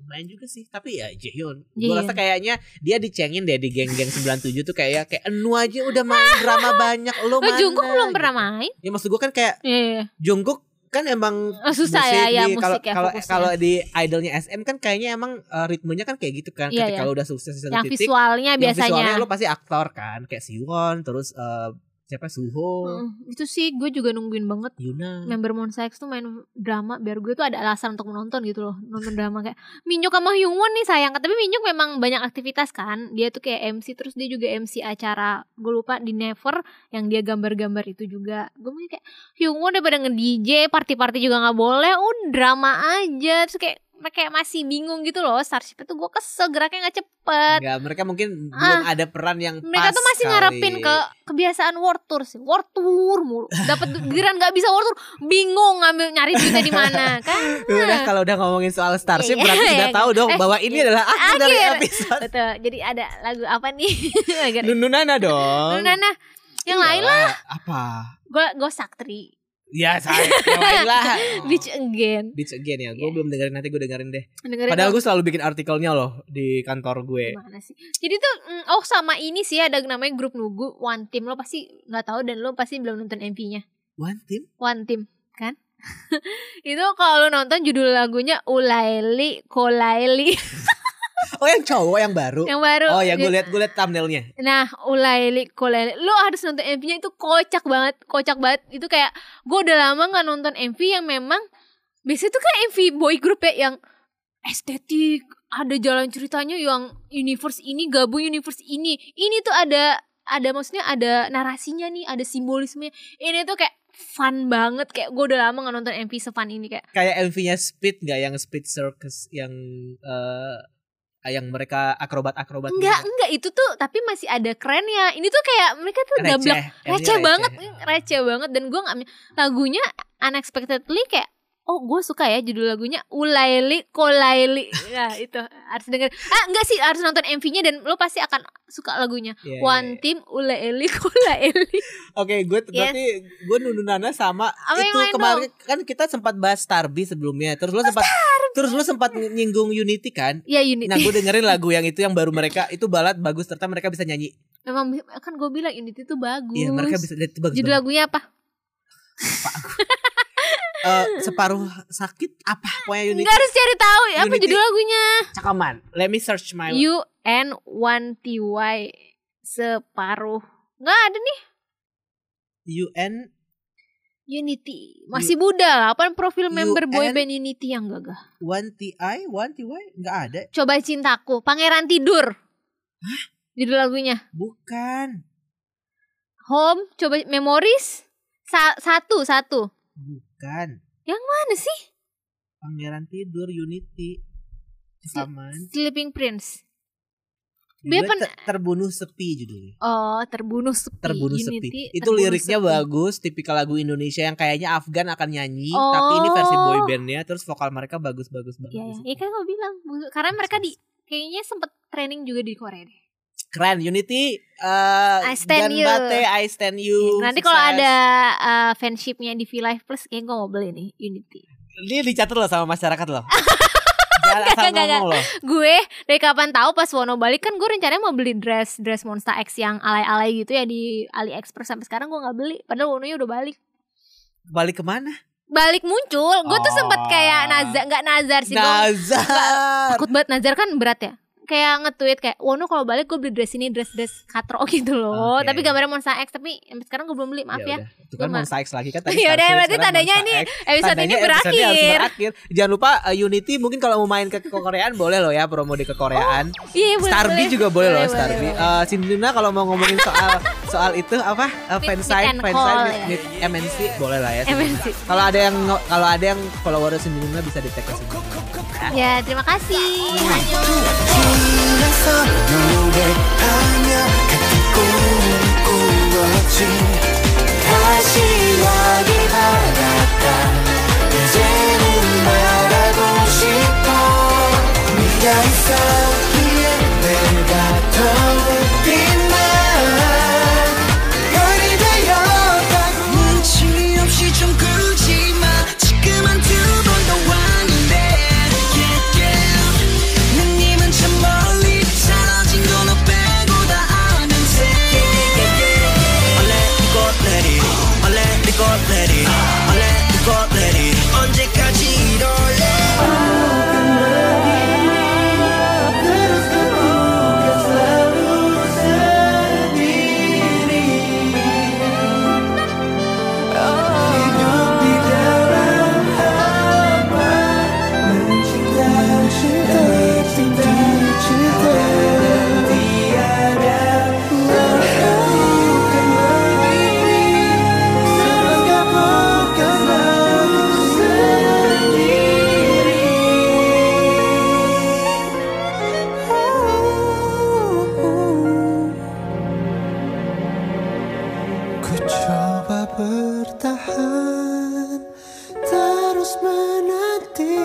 Speaker 2: lumayan juga sih tapi ya Jaehyun gue
Speaker 1: Jaehyun.
Speaker 2: rasa kayaknya dia dicengin deh di geng-geng 97 tuh kayak kayak enu aja udah main drama banyak lo
Speaker 1: Oh,
Speaker 2: mana
Speaker 1: Jungkook belum
Speaker 2: gitu.
Speaker 1: pernah main?
Speaker 2: ya maksud gue kan kayak
Speaker 1: Iya. iya.
Speaker 2: Jungkook kan emang
Speaker 1: Oh, susah ya, ya,
Speaker 2: di- kalau
Speaker 1: musik ya,
Speaker 2: kalau
Speaker 1: fokusnya.
Speaker 2: kalau di idolnya SM kan kayaknya emang eh, ritmenya kan kayak gitu kan
Speaker 1: Iya,
Speaker 2: ketika
Speaker 1: iya.
Speaker 2: lo udah sukses di satu
Speaker 1: Yang
Speaker 2: titik
Speaker 1: visualnya
Speaker 2: yang
Speaker 1: biasanya.
Speaker 2: visualnya lo pasti aktor kan kayak Siwon terus eh, siapa Suho
Speaker 1: Mm, itu sih gue juga nungguin banget
Speaker 2: Yuna
Speaker 1: member Monsta X tuh main drama biar gue tuh ada alasan untuk menonton gitu loh nonton drama kayak Minyook sama Hyungwon nih sayang tapi Minyook memang banyak aktivitas kan dia tuh kayak MC terus dia juga MC acara gue lupa di Never yang dia gambar-gambar itu juga gue mau kayak Hyungwon daripada nge DJ party-party juga nggak boleh oh drama aja terus kayak kayak masih bingung gitu loh Starship itu gue kesel geraknya nggak cepet
Speaker 2: Enggak, mereka mungkin belum
Speaker 1: Ah,
Speaker 2: ada peran yang pas
Speaker 1: mereka tuh masih
Speaker 2: kali.
Speaker 1: ngarepin ke kebiasaan world tour sih world tour mulu dapat giliran nggak bisa world tour bingung ngambil nyari duitnya di mana kan
Speaker 2: Udah kalau udah ngomongin soal Starship
Speaker 1: Iya,
Speaker 2: berarti
Speaker 1: iya,
Speaker 2: sudah
Speaker 1: iya.
Speaker 2: tahu dong
Speaker 1: Eh,
Speaker 2: bahwa ini adalah akhir dari
Speaker 1: akhir.
Speaker 2: episode
Speaker 1: betul jadi ada lagu apa nih agar
Speaker 2: Nununana dong.
Speaker 1: Nunana yang
Speaker 2: Iya.
Speaker 1: lain lah
Speaker 2: Apa?
Speaker 1: gue gue saktri
Speaker 2: Ya saya yang lain lah.
Speaker 1: bitch again
Speaker 2: Beach again ya. Gue
Speaker 1: Iya.
Speaker 2: belum dengerin nanti gue dengerin deh.
Speaker 1: dengerin
Speaker 2: Padahal
Speaker 1: lagu
Speaker 2: gue selalu bikin artikelnya loh di kantor gue.
Speaker 1: gimana sih jadi tuh mm, oh sama ini sih ada namanya grup nugu one team lo pasti nggak tahu dan lo pasti belum nonton MV-nya
Speaker 2: One team?
Speaker 1: one team kan itu kalau lo nonton judul lagunya Ulaili Kolaili
Speaker 2: Oh yang cowok yang baru.
Speaker 1: yang baru iya.
Speaker 2: oh ya gue
Speaker 1: Jadi-
Speaker 2: liat gue liat thumbnailnya.
Speaker 1: Nah, Ulaili Kulaili Lu harus nonton MV-nya itu kocak banget Kocak banget Itu kayak Gue udah lama gak nonton MV yang memang Biasanya tuh kan MV boy group ya Yang estetik Ada jalan ceritanya yang Universe ini gabung universe ini Ini tuh ada Ada maksudnya ada narasinya nih Ada simbolismenya Ini tuh kayak fun banget Kayak gue udah lama gak nonton MV sefun ini kayak
Speaker 2: Kayak MV-nya Speed nggak yang Speed Circus yang eh, yang mereka akrobat-akrobat gitu.
Speaker 1: Enggak, enggak itu tuh Tapi masih ada kerennya Ini tuh kayak mereka tuh
Speaker 2: gitu.
Speaker 1: gablek
Speaker 2: Receh, Iya, MV-nya
Speaker 1: receh banget receh banget dan gue nggak lagunya unexpectedly kayak oh gue suka ya judul lagunya Ulaili Kolaili nah itu harus denger ah enggak sih harus nonton MV-nya dan lo pasti akan suka lagunya
Speaker 2: Iya, iya,
Speaker 1: One
Speaker 2: iya.
Speaker 1: Team Ulaili Kolaili
Speaker 2: Oke, gue t-
Speaker 1: Yes.
Speaker 2: berarti gue nununana sama
Speaker 1: Apa yang
Speaker 2: itu
Speaker 1: lain
Speaker 2: kemarin kan kita sempat bahas Starby sebelumnya. Terus lo sempat terus lo sempat nyinggung Unity kan?
Speaker 1: ya Unity
Speaker 2: Nah, gue dengerin lagu yang itu yang baru mereka itu balad bagus serta mereka bisa nyanyi.
Speaker 1: memang kan gue bilang Unity tuh bagus
Speaker 2: Iya, mereka bisa itu bagus.
Speaker 1: judul
Speaker 2: banget.
Speaker 1: lagunya apa
Speaker 2: Eh, separuh sakit apa pokoknya Unity
Speaker 1: enggak harus cari tahu ya apa
Speaker 2: Unity.
Speaker 1: judul lagunya
Speaker 2: cakaman. Let me search my
Speaker 1: U N One T Y separuh Enggak ada nih
Speaker 2: UN
Speaker 1: Unity masih muda lah kan profil member
Speaker 2: UN?
Speaker 1: boyband Unity yang gagah
Speaker 2: 1TI 1TY enggak ada.
Speaker 1: coba cintaku pangeran tidur judul lagunya
Speaker 2: Bukan.
Speaker 1: home coba memories Sa- satu satu
Speaker 2: Bukan.
Speaker 1: mana sih
Speaker 2: Pangeran tidur Unity. Cakaman.
Speaker 1: sleeping prince
Speaker 2: Judulnya
Speaker 1: Dia pen-
Speaker 2: Ter- terbunuh sepi judulnya.
Speaker 1: Oh, terbunuh sepi.
Speaker 2: Terbunuh
Speaker 1: Ini,
Speaker 2: sepi.
Speaker 1: Ti,
Speaker 2: Itu
Speaker 1: Terbunuh
Speaker 2: liriknya
Speaker 1: Sepi.
Speaker 2: bagus, tipikal lagu Indonesia yang kayaknya Afgan akan nyanyi,
Speaker 1: Oh.
Speaker 2: tapi ini versi boybandnya, terus vokal mereka bagus-bagus banget. di
Speaker 1: Iya, ya.
Speaker 2: situ.
Speaker 1: ya kan gue bilang bu- karena mereka di kayaknya sempet training juga di Korea deh.
Speaker 2: Keren, Unity. eh,
Speaker 1: I stand you. Iya,
Speaker 2: Ganbate, I stand you.
Speaker 1: Nanti kalau
Speaker 2: Sukses.
Speaker 1: ada uh, fanshipnya di V Live Plus, kayak gue mau beli nih Unity.
Speaker 2: Dia dicatat loh sama masyarakat loh. Jangan asal
Speaker 1: Gak, gak,
Speaker 2: ngomong loh.
Speaker 1: Gue dari kapan tahu pas Wono balik kan gue rencananya mau beli dress dress Monster X yang alay-alay gitu ya di AliExpress sampai sekarang gue nggak beli. Padahal Wononya udah balik.
Speaker 2: Balik kemana?
Speaker 1: Balik muncul, gue tuh sempet
Speaker 2: Oh.
Speaker 1: kayak nazar nggak nazar sih gue
Speaker 2: Nazar.
Speaker 1: takut banget Nazar kan berat ya kayak nge-tweet kayak Wono kalau balik gue beli dress ini dress dress katro gitu loh
Speaker 2: Oke.
Speaker 1: tapi gambarnya Monsta X tapi sampai sekarang gue belum beli maaf ya,
Speaker 2: udah. Itu kan
Speaker 1: Gua ma-
Speaker 2: Monsta X lagi kan tadi.
Speaker 1: Yaudah,
Speaker 2: Sunset,
Speaker 1: berarti
Speaker 2: sekarang
Speaker 1: tandanya
Speaker 2: Monsta X.
Speaker 1: ini episode
Speaker 2: Tandanya
Speaker 1: ini
Speaker 2: episode ini harus
Speaker 1: berakhir
Speaker 2: berakhir. Jangan lupa uh, Unity mungkin kalau mau main ke Koreaan boleh loh ya promo di kekoreaan.
Speaker 1: iya boleh,
Speaker 2: Starby
Speaker 1: boleh.
Speaker 2: juga boleh, loh
Speaker 1: boleh,
Speaker 2: Starby.
Speaker 1: boleh.
Speaker 2: Eh Sindina kalau mau ngomongin soal soal itu apa? Uh,
Speaker 1: Meet-
Speaker 2: fansign,
Speaker 1: meet and
Speaker 2: fansign,
Speaker 1: call,
Speaker 2: meet-
Speaker 1: ya.
Speaker 2: meet MNC boleh lah ya. Sindina.
Speaker 1: MNC.
Speaker 2: Kalau ada yang kalau ada yang follower Sindina bisa di tag ke Sindina.
Speaker 1: ya terima kasih Hanyu.
Speaker 3: 길에서 노래하며 같은 꿈을 꾸었지 다시 여기 바닷가 이제는 말하고 싶어 네가 있었기에 내가 더욱 빛나 별이 되었다고 눈치 없이 좀 굴지마 지금은 두 번 더 왔는데 yeah, yeah. 누님은 참 멀리 사라진 거 너 빼고 다 아는 새 yeah, yeah, yeah. I'll let it go, let it. I'll let it go, let it. I'll let it go, let it. 언제까지 이럴래 Coba bertahan terus menanti.